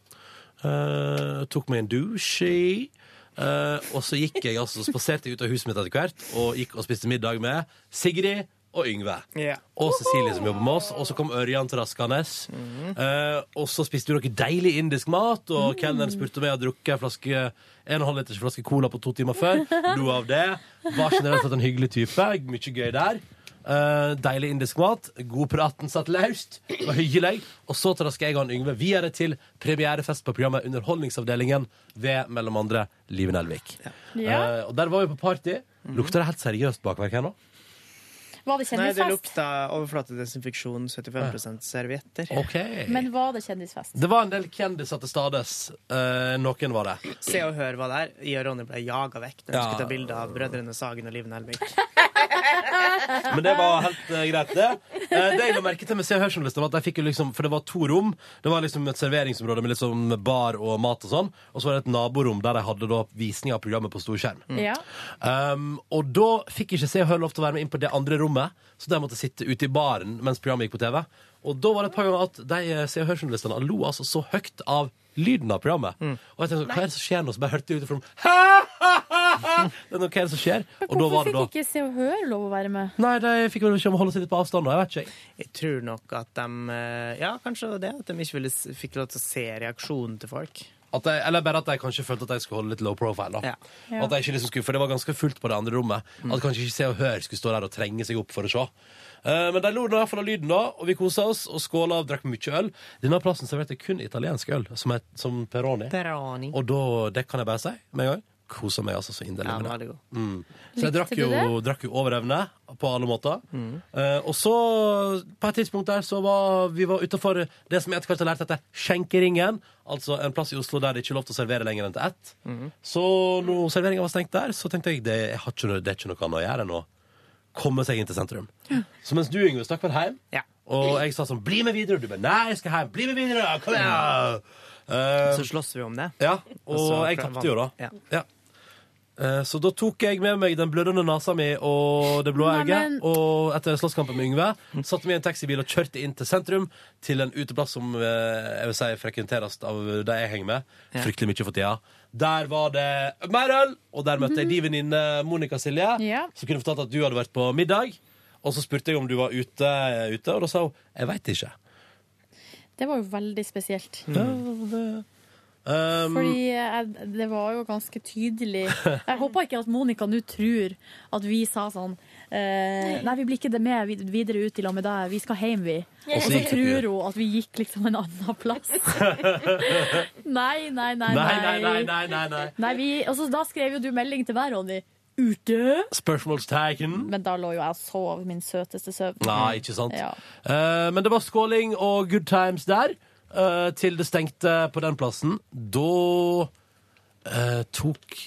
Eh, tok meg en douche i. eh, og så gikk jeg altså, spaserte jeg ut av huset mitt etter hvert og gikk og spiste middag med Sigrid og Yngve.
Ja.
Og Cecilie som jobber med oss. Og så kom Ørjan traskende. Eh, og så spiste vi noe deilig indisk mat, og
Mm.
kelneren spurte om jeg hadde drukket en flaske en og en halv liters flaske cola på to timer før. Lo av det. Var generelt sett en hyggelig type. Mye gøy der. Eh, deilig indisk mat. God praten satt løst. Det Var hyggelig. Og så traska jeg og han Yngve videre til premierefest på programmet Underholdningsavdelingen ved mellom andre Live Nelvik.
Ja.
Eh, og der var vi på party. Lukter det helt seriøst bakverk her nå?
Var det
Nei, det
kjendisfest?
lukta overflatedesinfeksjon, 75 servietter.
Ok.
Men var det kjendisfest?
Det var en del kjendiser til stades. Eh, noen var det.
Se og Hør var der. Jeg og Ronny ble jaga vekk når vi
Ja.
skulle ta bilde av Brødrene Sagen og Liv Nelvik.
Men det var helt eh, greit, det. Eh, det jeg la merke til med Se og Hør-journalistene, var at de fikk jo liksom For det var to rom. Det var liksom et serveringsområde med litt sånn bar og mat og sånn. Og så var det et naborom der de hadde da visning av programmet på storskjerm.
Ja.
Um, og da fikk ikke Se og Hør lov til å være med inn på det andre rommet, så de måtte sitte ute i baren mens programmet gikk på TV. Og da var det et par ganger at de eh, Se og Hør-journalistene lo altså så høyt av lyden av programmet.
Mm.
Og jeg tenkte sånn, hva er det som skjer nå? Så bare hørte jeg utenfor dem Det er noe, Hva er det som skjer? Og da var
Hvorfor
det da
fikk ikke Se og Hør lov å være med?
Nei, de fikk vel ikke holde seg litt på avstand, da. Jeg vet ikke. jeg.
Jeg tror nok at de eh, Ja, kanskje det var det. At de ikke ville, s- fikk lov til å se reaksjonen til folk.
At de, eller bare at de kanskje følte at de skulle holde litt low profile. da
Ja. Mm.
At de ikke liksom skulle, For det var ganske fullt på det andre rommet. At kanskje ikke Se og Hør skulle stå der og trenge seg opp for å se. Eh, men de lo nå i hvert fall av lyden, da, og vi kosa oss og skåla og drakk mye øl. Denne plassen serverte kun italiensk øl, som, het, som Peroni.
Peroni.
Og da, det kan jeg bare si med en gang, kosa meg altså så inderlig
Ja,
med
den var
det.
veldig god.
Mm. Så jeg
Likte
drakk
du
jo,
det?
drakk jo over evne på alle måter. Eh, og så, på et tidspunkt der, så var vi var utafor det som jeg etter hvert har lært heter Skjenkeringen. Altså en plass i Oslo der det ikke er lov til å servere lenger enn til ett. Så når serveringa var stengt der, så tenkte jeg det, jeg har ikke, noe- det er ikke noe annet å gjøre enn å komme seg inn til sentrum. Så mens du, Yngve, stakk vel hjem, og jeg sa sånn 'Bli med videre', og du bare 'Nei, jeg skal hjem'. 'Bli med videre', kom igjen! Eh,
Så slåss vi om det.
Ja, og
så
jeg
prøv-
tapte jo, da. Ja. Eh, Så da tok jeg med meg den blødende nesa mi og det blå
Nei,
øyet.
men-
Og etter slåsskampen med Yngve satte vi i en taxibil og kjørte inn til sentrum. Til en uteplass som eh, jeg vil si frekventeres av de jeg henger med. Fryktelig mye for tida. Der var det mer øl! Og der møtte jeg din venninne Monica Silje,
Mhm. Ja.
som kunne fortalt at du hadde vært på middag. Og så spurte jeg om du var ute, ute og da sa hun 'jeg veit ikke'.
Det var jo veldig spesielt.
Mm. Um,
Fordi jeg, det var jo ganske tydelig Jeg håper ikke at Monica nå tror at vi sa sånn eh, Nei, vi blir ikke det med vid- videre ut i lag med deg. Vi skal hjem, vi.
Og
Og
så
så
gikk det ikke.
tror hun at vi gikk liksom en annen plass. Nei, nei, nei.
Nei, nei, nei, nei, nei, nei.
Nei, vi, og så da skrev jo du melding til meg, Ronny. Ute?
Spørsmålstegn.
Men da lå jo jeg og sov min søteste søvn.
Nei, ikke sant.
Mm. Ja.
Eh, men det var skåling og good times der, eh, til det stengte på den plassen. Da eh, tok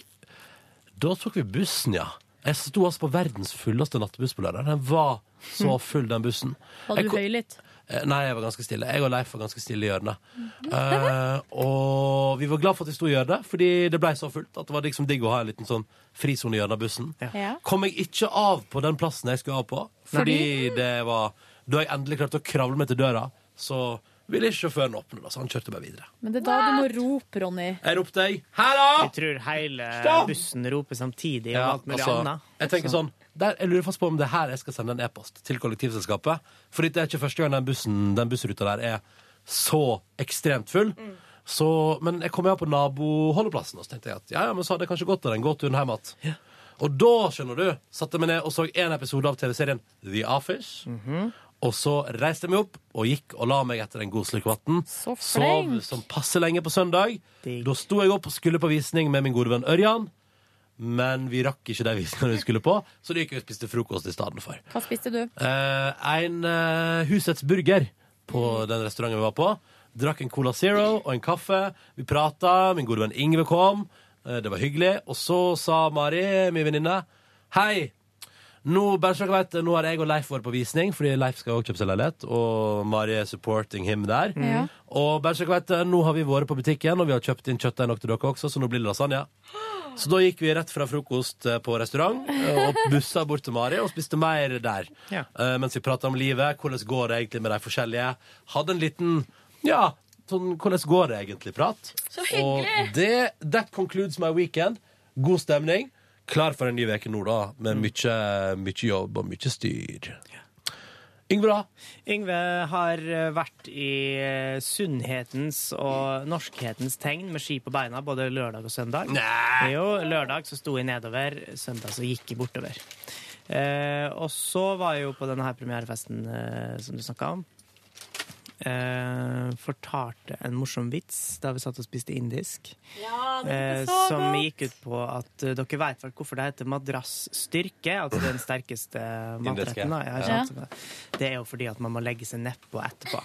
Da tok vi bussen, ja. Jeg sto altså på verdens fulleste nattbuss på lørdag. Den var så full, den bussen.
Var
Jeg
Hmm. du
ko-
høylytt?
Eh, Nei, jeg var ganske stille. Jeg og Leif var ganske stille i hjørnet.
Mhm.
Eh, og vi var glad for at vi sto i hjørnet, fordi det blei så fullt at det var liksom digg å ha en liten sånn frisone i hjørnet av bussen.
Ja.
Kom jeg ikke av på den plassen jeg skulle av på, fordi det var Da jeg endelig klarte å kravle meg til døra, så ville ikke sjåføren åpne, da, så han kjørte bare videre.
Men det er da du må rope, Ronny.
Jeg ropte jeg 'Hallo!'
Jeg tror hele
Stopp!
bussen roper samtidig om
Ja,
alt mulig
altså,
annet.
jeg tenker sånn der, Jeg lurer fast på om det er her jeg skal sende en e-post til kollektivselskapet. Fordi det er ikke første gang den, bussen, den bussruta der er så ekstremt full.
Mm.
Så, men jeg kom jo på naboholdeplassen, og så tenkte jeg at ja, ja, men så hadde jeg kanskje gått der en gåtur hjem igjen. Og da, skjønner du, satte jeg meg ned og så en episode av TV-serien The Office.
Mhm.
Og så reiste jeg meg opp og gikk og la meg etter en god slurk vann. Sov
flink.
som passe lenge på søndag. Da sto jeg opp og skulle på visning med min gode venn Ørjan. Men vi rakk ikke de visningene vi skulle på, så da gikk vi og spiste frokost i stedet for.
Hva spiste du?
Eh, en eh, Husets burger på den restauranten vi var på. Drakk en Cola Zero og en kaffe. Vi prata, min gode venn Ingve kom. Eh, det var hyggelig. Og så sa Mari, min venninne, hei. Nå, bare så dere vet, nå har jeg og Leif vært på visning, fordi Leif skal også kjøpe seg leilighet. Og Mari er supporting him der.
Ja.
Og bare så dere vet, nå har vi vært på butikken, og vi har kjøpt inn kjøttdeig nok til dere også, så nå blir det lasagne. Så da gikk vi rett fra frokost eh, på restaurant eh, og bussa bort til Mari og spiste mer der. Eh, mens vi prata om livet, hvordan går det egentlig med de forskjellige. Hadde en liten ja, sånn hvordan går det egentlig-prat.
Så hyggelig!
Og det, that concludes my weekend. God stemning. Klar for en ny uke nå, da, med mye, mye jobb og mye styr. Yngve, da?
Yngve har eh, vært i eh, sunnhetens og norskhetens tegn med ski på beina både lørdag og søndag. Nei. Jo, lørdag så sto jeg nedover, søndag så gikk jeg bortover. Eh, og så var jeg jo på denne her premierefesten eh, som du snakka om. Eh, fortalte en morsom vits da vi satt og spiste indisk.
Ja, det er
Eh,
så godt.
som gikk ut på at eh, dere vet vel hvorfor det heter madrassstyrke, altså den sterkeste
Indiske.
matretten. Da, ja,
Ja.
ikke sant? Det er jo fordi at man må legge seg nedpå etterpå.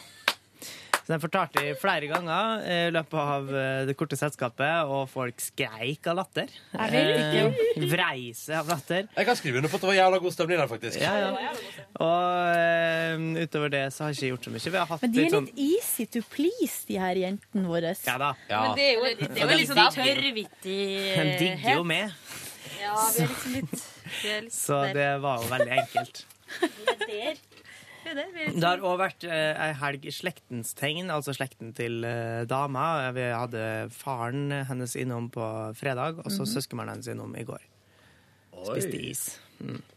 Så den fortalte jeg flere ganger eh, i løpet av eh, det korte selskapet, og folk skreik av latter.
Jeg vil ikke.
Eh, Vrei seg av latter.
Jeg kan skrive under på at det var jævla god stemning der, faktisk.
Ja, ja. Og eh, utover det så har jeg ikke gjort så mye. Vi har hatt
Men de
litt
er
sånn
litt easy to please, de her jentene våre.
Ja da.
Men det
de
er jo-
det
er jo litt
sånn
tørrvittig
digger jo med.
Ja, vi er liksom litt, vi er litt
Så
der.
det var jo veldig enkelt.
Vi er der. Vi er der. Vi er
Det har òg vært eh, ei helg i slektens tegn, altså slekten til eh, dama. Vi hadde faren hennes innom på fredag, og så
Mhm.
søskenbarnet hennes innom i går. Spiste is.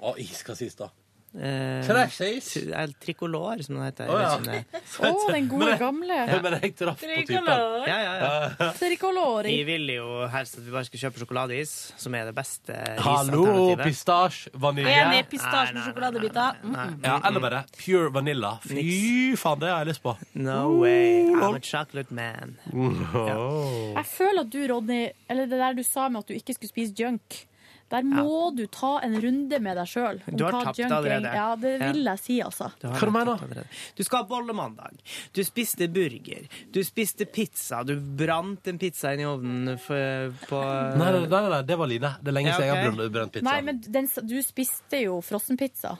Å, is hva sies da?
Eh,
Treffsies?
eh, Tricolor, som det heter.
Å, ja.
Jeg vet ikke om det-
Å, den gode gamle.
Men jeg traff på typen.
Tricolor.
Ja, ja, ja.
Tricolori.
Vi vil jo helst at vi bare skal kjøpe sjokoladeis, som er det beste
Hallo,
isalternativet.
pistasje,
Og jeg er
vanilje.
med pistasje med sjokoladebiter. Mm.
Ja, eller bare pure vanilla. Fy faen, det har jeg lyst på.
No way, I'm a chocolate man.
Jeg føler at du, Ronny, eller det der du sa med at du ikke skulle spise junk, der må du ta en runde med deg sjøl.
Du har tapt allerede.
Ja, det
Ja.
vil jeg si, altså.
Hva du mener du? skal ha bollemandag. Du spiste burger. Du spiste pizza. Du brant en pizza inn i ovnen for, på
Nei, nei, nei, nei, det var Line. Det er lenge
Ja,
siden jeg har
ok.
brun- brent pizza.
Nei, men den, du spiste jo frossenpizza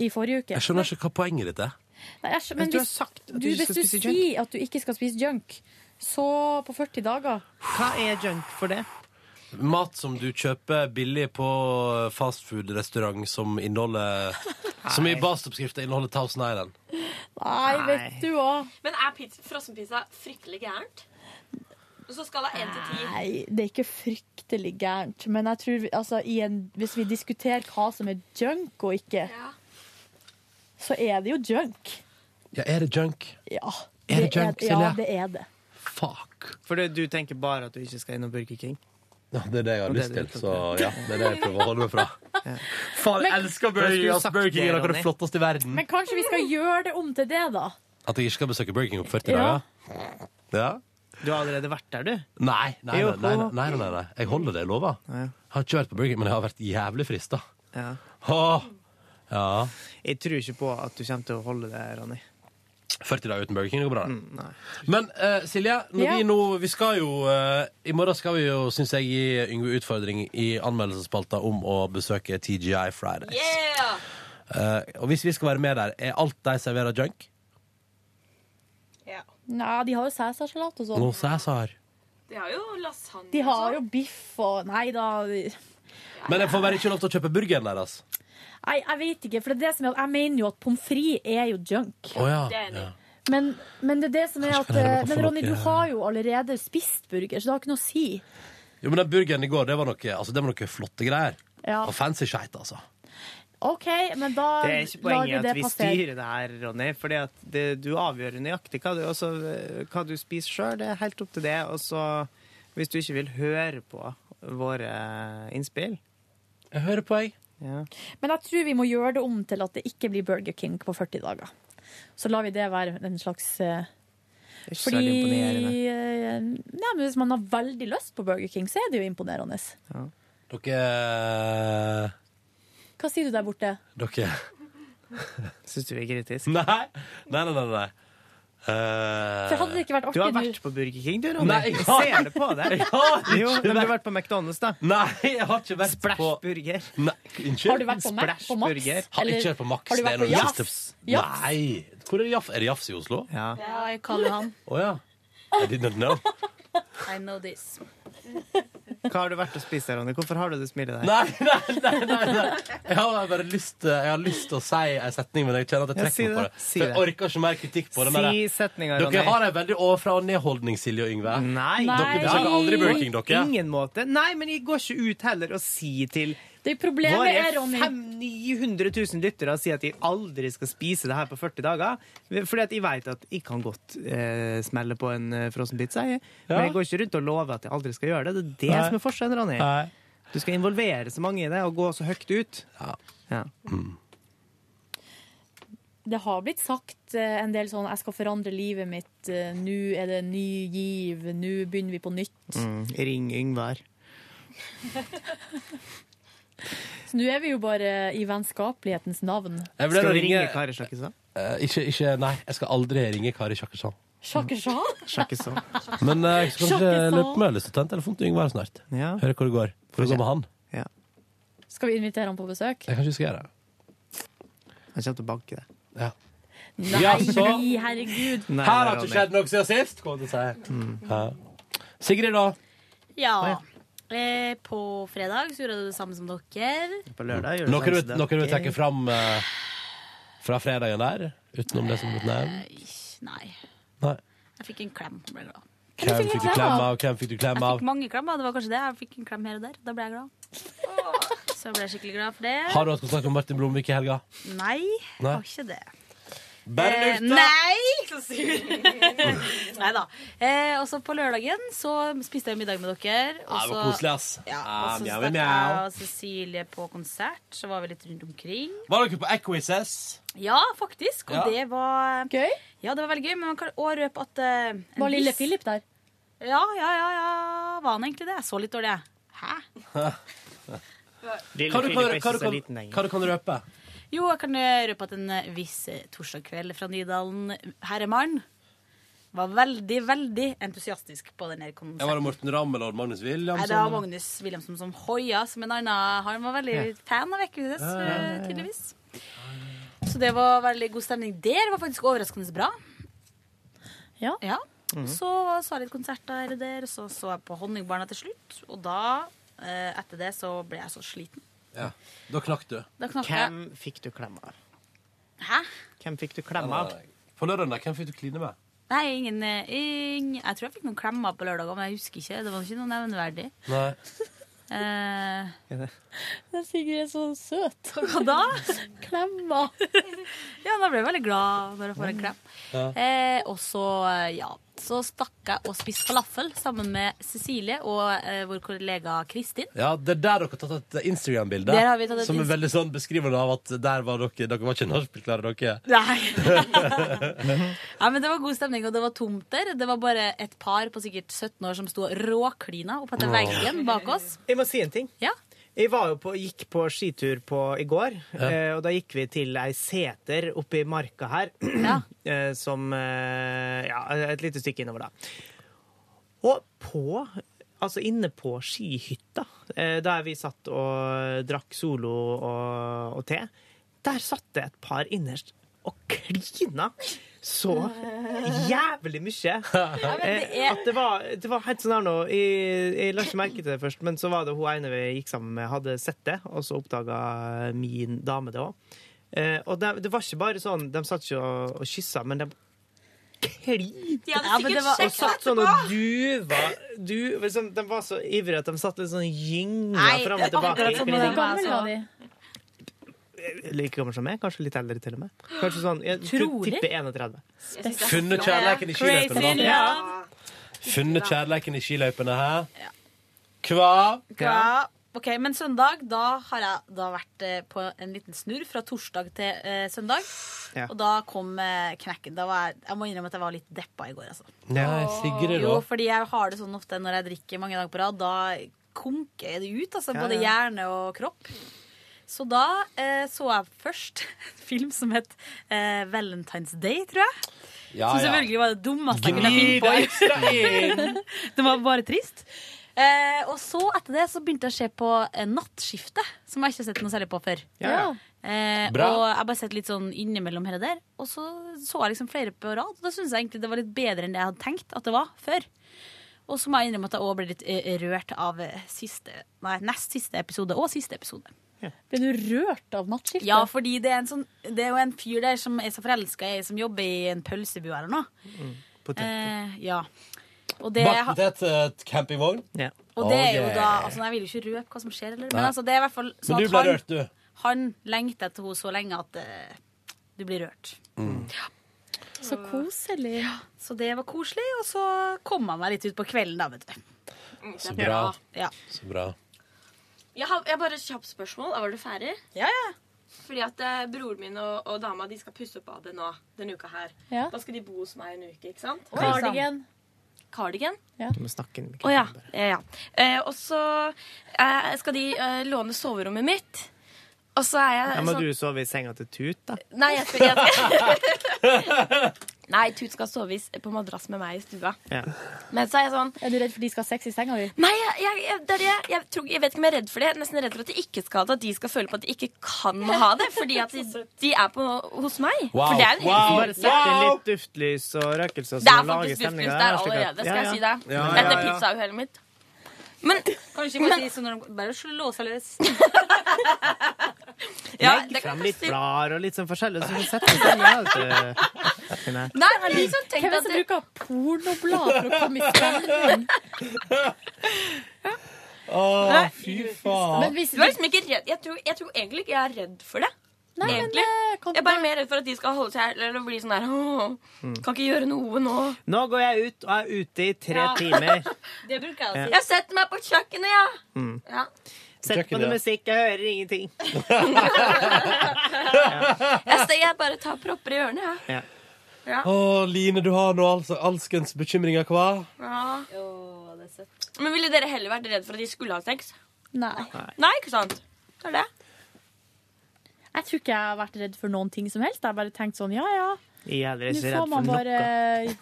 i forrige uke.
Jeg skjønner ikke hva poenget ditt er.
Nei, jeg skjønner,
Men
men
du har
hvis,
sagt at du
du,
ikke
hvis
skal
du
spise
sier
junk.
at du ikke skal spise junk, så på 40 dager
Hva er junk for det?
Mat som du kjøper billig på fastfood-restaurant som inneholder Som i basoppskrifta inneholder Thousand Island.
Nei, vet du hva.
Men er pizza, frossenpizza fryktelig gærent? Så skala 1 til 10.
Nei, det er ikke fryktelig gærent. Men jeg tror, vi- altså, i en, hvis vi diskuterer hva som er junk og ikke, så er det jo junk.
Ja, er det junk?
Ja.
Er det junk,
Ja,
Silje?
det er det.
For det, du tenker bare at du ikke skal innom Burger King?
Ja, det er det jeg har
Og det
lyst
er
til,
det
så ja, det er det jeg prøver å holde meg fra. Faen, jeg elsker Burger King! ass. Burger King er noe av det flotteste i verden.
Men kanskje vi skal gjøre det om til det, da?
At jeg ikke skal besøke Burger King om 40
Ja.
dager? Ja.
Du har allerede vært der, du.
Nei, nei, nei,
Jo.
nei, nei, nei, nei, nei. Jeg holder det jeg lover. Jeg har ikke vært på Burger King, men jeg har vært jævlig frista.
Ja.
Åh. Ja.
Jeg tror ikke på at du kommer til å holde det, Ronny.
40 dager uten Burger King det går bra. det. men eh, Silje, når
Ja.
vi nå Vi skal jo eh, I morgen skal vi jo, syns jeg, gi Yngve utfordring i anmeldelsesspalta om å besøke TGI Fridays.
Yeah!
Eh, og hvis vi skal være med der, er alt de serverer junk?
Nei, de har jo cæsarsalat og
Nå
sånn.
sa jeg sar.
De har jo lasagne.
De har jo biff og Nei da. Nei,
Men jeg får bare ikke lov til å kjøpe burgeren deres.
jeg vet ikke. For det er det som er at jeg mener jo at pommes frites er jo junk.
Å ja. ja.
Men, men det er det som er at
kan jeg
eh,
bare få
Men Ronny,
noe-
du har jo allerede spist burger, så det har ikke noe å si.
Jo, men den burgeren i går, det var noe, altså, det var noe flotte greier.
Ja.
Og fancy skeit, altså.
OK, men da
Det er ikke
lar vi
poenget
det
at vi
passere.
styrer det her, Ronny. Fordi at det, du avgjør nøyaktig hva du, også, eh, hva du spiser sjøl. Det er helt opp til det. Og så, hvis du ikke vil høre på våre innspill
Jeg hører på, jeg.
Ja.
Men jeg tror vi må gjøre det om til at det ikke blir Burger King på 40 dager. Så lar vi det være en slags eh,
Det er ikke særlig
Fordi
imponerende.
eh, Nei, men Hvis man har veldig lyst på Burger King, så er det jo imponerende.
Dere
Hva sier du der borte?
eh, Dere
Syns du vi er kritiske?
Nei, nei, nei. nei, nei. Eh,
For hadde det ikke vært artig
Du har
nå-
vært på Burger King, du, Ronny.
Nei, jeg har-
jeg ser det på deg.
Jeg har ikke
jo, men du har
vært-
vært på McDonald's, da.
Nei, jeg har ikke vært
Splash
på
Burger.
Nei, unnskyld.
Har du vært på Mac? På Max?
Burger? Har
Eller-
ikke vært på Max.
Har du
det
vært
er
på
noe
Jafs?
siste-
Jafs?
Nei. Hvor er Jaff? Er det Jafs i Oslo? Å ja.
Ja, jeg kaller han.
I didn't know.
I know this.
Hva har du vært og spist, der, Ronny? Hvorfor har du det smilet der?
Nei, nei, nei, nei, nei. Jeg har bare lyst til, jeg har lyst til å si en setning, men jeg kjenner at jeg
Ja, si
trekker meg på
det.
det.
Si
For jeg
det.
orker ikke mer kritikk på det.
Si
men jeg-
setninga, Ronny.
Dere har en veldig overfra-og-ned-holdning, Silje og Yngve.
Nei.
Dere besøker aldri Burger King, dere.
Ingen måte. Nei, men jeg går ikke ut heller og sier til
Det problemet er, Ronny-
Våre 900 000 lyttere sier at de aldri skal spise det her på 40 dager. Fordi at jeg vet at jeg kan godt eh, smelle på en eh, frossen pizza, jeg.
Ja.
men jeg går ikke rundt og lover at jeg aldri skal gjøre det. Det er det
Nei.
som er forskjellen, Ronny.
Nei.
Du skal involvere så mange i det og gå så høyt ut. Ja.
Det har blitt sagt eh, en del sånn 'jeg skal forandre livet mitt', eh, 'nå er det ny giv', 'nå begynner vi på nytt'.
Mm. Ring Yngvar.
Så nå er vi jo bare i vennskapelighetens navn.
Jeg vurderer
Skal
å
du
ringe-
ringe Kari Sjakkesson?
Eh, ikke, ikke, nei, jeg skal aldri ringe Kari Sjakkesson.
Sjakkesjan?
Sjakkesson.
Men eh, så kanskje
Sjakkesson.
lurer på om jeg har lyst til å ta en telefon til Yngvar snart. Høre hvor det går. Hvor det går med han.
Skal vi invitere han på besøk?
Jeg kan ikke huske det.
Han kommer til å banke det.
Ja.
Nei,
Ja, så-
herregud.
Her
Nei, nei,
har det ikke
Ronny.
skjedd noe siden sist, kommer jeg til å si.
Mm.
Ja. Sigrid, da?
Ja. Eh, på fredag så gjorde jeg det samme som dere.
På lørdag gjør
Noe du,
sånn som
noe du vil
dere.
trekke fram eh, fra fredagen der? Utenom det som er blitt nevnt?
Eh,
Nei.
Nei.
Jeg fikk en klem. og Ble glad.
Hvem fikk du klem av? Hvem fikk du klem
Jeg
av?
fikk mange klemmer. Det var kanskje det. Jeg fikk en klem her og der. Da ble jeg glad. Så jeg ble skikkelig glad for det.
Har du hatt kontakt med Martin Blomvik i helga?
Nei,
Nei.
har ikke det.
Eh,
Bare lufta!
Eh, nei! Så sur. nei da. Eh, og så på lørdagen så spiste jeg middag med
Ja,
dere.
det var
så-
koselig, ass.
Altså, Ja,
Ja,
og så
mjau, mjau.
stakk jeg og Cecilie på konsert. Så var vi litt rundt omkring.
Var dere på Equises?
Ja, faktisk. Og
Ja.
det var Gøy? Ja, det var veldig gøy, men man kan også røpe at eh, en
Var lille
viss-
Philip der?
Ja, ja, ja, ja. Var han egentlig det? Jeg så litt dårlig, jeg. Hæ?
Hva du kan-
Philip er ikke
hva du
så
kan-
liten lenger.
Hva du kan røpe?
Jo, jeg kan eh, røpe at en eh, viss eh, torsdagskveld fra Nydalen herremann var veldig, veldig entusiastisk på den her
Jeg var det
konserten.
Morten Ramm eller Magnus
Nei,
Williamson?
det var
eller?
Magnus Williamson som hoia som en annen. Han var veldig
Ja.
fan av Vekkehuset,
Ja, ja, ja, ja.
eh, tydeligvis. Så det var veldig god stemning der. Det var faktisk overraskende bra. Ja.
Mhm.
Så så jeg litt konserter her og der, og så så jeg på Honningbarna til slutt. Og da, eh, etter det, så ble jeg så sliten.
Ja. Da knakk du.
Da knakk jeg.
Hvem fikk du klem av?
Hæ?
Hvem fikk du klem av?
På lørdagen, da, hvem fikk du kline med?
Nei, ingen, eh, ing- Jeg tror jeg fikk noen klemmer på lørdager, men jeg husker ikke. Det var ikke noe nevneverdig.
Nei.
Eh,
Den Sigrid er så søt.
Hva da?
Klemma.
ja, da ble jeg veldig glad når jeg får en klem.
Ja.
Eh, og så, eh, ja, så stakk jeg og spiste falafel sammen med Cecilie og eh, vår kollega Kristin.
Ja, Det er der dere har tatt et Instagram-bilde
Der har vi tatt et
som er
Inst-
veldig sånn beskrivende av at der var dere Dere var ikke nachspielklare, dere.
Nei. Ja, men Det var god stemning, og det var tomt der. Det var bare et par på sikkert 17 år som sto og råklina oppetter
Åh.
veggen bak oss.
Jeg må si en ting. Jeg var jo på, gikk på skitur på i går, eh, og da gikk vi til ei seter oppe i marka her, eh, som eh, Ja, et lite stykke innover, da. Og på Altså inne på skihytta, eh, der vi satt og drakk Solo og, og te, der satt det et par innerst og klina så jævlig mye.
men det
Eh,
er-
At det var, det var helt sånn her nå jeg, jeg la ikke merke til det først, men så var det hun ene vi gikk sammen med, hadde sett det, og så oppdaga min dame det òg. Eh, og det, det var ikke bare sånn De satt ikke og, og kyssa, men de
De hadde
Ja, men
sikkert
det var-
sjekket
og satt sånn og duva du, liksom, De var så ivrige at de satt litt sånn gynga
Nei,
fram
det
og
er
tilbake.
akkurat som når de var
Gammel var de.
Like gammel som meg, kanskje litt eldre til og med. Kanskje sånn, Jeg
Trolig.
tipper 31.
Funnet kjærleiken i skiløypene, da. Funnet kjærleiken i skiløypene, hæ? Hva?
Ja. Ok, Men søndag da har jeg da vært eh, på en liten snurr fra torsdag til eh, søndag.
Ja.
Og da kom eh, knekken. Da var jeg, jeg må innrømme at jeg var litt deppa i går. altså.
Nei, Sigrid,
Jo,
da.
fordi jeg har det sånn ofte når jeg drikker mange dager på rad. Da konker det ut. altså
Ja,
Både
ja.
hjerne og kropp. Så da eh, så jeg først en film som het eh, Valentine's Day, tror jeg.
Ja,
Ah,
som
ja.
selvfølgelig var det dummeste jeg kunne
Gni
finne
det ekstra
på. det var bare trist. Eh, og så etter det så begynte jeg å se på eh, Nattskiftet, som jeg ikke har sett noe særlig på før.
Ja, ja.
Eh,
Bra.
Og jeg har bare sett litt sånn innimellom her og der. Og så så jeg liksom flere på rad, og da syns jeg egentlig det var litt bedre enn det jeg hadde tenkt at det var før. Og så må jeg innrømme at jeg òg ble litt eh, rørt av eh, siste, nei, nest siste episode og siste episode.
Ble du rørt av nattskiltet?
Ja, fordi det er, en sånn, det er jo en fyr der som er så forelska i, som jobber i en pølsebu eller noe. Eh, ja. Og det,
Bakt potet eh, campingvogn?
og det er jo
Ok.
da altså, Jeg vil jo ikke røpe hva som skjer, eller, men
Nei.
altså, det er i hvert fall
Men
sånn
du
at
ble
han,
rørt, du.
han lengter etter henne så lenge at eh, du blir rørt. Så koselig. Ja, så det var koselig, og så kom han meg litt ut på kvelden, da, vet du.
Så bra.
Ja.
Så bra.
Jeg har, jeg har bare et kjapt spørsmål. Er du ferdig?
Ja, ja.
Fordi at eh, broren min og, og dama de skal pusse opp badet nå denne uka her.
Ja.
Da skal de bo hos meg en uke, ikke sant?
Oi, Cardigan.
Cardigan?
Du må snakke inn i
Å ja. ja, ja. Eh, og så eh, skal de eh, låne soverommet mitt. Og så er jeg
Ja, må
sånn
du sove i senga til Tut, da?
Nei, jeg skal, jeg Nei, Tut skal sove i s- på madrass med meg i stua.
Ja.
Men så er jeg sånn
Er du redd for de skal ha sex i senga di?
Nei, jeg, jeg, jeg, det er det. Jeg, tror, jeg vet ikke om jeg er redd for det. Jeg er nesten redd for at de ikke skal ha det. At de skal føle på at de ikke kan ha det. Fordi at de, de er på, hos meg. For det er en
Bare sett inn litt duftlys og sånn, røkelse.
Det er faktisk duftlys der allerede, skal jeg si deg. Etter pizza og hele mitt. Men
Kan du ikke bare si sånn når de bare slå seg løs?
Ja,
Legg
det kan
frem
jeg
litt
si.
blader og litt sånn forskjellig, så vi setter oss ned. vet du.
Nei, men liksom tenk
Hvem er det
at
som
det-
bruker pornoblad for å komme i stemning?
Å, fy faen.
Du er liksom ikke redd jeg tror, jeg tror egentlig ikke jeg er redd for det.
Nei, men, eh,
egentlig. jeg er bare mer redd for at de skal holde seg her eller bli sånn der Åh, Kan ikke gjøre noe nå.
Nå går jeg ut og er ute i tre
Ja.
timer.
Det
å
bruker
si.
Jeg setter meg på kjøkkenet, ja. ja.
Sett på
Kjøkkenet,
noe
ja.
musikk, jeg hører ingenting.
Jeg, ser, jeg bare tar propper i ørene, jeg.
Ja.
Ja.
Å, Line, du har nå altså alskens bekymringer hva?
Ja. Men ville dere heller vært redd for at de skulle ha sex?
Nei.
Nei, ikke sant? Det er det.
Jeg tror ikke jeg har vært redd for noen ting som helst. Jeg har bare tenkt sånn, ja ja.
Jeg er aldri
Nå
så
får
redd
man
for
bare
noe.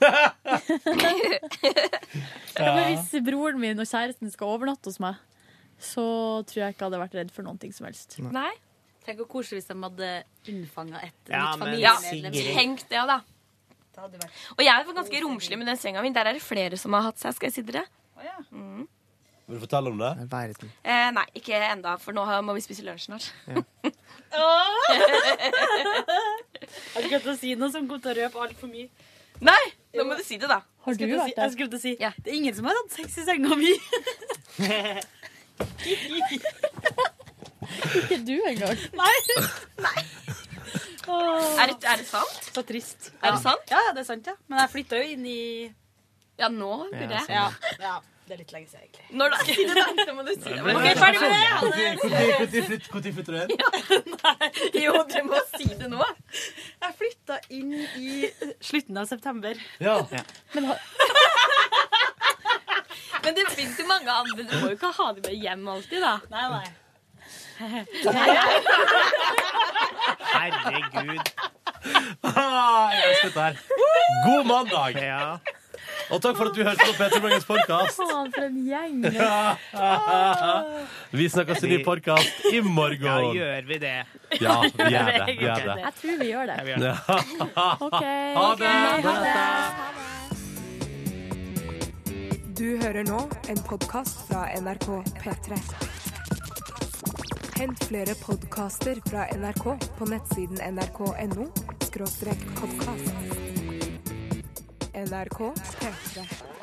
ja, men Hvis broren min og kjæresten skal overnatte hos meg, så tror jeg ikke jeg hadde vært redd for noen ting som helst.
Nei. Tenk hvor koselig hvis de hadde unnfanga et
Ja,
nytt
men
familiemedlem.
Ja,
Sigrid.
tenk det, da. Og jeg er ganske romslig med den senga mi. Der er det flere som har hatt seg. Skal jeg si dere? Mm.
Vil du fortelle om det?
Eh, nei, ikke enda, for nå har- må vi spise lunsj snart.
Har du glemt å si noe som kommer til å røpe altfor mye?
Nei! Nå må du si det, da.
Har
du vært der?
Jeg skulle til å si Det er ingen som har hatt sex i senga mi.
Ikke du engang.
Nei.
Er det, er det sant?
Så trist.
Er det sant?
Ja, ja, det er sant, ja. Men jeg flytta jo inn i
Ja, nå
burde
Ja,
jeg.
sånn,
Ja,
ja.
ja. Det er litt lenge siden, egentlig.
Når da? Si det, da. Så må du si det.
Men-
Ok, ferdig med det.
Når- når- når flytt- når flytter du inn?
Jo, du må si det nå.
Jeg flytta inn i slutten av september.
Ja.
Men det fins jo mange andre. Du må jo ikke ha det med hjem altså. alltid, da.
Nei, nei.
Herregud.
Ah, jeg elsker dette her. God mandag! Og takk for at du hørte på Petter Morgens podkast.
Faen, for en gjeng.
Vi snakkes i ny podkast i morgen.
Ja, gjør vi det?
Ja, vi gjør det, vi gjør det.
Jeg tror vi gjør det.
gjør det.
OK.
Ha det.
Ha det.
Du hører nå en podkast fra NRK P3. Hent flere podkaster fra NRK på nettsiden nrk.no podkast. NRK P3.